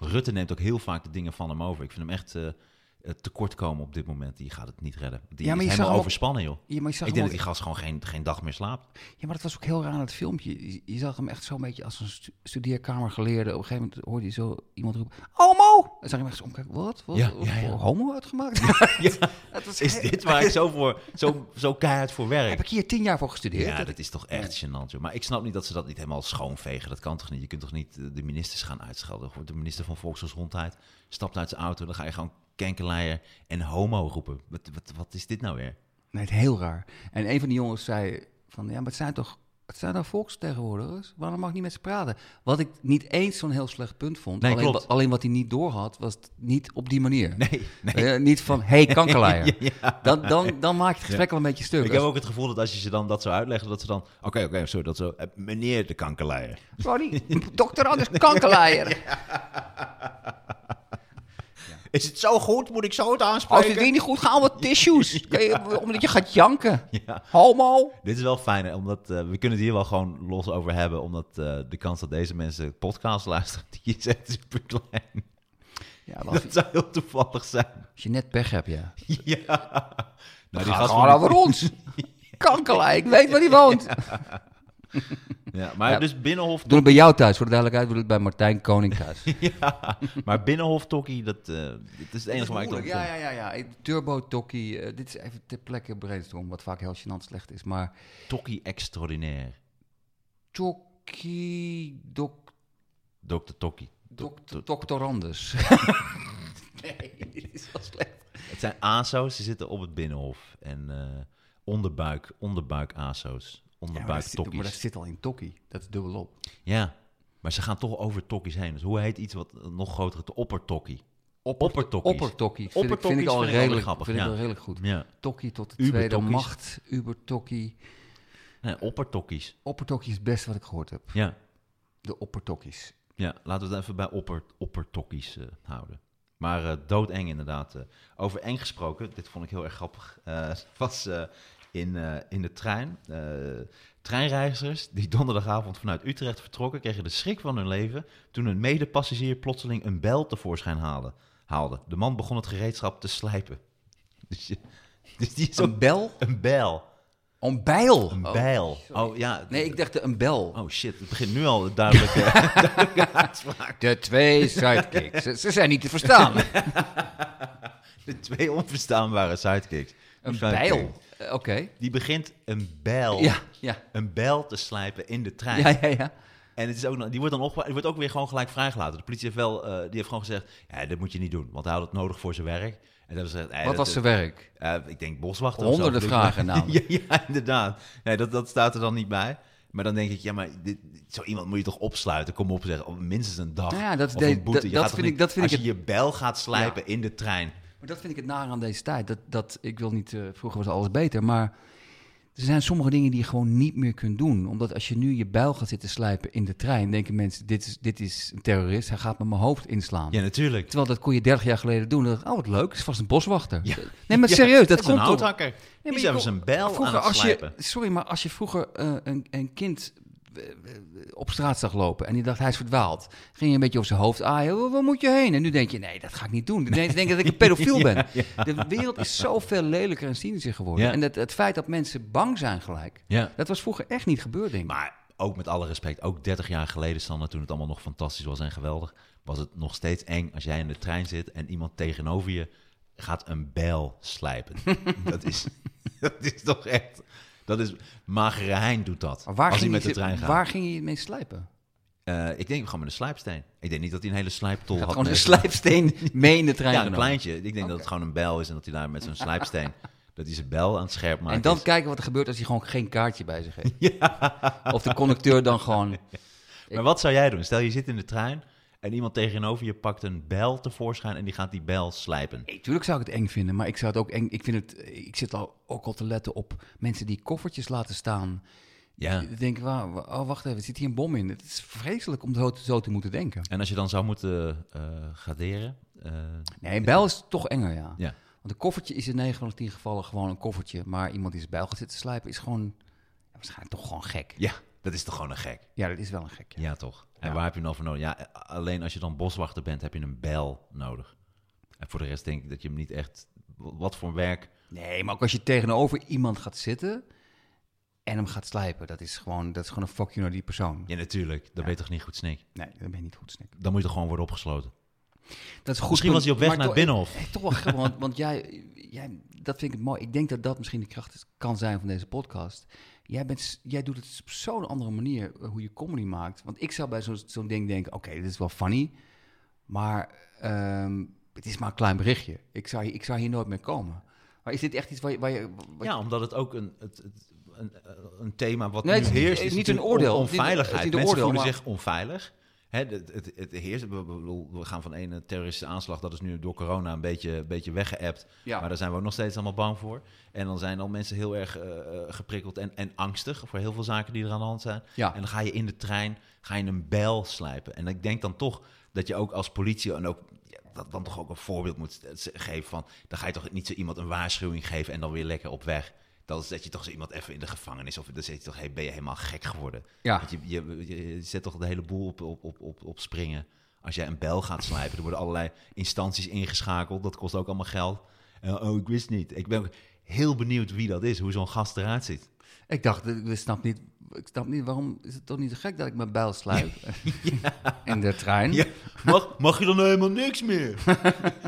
Speaker 2: Rutte neemt ook heel vaak de dingen van hem over. Ik vind hem echt eh, eh, tekortkomen op dit moment. Die gaat het niet redden. Die
Speaker 3: Ja,
Speaker 2: is
Speaker 3: maar je zag
Speaker 2: helemaal
Speaker 3: hem ook-
Speaker 2: overspannen joh.
Speaker 3: Ja, maar je
Speaker 2: Ik
Speaker 3: zag
Speaker 2: denk
Speaker 3: hem
Speaker 2: dat
Speaker 3: ook-
Speaker 2: die gast gewoon geen, geen dag meer slaapt.
Speaker 3: ja, maar dat was ook heel raar in het filmpje. Je, je zag hem echt zo'n beetje als een stu- studeerkamergeleerde. Op een gegeven moment hoorde je zo iemand roepen: Homo! En dan zag je hem echt zo omkijken: Wat? Wat?
Speaker 2: Ja,
Speaker 3: Wat
Speaker 2: ja, ja.
Speaker 3: voor homo uitgemaakt? Dat was
Speaker 2: Is
Speaker 3: heel-
Speaker 2: dit waar ik zo, voor, zo, zo keihard voor werk?
Speaker 3: Heb ik hier tien jaar voor gestudeerd?
Speaker 2: Ja,
Speaker 3: Dat-
Speaker 2: dat is toch echt gênant, joh. Maar ik snap niet dat ze dat niet helemaal schoonvegen. Dat kan toch niet? Je kunt toch niet eh, de ministers gaan uitschelden? Gewoon De minister van Volksgezondheid stapt uit zijn auto... dan ga je gewoon kenkerleier en homo roepen. Wat, wat, wat is dit nou weer?
Speaker 3: Nee, het is heel raar. En een van die jongens zei van, ja, maar het zijn toch Het zijn daar volksvertegenwoordigers. Waarom mag ik niet met ze praten? Wat ik niet eens zo'n heel slecht punt vond.
Speaker 2: Nee,
Speaker 3: alleen,
Speaker 2: klopt.
Speaker 3: wa- alleen wat hij niet doorhad, was het niet op die manier.
Speaker 2: Nee, nee.
Speaker 3: Eh, niet van, hey kankerleier.
Speaker 2: Ja.
Speaker 3: dan, dan, dan maak je het gesprek wel een beetje stuk.
Speaker 2: Ik heb ook het gevoel dat als je ze dan dat zo uitleggen, dat ze dan... Oké, oké, sorry, dat zo... eh, meneer de kankerleier.
Speaker 3: Sorry, dokter Anders kankerleier.
Speaker 2: Is het zo goed? Moet ik zo het
Speaker 3: Als het
Speaker 2: aanspreken?
Speaker 3: weer niet goed gaat, wat tissues. Kun je- Omdat je gaat janken.
Speaker 2: Ja.
Speaker 3: Homo.
Speaker 2: Dit is wel fijn, hè, omdat eh, we kunnen het hier wel gewoon los over hebben. Omdat eh, de kans dat deze mensen podcast luisteren, die is echt super klein.
Speaker 3: Ja,
Speaker 2: Dat zou heel toevallig zijn.
Speaker 3: Als je net pech hebt, ja.
Speaker 2: Ja. Nou,
Speaker 3: Ga
Speaker 2: gast
Speaker 3: gewoon
Speaker 2: van-
Speaker 3: over ons. Kankerlei, ik weet waar hij woont.
Speaker 2: Ja, maar
Speaker 3: Ja.
Speaker 2: dus Binnenhof...
Speaker 3: Doe het bij jou thuis, voor de duidelijkheid. Doe het bij Martijn Koning thuis.
Speaker 2: Ja, maar Binnenhof Tokkie, dat, eh, dat is het enige waar ik dan...
Speaker 3: Ja, ja, ja. ja. Turbo Tokkie. eh, dit is even ter plekke brainstorm, wat vaak heel gênant slecht is. Maar
Speaker 2: Tokkie extraordinair.
Speaker 3: Tokkie dok,
Speaker 2: Dokter Tokkie.
Speaker 3: dok, Doctorandus. nee, dit is wel slecht.
Speaker 2: Het zijn ASO's, die zitten op het Binnenhof. En eh, onderbuik, onderbuik ASO's.
Speaker 3: Ja,
Speaker 2: Onderbuik
Speaker 3: maar,
Speaker 2: ja,
Speaker 3: dat zit, maar dat zit al in Tokkie. Dat is dubbelop.
Speaker 2: Ja, maar ze gaan toch over tokkies heen. Dus hoe heet iets wat een nog groter is? Oppertokkie. Oppertokkies.
Speaker 3: Oppertokkie vind, ik-
Speaker 2: Oppertokkies
Speaker 3: vind ik al
Speaker 2: vind ik
Speaker 3: redelijk,
Speaker 2: altijd grappig,
Speaker 3: vind ik
Speaker 2: ja.
Speaker 3: wel redelijk goed.
Speaker 2: Ja,
Speaker 3: Tokkie tot de
Speaker 2: Ubertokkies.
Speaker 3: tweede macht. Ubertokkie.
Speaker 2: nee, oppertokkies.
Speaker 3: Oppertokkie is het beste wat ik gehoord heb.
Speaker 2: Ja.
Speaker 3: De oppertokkies.
Speaker 2: ja, laten we het even bij opper, oppertokkies eh, houden. Maar eh, doodeng inderdaad. eh. over eng gesproken, dit vond ik heel erg grappig. eh, was eh, in, eh, in de trein. Eh, treinreizigers die donderdagavond vanuit Utrecht vertrokken... kregen de schrik van hun leven toen een medepassagier plotseling een bel tevoorschijn haalde. haalde. De man begon het gereedschap te slijpen. Dus, je- dus die is ook
Speaker 3: Een bel?
Speaker 2: Een bijl.
Speaker 3: Een bijl.
Speaker 2: Een
Speaker 3: Oh.
Speaker 2: bijl. Oh ja.
Speaker 3: Nee, ik dacht een bel.
Speaker 2: Oh shit, het begint nu al duidelijk. eh,
Speaker 3: De twee sidekicks. ze, ze zijn niet te verstaan.
Speaker 2: de twee onverstaanbare sidekicks.
Speaker 3: Een
Speaker 2: Sidekicks.
Speaker 3: bijl. Eh, Oké.
Speaker 2: Die begint een bijl.
Speaker 3: Ja, ja.
Speaker 2: Een bijl te slijpen in de trein.
Speaker 3: Ja, ja, ja.
Speaker 2: En het is ook, nog- die, wordt dan opge- die wordt ook weer gewoon gelijk vrijgelaten. De politie heeft wel, eh, die heeft gewoon gezegd, ja, dat moet je niet doen, want hij had het nodig voor zijn werk. En dat gezegd, eh,
Speaker 3: Wat
Speaker 2: dat-
Speaker 3: was zijn werk?
Speaker 2: Eh, ik denk boswachter.
Speaker 3: Honderden
Speaker 2: of zo.
Speaker 3: vragen namelijk.
Speaker 2: ja, ja, inderdaad. Nee, dat, dat staat er dan niet bij. Maar dan denk ik, ja, maar dit, zo iemand moet je toch opsluiten? Kom op, zeg, minstens een dag.
Speaker 3: Nou ja, dat
Speaker 2: of
Speaker 3: deed-
Speaker 2: een boete.
Speaker 3: dat-
Speaker 2: Je
Speaker 3: dat
Speaker 2: gaat toch
Speaker 3: vind ik- dat vind
Speaker 2: als
Speaker 3: ik
Speaker 2: je je bel gaat slijpen in de trein.
Speaker 3: Maar dat vind ik het naar aan deze tijd. Dat, dat, ik wil niet, eh, vroeger was alles beter, maar er zijn sommige dingen die je gewoon niet meer kunt doen. Omdat als je nu je bijl gaat zitten slijpen in de trein, denken mensen, dit is, dit is een terrorist, hij gaat me mijn hoofd inslaan.
Speaker 2: Ja, natuurlijk.
Speaker 3: Terwijl dat kon je 30 jaar geleden doen. Dan dacht ik, oh, wat leuk, is vast een boswachter.
Speaker 2: Ja.
Speaker 3: Nee, maar
Speaker 2: Ja,
Speaker 3: serieus, dat,
Speaker 2: dat is
Speaker 3: komt
Speaker 2: een
Speaker 3: toch-
Speaker 2: houthakker.
Speaker 3: Nee,
Speaker 2: die
Speaker 3: maar
Speaker 2: is
Speaker 3: je
Speaker 2: even
Speaker 3: kon-
Speaker 2: zijn bijl
Speaker 3: vroeger
Speaker 2: aan het
Speaker 3: als je,
Speaker 2: slijpen.
Speaker 3: Sorry, maar als je vroeger eh, een, een kind eh, eh, op straat zag lopen en die dacht hij is verdwaald, ging je een beetje op zijn hoofd aaien, "Waar- waar moet je heen? En nu denk je, nee, dat ga ik niet doen. Nee, ze denken dat ik een pedofiel ben. De wereld is zoveel lelijker en cynischer geworden.
Speaker 2: Ja.
Speaker 3: En het, het feit dat mensen bang zijn gelijk,
Speaker 2: Ja.
Speaker 3: dat was vroeger echt niet gebeurd, denk ik.
Speaker 2: Maar ook met alle respect, ook 30 jaar geleden, Sander, toen het allemaal nog fantastisch was en geweldig, was het nog steeds eng als jij in de trein zit en iemand tegenover je gaat een bel slijpen. dat, is, dat is toch echt... Dat is... Magere Hein doet dat.
Speaker 3: Maar waar,
Speaker 2: als hij
Speaker 3: ging
Speaker 2: met
Speaker 3: je,
Speaker 2: de trein gaat.
Speaker 3: waar ging je het mee slijpen?
Speaker 2: Eh, ik denk gewoon met een slijpsteen. Ik denk niet dat hij een hele slijptol
Speaker 3: Gaat
Speaker 2: had.
Speaker 3: gewoon een
Speaker 2: meegenomen.
Speaker 3: slijpsteen mee in de trein
Speaker 2: Ja, een
Speaker 3: genomen.
Speaker 2: kleintje. Ik denk dat het gewoon een bel is en dat hij daar met zo'n slijpsteen... dat hij zijn bel aan het scherp maakt.
Speaker 3: En
Speaker 2: is.
Speaker 3: dan kijken wat er gebeurt als hij gewoon geen kaartje bij zich heeft. Of de conducteur dan gewoon...
Speaker 2: Maar wat zou jij doen? Stel, je zit in de trein en iemand tegenover je pakt een bel tevoorschijn en die gaat die bel slijpen.
Speaker 3: Nee, tuurlijk zou ik het eng vinden, maar ik zou het ook eng. Ik vind het. Ik zit al ook al te letten op mensen die koffertjes laten staan.
Speaker 2: Ja.
Speaker 3: Ik denk, wauw, wa- oh wacht even, zit hier een bom in? Het is vreselijk om zo te, zo te moeten denken.
Speaker 2: En als je dan zou moeten eh, graderen... eh,
Speaker 3: Nee, een bijl is toch enger, ja.
Speaker 2: ja.
Speaker 3: Want een koffertje is in 9 van de 10 gevallen gewoon een koffertje, maar iemand die zijn bijl gaat zitten slijpen is gewoon ja, waarschijnlijk toch gewoon gek.
Speaker 2: ja, dat is toch gewoon een gek?
Speaker 3: Ja, dat is wel een gek. Ja.
Speaker 2: Ja, toch? En waar heb je nou voor nodig? Ja, eh, alleen als je dan boswachter bent, heb je een bel nodig. En voor de rest denk ik dat je hem niet echt... Wat voor werk...
Speaker 3: Nee, maar ook als je tegenover iemand gaat zitten en hem gaat slijpen, dat is gewoon, dat is gewoon een fuck you naar die persoon.
Speaker 2: Ja, natuurlijk. Dat weet toch niet goed, Snik?
Speaker 3: Nee, dat ben je niet goed, Snik.
Speaker 2: Dan moet je toch gewoon worden opgesloten?
Speaker 3: Dat is een goed
Speaker 2: Misschien
Speaker 3: punt,
Speaker 2: was hij op weg
Speaker 3: maar
Speaker 2: naar het
Speaker 3: toch-
Speaker 2: Binnenhof.
Speaker 3: Nee, toch wel grappig, want, want jij, jij, dat vind ik mooi. Ik denk dat dat misschien de kracht is- kan zijn van deze podcast. Jij, bent, s- jij doet het op zo'n andere manier, eh, hoe je comedy maakt. Want ik zou bij zo'n zo'n ding denken, oké, dit is wel funny, maar ehm, het is maar een klein berichtje. Ik zou, hier- ik zou hier nooit mee komen. Maar is dit echt iets waar je... Waar je wat-
Speaker 2: Ja, omdat het ook een... Het, het, een, een thema wat
Speaker 3: Nee,
Speaker 2: nu
Speaker 3: het is niet-
Speaker 2: heerst. Is
Speaker 3: niet een
Speaker 2: natuurlijk
Speaker 3: oordeel.
Speaker 2: on-
Speaker 3: Het is niet-
Speaker 2: Onveiligheid.
Speaker 3: het is niet een
Speaker 2: Mensen
Speaker 3: oordeel,
Speaker 2: voelen
Speaker 3: maar-
Speaker 2: zich onveilig. Hè, het, het, het heerst. We, we- we gaan van één terroristische aanslag, dat is nu door corona een beetje, een beetje weggeëpt.
Speaker 3: Ja.
Speaker 2: Maar daar zijn we ook nog steeds allemaal bang voor. En dan zijn al mensen heel erg eh, eh, geprikkeld en, en angstig voor heel veel zaken die er aan de hand zijn.
Speaker 3: Ja.
Speaker 2: En dan ga je in de trein, ga je een bel slijpen. En ik denk dan toch dat je ook als politie en ook ja, dat dan toch ook een voorbeeld moet eh, ze- geven van, dan ga je toch niet zo iemand een waarschuwing geven en dan weer lekker op weg. Dat is dat je toch zo iemand even in de gevangenis of dan zit je toch, hey, ben je helemaal gek geworden?
Speaker 3: Ja.
Speaker 2: Want je, je, je zet toch de hele boel op, op, op, op, op springen. Als jij een bel gaat slijpen, er worden allerlei instanties ingeschakeld. Dat kost ook allemaal geld. En, oh, ik wist niet. Ik ben ook heel benieuwd wie dat is, hoe zo'n gast eruit ziet.
Speaker 3: Ik dacht, eh, ik snap, niet, ik snap niet, waarom is het toch niet zo gek dat ik mijn bijl sluip in de trein?
Speaker 2: Ja, mag, mag je dan helemaal niks meer?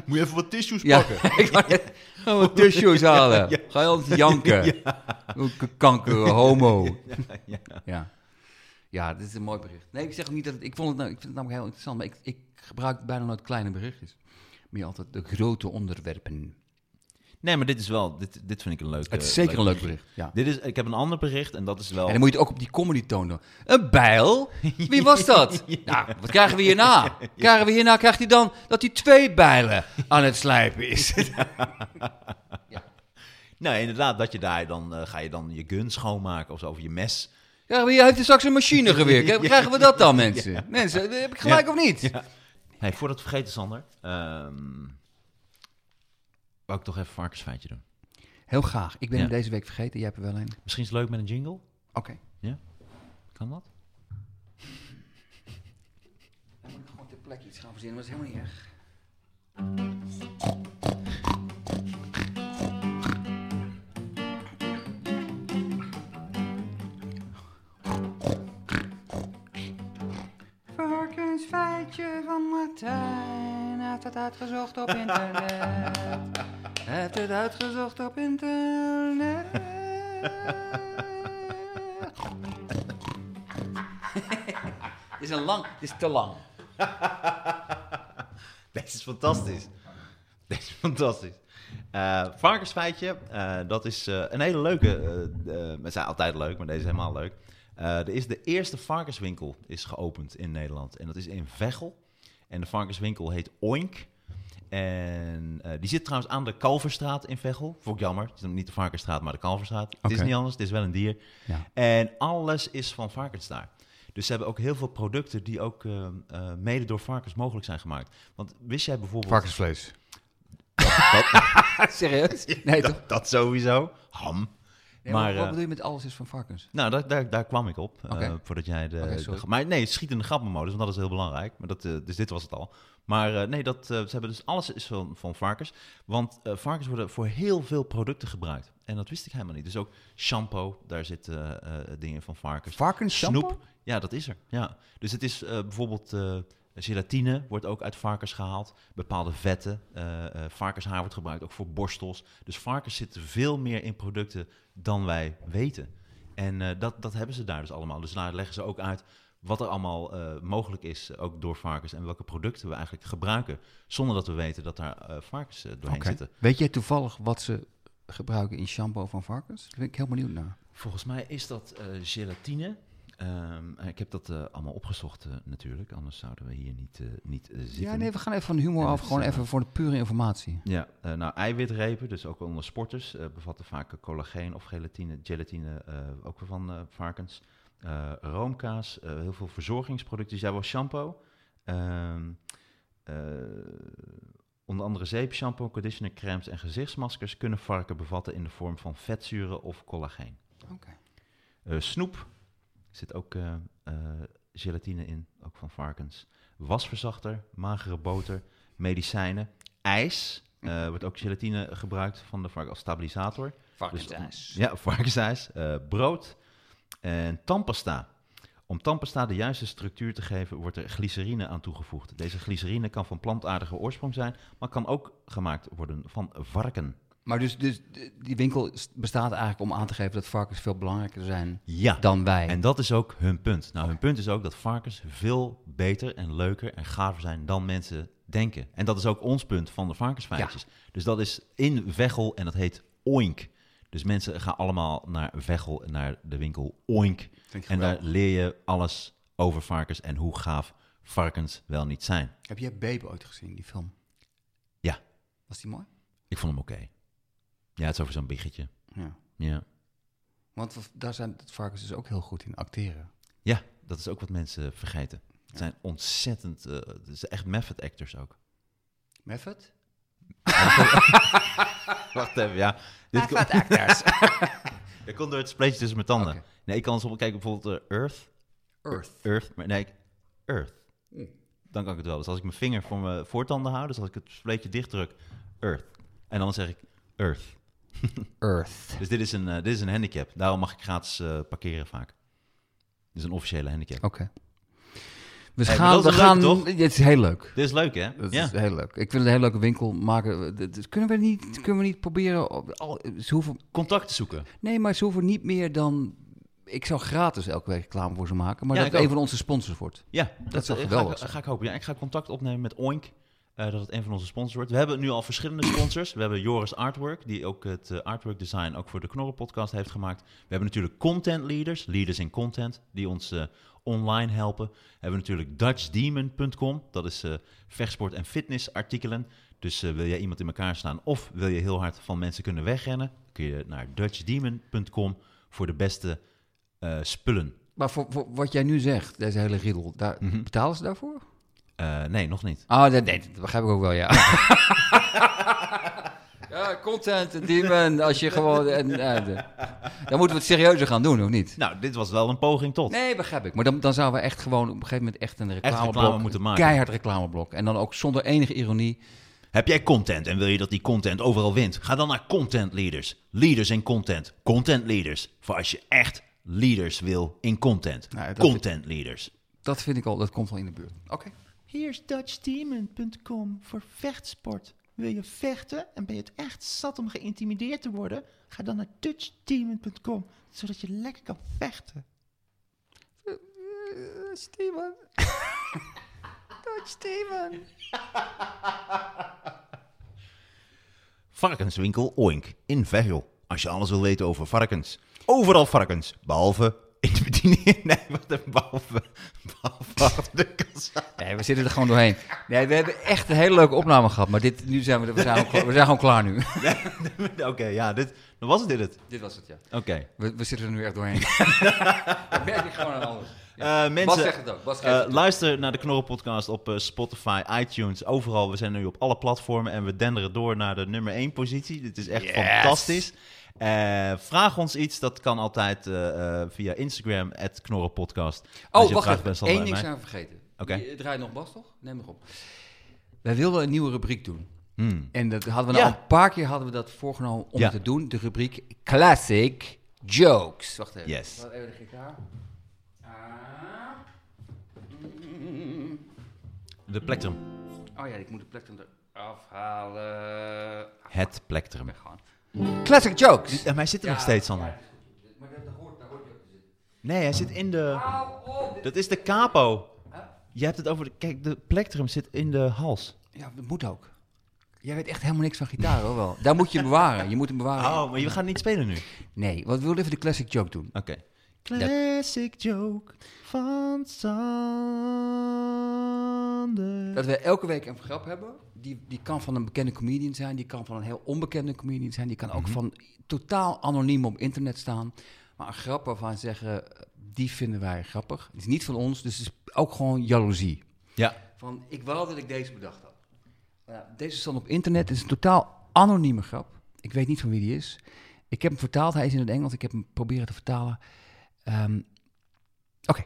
Speaker 2: Moet je even wat tissues
Speaker 3: Ja,
Speaker 2: pakken?
Speaker 3: ik wou net- Gaan we tissues halen. Ga je ons janken. K- Kanker, homo. Ja, ja. ja. dit is een mooi bericht. Nee, ik zeg ook niet dat... het- ik, vond het nou, ik vind het namelijk heel interessant, maar ik, ik gebruik bijna nooit kleine berichtjes. Meer altijd de grote onderwerpen.
Speaker 2: Nee, maar dit is wel, dit, dit vind ik een leuk
Speaker 3: Het is
Speaker 2: eh,
Speaker 3: zeker een leuk bericht, ja.
Speaker 2: Dit is, ik heb een ander bericht en dat is wel...
Speaker 3: En dan moet je het ook op die comedy toon doen. Een bijl? Wie was dat? Nou, wat krijgen we hierna? Krijgen we hierna, krijgt hij dan dat hij twee bijlen aan het slijpen is.
Speaker 2: Nou, inderdaad, dat je daar dan, eh, ga je dan je gun schoonmaken of zo, of je mes.
Speaker 3: Krijgen we hier, heeft hij straks een machinegeweer? Krijgen, krijgen we dat dan, mensen? Mensen, eh, heb ik gelijk of niet?
Speaker 2: Hey, voordat we vergeten, Sander, ehm wou ik toch even een varkensfeitje doen.
Speaker 3: Heel graag. Ik ben
Speaker 2: Ja.
Speaker 3: hem deze week vergeten. Jij hebt er wel een.
Speaker 2: Misschien is het leuk met een jingle?
Speaker 3: Oké.
Speaker 2: Kan dat?
Speaker 3: Dan moet ik gewoon ter plekke iets gaan verzinnen. Dat is helemaal niet erg. Varkensfeitje van Martijn. Hij heeft het uitgezocht op internet. Hij heeft het uitgezocht op internet. Het is een lang, het is te lang.
Speaker 2: Deze is fantastisch. Deze is fantastisch. Eh, varkensfeitje, eh, dat is eh, een hele leuke. eh eh, we zijn altijd leuk, maar deze is helemaal leuk. Eh, er is de eerste varkenswinkel is geopend in Nederland. En dat is in Veghel. En de varkenswinkel heet Oink. En eh, die zit trouwens aan de Kalverstraat in Veghel. Vond ik jammer. Het is niet de Varkensstraat, maar de Kalverstraat. Het is
Speaker 3: Oké.
Speaker 2: niet anders, het is wel een dier.
Speaker 3: Ja.
Speaker 2: En alles is van varkensstaart. Dus ze hebben ook heel veel producten die ook eh, eh, mede door varkens mogelijk zijn gemaakt. Want wist jij bijvoorbeeld...
Speaker 3: Varkensvlees. Serieus? Nee, toch?
Speaker 2: dat, dat sowieso. Ham.
Speaker 3: Nee,
Speaker 2: maar
Speaker 3: maar, wat
Speaker 2: eh,
Speaker 3: bedoel je met alles is van varkens?
Speaker 2: nou, daar, daar, daar kwam ik op. eh,
Speaker 3: Oké.
Speaker 2: voordat jij de,
Speaker 3: Oké,
Speaker 2: de
Speaker 3: sorry.
Speaker 2: gra- Maar nee, schietende grappenmodus, want dat is heel belangrijk. Maar dat, eh, dus dit was het al. Maar eh, nee, dat, eh, ze hebben dus alles is van, van varkens. Want eh, varkens worden voor heel veel producten gebruikt. En dat wist ik helemaal niet. Dus ook shampoo, daar zitten eh, eh, dingen van varkens.
Speaker 3: Varkens
Speaker 2: Snoep, ja, dat is er. Ja. Dus het is eh, bijvoorbeeld eh, gelatine wordt ook uit varkens gehaald. Bepaalde vetten. eh, eh, varkenshaar wordt gebruikt ook voor borstels. Dus varkens zitten veel meer in producten dan wij weten. En eh, dat, dat hebben ze daar dus allemaal. Dus daar leggen ze ook uit wat er allemaal eh, mogelijk is, eh, ook door varkens. En welke producten we eigenlijk gebruiken, zonder dat we weten dat daar eh, varkens eh, doorheen zitten.
Speaker 3: Weet jij toevallig wat ze gebruiken in shampoo van varkens? Daar ben ik heel benieuwd naar.
Speaker 2: Volgens mij is dat eh, gelatine. Ehm, ik heb dat eh, allemaal opgezocht eh, natuurlijk, anders zouden we hier niet, eh, niet eh, zitten.
Speaker 3: Ja, nee, we gaan even van de humor
Speaker 2: En
Speaker 3: af.
Speaker 2: het,
Speaker 3: Gewoon
Speaker 2: eh,
Speaker 3: even voor de pure informatie.
Speaker 2: Ja, eh, nou eiwitrepen, dus ook onder sporters, eh, bevatten vaak collageen of gelatine, gelatine eh, ook weer van eh, varkens. Eh, roomkaas, eh, heel veel verzorgingsproducten. Dus jij wel shampoo. Ehm, eh, onder andere zeep, shampoo, conditioner, crèmes en gezichtsmaskers kunnen varken bevatten in de vorm van vetzuren of collageen.
Speaker 3: Oké.
Speaker 2: Eh, snoep zit ook eh, eh, gelatine in, ook van varkens. Wasverzachter, magere boter, medicijnen, ijs. eh, wordt ook gelatine gebruikt van de varken als stabilisator. Dus
Speaker 3: Varkensijs.
Speaker 2: Ja, varkensijs. eh, brood en tandpasta. Om tandpasta de juiste structuur te geven, wordt er glycerine aan toegevoegd. Deze glycerine kan van plantaardige oorsprong zijn, maar kan ook gemaakt worden van varken.
Speaker 3: Maar dus, dus eh, die winkel is- bestaat eigenlijk om aan te geven dat varkens veel belangrijker zijn
Speaker 2: Ja.
Speaker 3: dan wij.
Speaker 2: En dat is ook hun punt. Nou, hun punt is ook dat varkens veel beter en leuker en gaver zijn dan mensen denken. En dat is ook ons punt van de varkensfeitjes. Dus dat is in Veghel en dat heet Oink. Dus mensen gaan allemaal naar Veghel, naar de winkel Oink.
Speaker 3: Vind ik
Speaker 2: En daar
Speaker 3: geweldig.
Speaker 2: leer je alles over varkens en hoe gaaf varkens wel niet zijn.
Speaker 3: Heb jij Babe ooit gezien, die film?
Speaker 2: Ja.
Speaker 3: Was die mooi?
Speaker 2: Ik vond hem oké. Ja, het is over zo'n biggetje.
Speaker 3: Ja.
Speaker 2: Ja.
Speaker 3: Want v- daar zijn de varkens dus ook heel goed in acteren.
Speaker 2: ja, dat is ook wat mensen vergeten. Het zijn ontzettend, eh, het is echt method actors ook.
Speaker 3: Method?
Speaker 2: Wacht even, ja. Dit komt,
Speaker 3: actors.
Speaker 2: dat komt door het spleetje tussen mijn tanden.
Speaker 3: Oké.
Speaker 2: Nee, ik kan soms kijken bijvoorbeeld eh, Earth.
Speaker 3: Earth.
Speaker 2: Earth, maar nee, ik- Earth. Dan kan ik het wel. Dus als ik mijn vinger voor mijn voortanden hou, dus als ik het spleetje dicht druk, Earth. En dan zeg ik Earth.
Speaker 3: Earth.
Speaker 2: Dus dit is een, eh, dit is een handicap. Daarom mag ik gratis eh, parkeren vaak. Dit is een officiële handicap.
Speaker 3: Oké. We
Speaker 2: maar
Speaker 3: gaan...
Speaker 2: dat
Speaker 3: We
Speaker 2: is leuk,
Speaker 3: gaan
Speaker 2: toch?
Speaker 3: Dit is heel leuk.
Speaker 2: Dit is leuk, hè?
Speaker 3: Dat
Speaker 2: ja.
Speaker 3: is heel leuk. Ik wil een hele leuke winkel maken. Dat- dat- Kunnen we niet, kunnen we niet proberen... op- Al, ze hoeven,
Speaker 2: Contacten zoeken.
Speaker 3: nee, maar ze hoeven niet meer dan... Ik zou gratis elke week reclame voor ze maken, maar
Speaker 2: Ja,
Speaker 3: dat
Speaker 2: ik
Speaker 3: een
Speaker 2: ook.
Speaker 3: van onze sponsors wordt.
Speaker 2: Ja, dat,
Speaker 3: zou
Speaker 2: eh,
Speaker 3: geweldig
Speaker 2: ga, ik,
Speaker 3: zijn.
Speaker 2: ga ik hopen. Ja, ik ga contact opnemen met Oink. eh, dat het een van onze sponsors wordt. We hebben nu al verschillende sponsors. We hebben Joris Artwork, die ook het eh, artwork design ook voor de Knorren podcast heeft gemaakt. We hebben natuurlijk content leaders, leaders in content, die ons eh, online helpen. We hebben natuurlijk DutchDemon.com, dat is eh, vechtsport- en fitnessartikelen. Dus eh, wil jij iemand in elkaar slaan of wil je heel hard van mensen kunnen wegrennen, kun je naar DutchDemon.com voor de beste eh, spullen.
Speaker 3: Maar voor, voor wat jij nu zegt, deze hele riddel, daar, betalen ze daarvoor?
Speaker 2: Eh, nee, nog niet.
Speaker 3: Mhm. Ah, dat, nee, dat begrijp ik ook wel, ja. ja, content, demon, als je gewoon... En, eh, de- dan moeten we het serieuzer gaan doen, of niet?
Speaker 2: Nou, dit was wel een poging tot.
Speaker 3: Nee, begrijp ik. Maar dan, dan zouden we echt gewoon op een gegeven moment echt een reclameblok...
Speaker 2: reclame moeten
Speaker 3: een
Speaker 2: maken.
Speaker 3: Keihard reclameblok. En dan ook zonder enige ironie.
Speaker 2: Heb jij content en wil je dat die content overal wint? Ga dan naar Content Leaders. Leaders in content. Content Leaders. Voor als je echt leaders wil in content.
Speaker 3: Nou, dat-
Speaker 2: content Leaders.
Speaker 3: Dat vind ik al, dat komt al in de buurt. Oké.
Speaker 4: Hier is DutchDemon.com voor vechtsport. Wil je vechten en ben je het echt zat om geïntimideerd te worden? Ga dan naar DutchDemon.com, zodat je lekker kan vechten.
Speaker 2: Eh,
Speaker 4: Steven. Dutch Steven.
Speaker 2: Varkenswinkel Oink in Veghel. Als je alles wil weten over varkens. Overal varkens. Behalve in de bediening. Nee, wat een behalve. Behalve achter de kassa.
Speaker 3: Nee, we zitten er gewoon doorheen. Nee, we hebben echt een hele leuke opname gehad. Maar dit, nu zijn we, er- we, zijn, gewoon, we zijn gewoon klaar nu.
Speaker 2: Oké, ja, dit, dan was het dit het.
Speaker 3: dit was het, ja.
Speaker 2: Oké.
Speaker 3: We, we zitten er nu echt doorheen. dat merk ik gewoon aan alles. Ja. Oh,
Speaker 2: Eh, mensen,
Speaker 3: Bas zegt het ook. Bas geeft
Speaker 2: eh,
Speaker 3: het toe.
Speaker 2: luister naar de Knorren Podcast op eh, Spotify, iTunes, overal. We zijn nu op alle platformen en we denderen door naar de nummer 1 positie. Dit is echt fantastisch. Eh, vraag ons iets, dat kan altijd eh, eh, via Instagram, at Knorren Podcast. Als
Speaker 3: Oh,
Speaker 2: je
Speaker 3: wacht
Speaker 2: vraagt,
Speaker 3: even.
Speaker 2: ben je altijd
Speaker 3: Eén ding
Speaker 2: bij
Speaker 3: zijn we vergeten.
Speaker 2: Oké.
Speaker 3: Je- Het draait nog Bas, toch? Neem nog op. Wij wilden een nieuwe rubriek doen.
Speaker 2: Hmm,
Speaker 3: En dat hadden we
Speaker 2: Ja.
Speaker 3: nou een paar keer hadden we dat voorgenomen om
Speaker 2: Ja.
Speaker 3: te doen. De rubriek Classic Jokes. Wacht even.
Speaker 2: Yes.
Speaker 3: Wacht even de gitaar. Ah.
Speaker 2: mij. De plectrum.
Speaker 3: Oh ja, ik moet de plek dan eraf halen.
Speaker 2: Het plectrum.
Speaker 3: Weggaan. Classic Jokes.
Speaker 2: En hij zit er nog steeds, Sander.
Speaker 3: Maar dat hoort, daar hoort je ook te zitten.
Speaker 2: Nee, hij zit in de...
Speaker 3: Hou op.
Speaker 2: Dat is de capo. Je hebt het over... De... Kijk, de plectrum zit in de hals.
Speaker 3: Ja, dat moet ook. Jij weet echt helemaal niks van gitaar, hoor wel. Daar moet je hem bewaren. Je moet hem bewaren.
Speaker 2: Oh, maar je gaat niet spelen nu. Oké.
Speaker 3: Nee, want we wilden even de classic joke doen.
Speaker 4: Classic joke van Sander.
Speaker 3: Dat we elke week een grap hebben. Die, die kan van een bekende comedian zijn. Die kan van een heel onbekende comedian zijn. Die kan ook van totaal anoniem op internet staan. Maar een grap waarvan zeggen, die vinden wij grappig. Het is niet van ons, dus het is ook gewoon jaloezie.
Speaker 2: Ja.
Speaker 3: Van, ik wou dat ik deze bedacht had. Nou, deze stond op internet. Het is een totaal anonieme grap. Ik weet niet van wie die is. Ik heb hem vertaald. Hij is in het Engels. Ik heb hem proberen te vertalen. Ehm, Oké.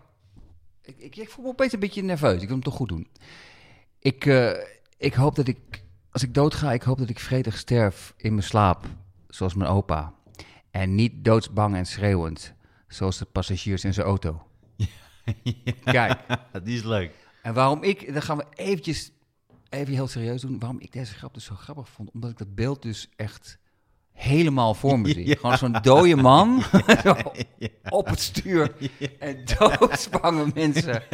Speaker 3: Ik, ik, ik voel me opeens een beetje nerveus. Ik wil hem toch goed doen. Ik, eh, ik hoop dat ik... Als ik doodga, ik hoop dat ik vredig sterf in mijn slaap. Zoals mijn opa. En niet doodsbang en schreeuwend. Zoals de passagiers in zijn auto. Kijk.
Speaker 2: Die is leuk.
Speaker 3: En waarom ik, dan gaan we eventjes even heel serieus doen, waarom ik deze grap dus zo grappig vond. Omdat ik dat beeld dus echt helemaal voor me zie. Gewoon zo'n dode man zo op het stuur en doodsbange mensen.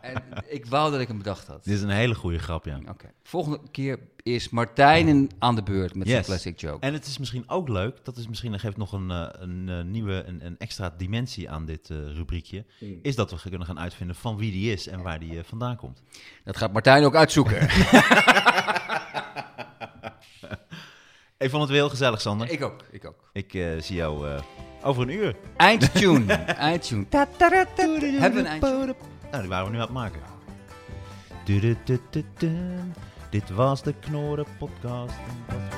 Speaker 3: En ik wou dat ik hem bedacht had.
Speaker 2: Dit is een hele goede grap, ja.
Speaker 3: Oké. Volgende keer is Martijn een- aan de beurt met zijn
Speaker 2: Yes.
Speaker 3: classic joke.
Speaker 2: En het is misschien ook leuk, dat is misschien, geeft nog een, eh, een eh, nieuwe, een, een extra dimensie aan dit eh, rubriekje, is dat we kunnen gaan uitvinden van wie die is en waar die eh, vandaan komt.
Speaker 3: Dat gaat Martijn ook uitzoeken.
Speaker 2: Ik vond het weer heel gezellig, Sander. Ik,
Speaker 3: ik ook, ik ook.
Speaker 2: eh, zie jou eh, over een uur.
Speaker 3: Eindtune, eindtune. Ta- ta- ta- ta- Hebben we een eindtune?
Speaker 2: Nou, die waren we nu aan het maken. Du-du-du-du-du. Dit was de Knorren Podcast. En dat was-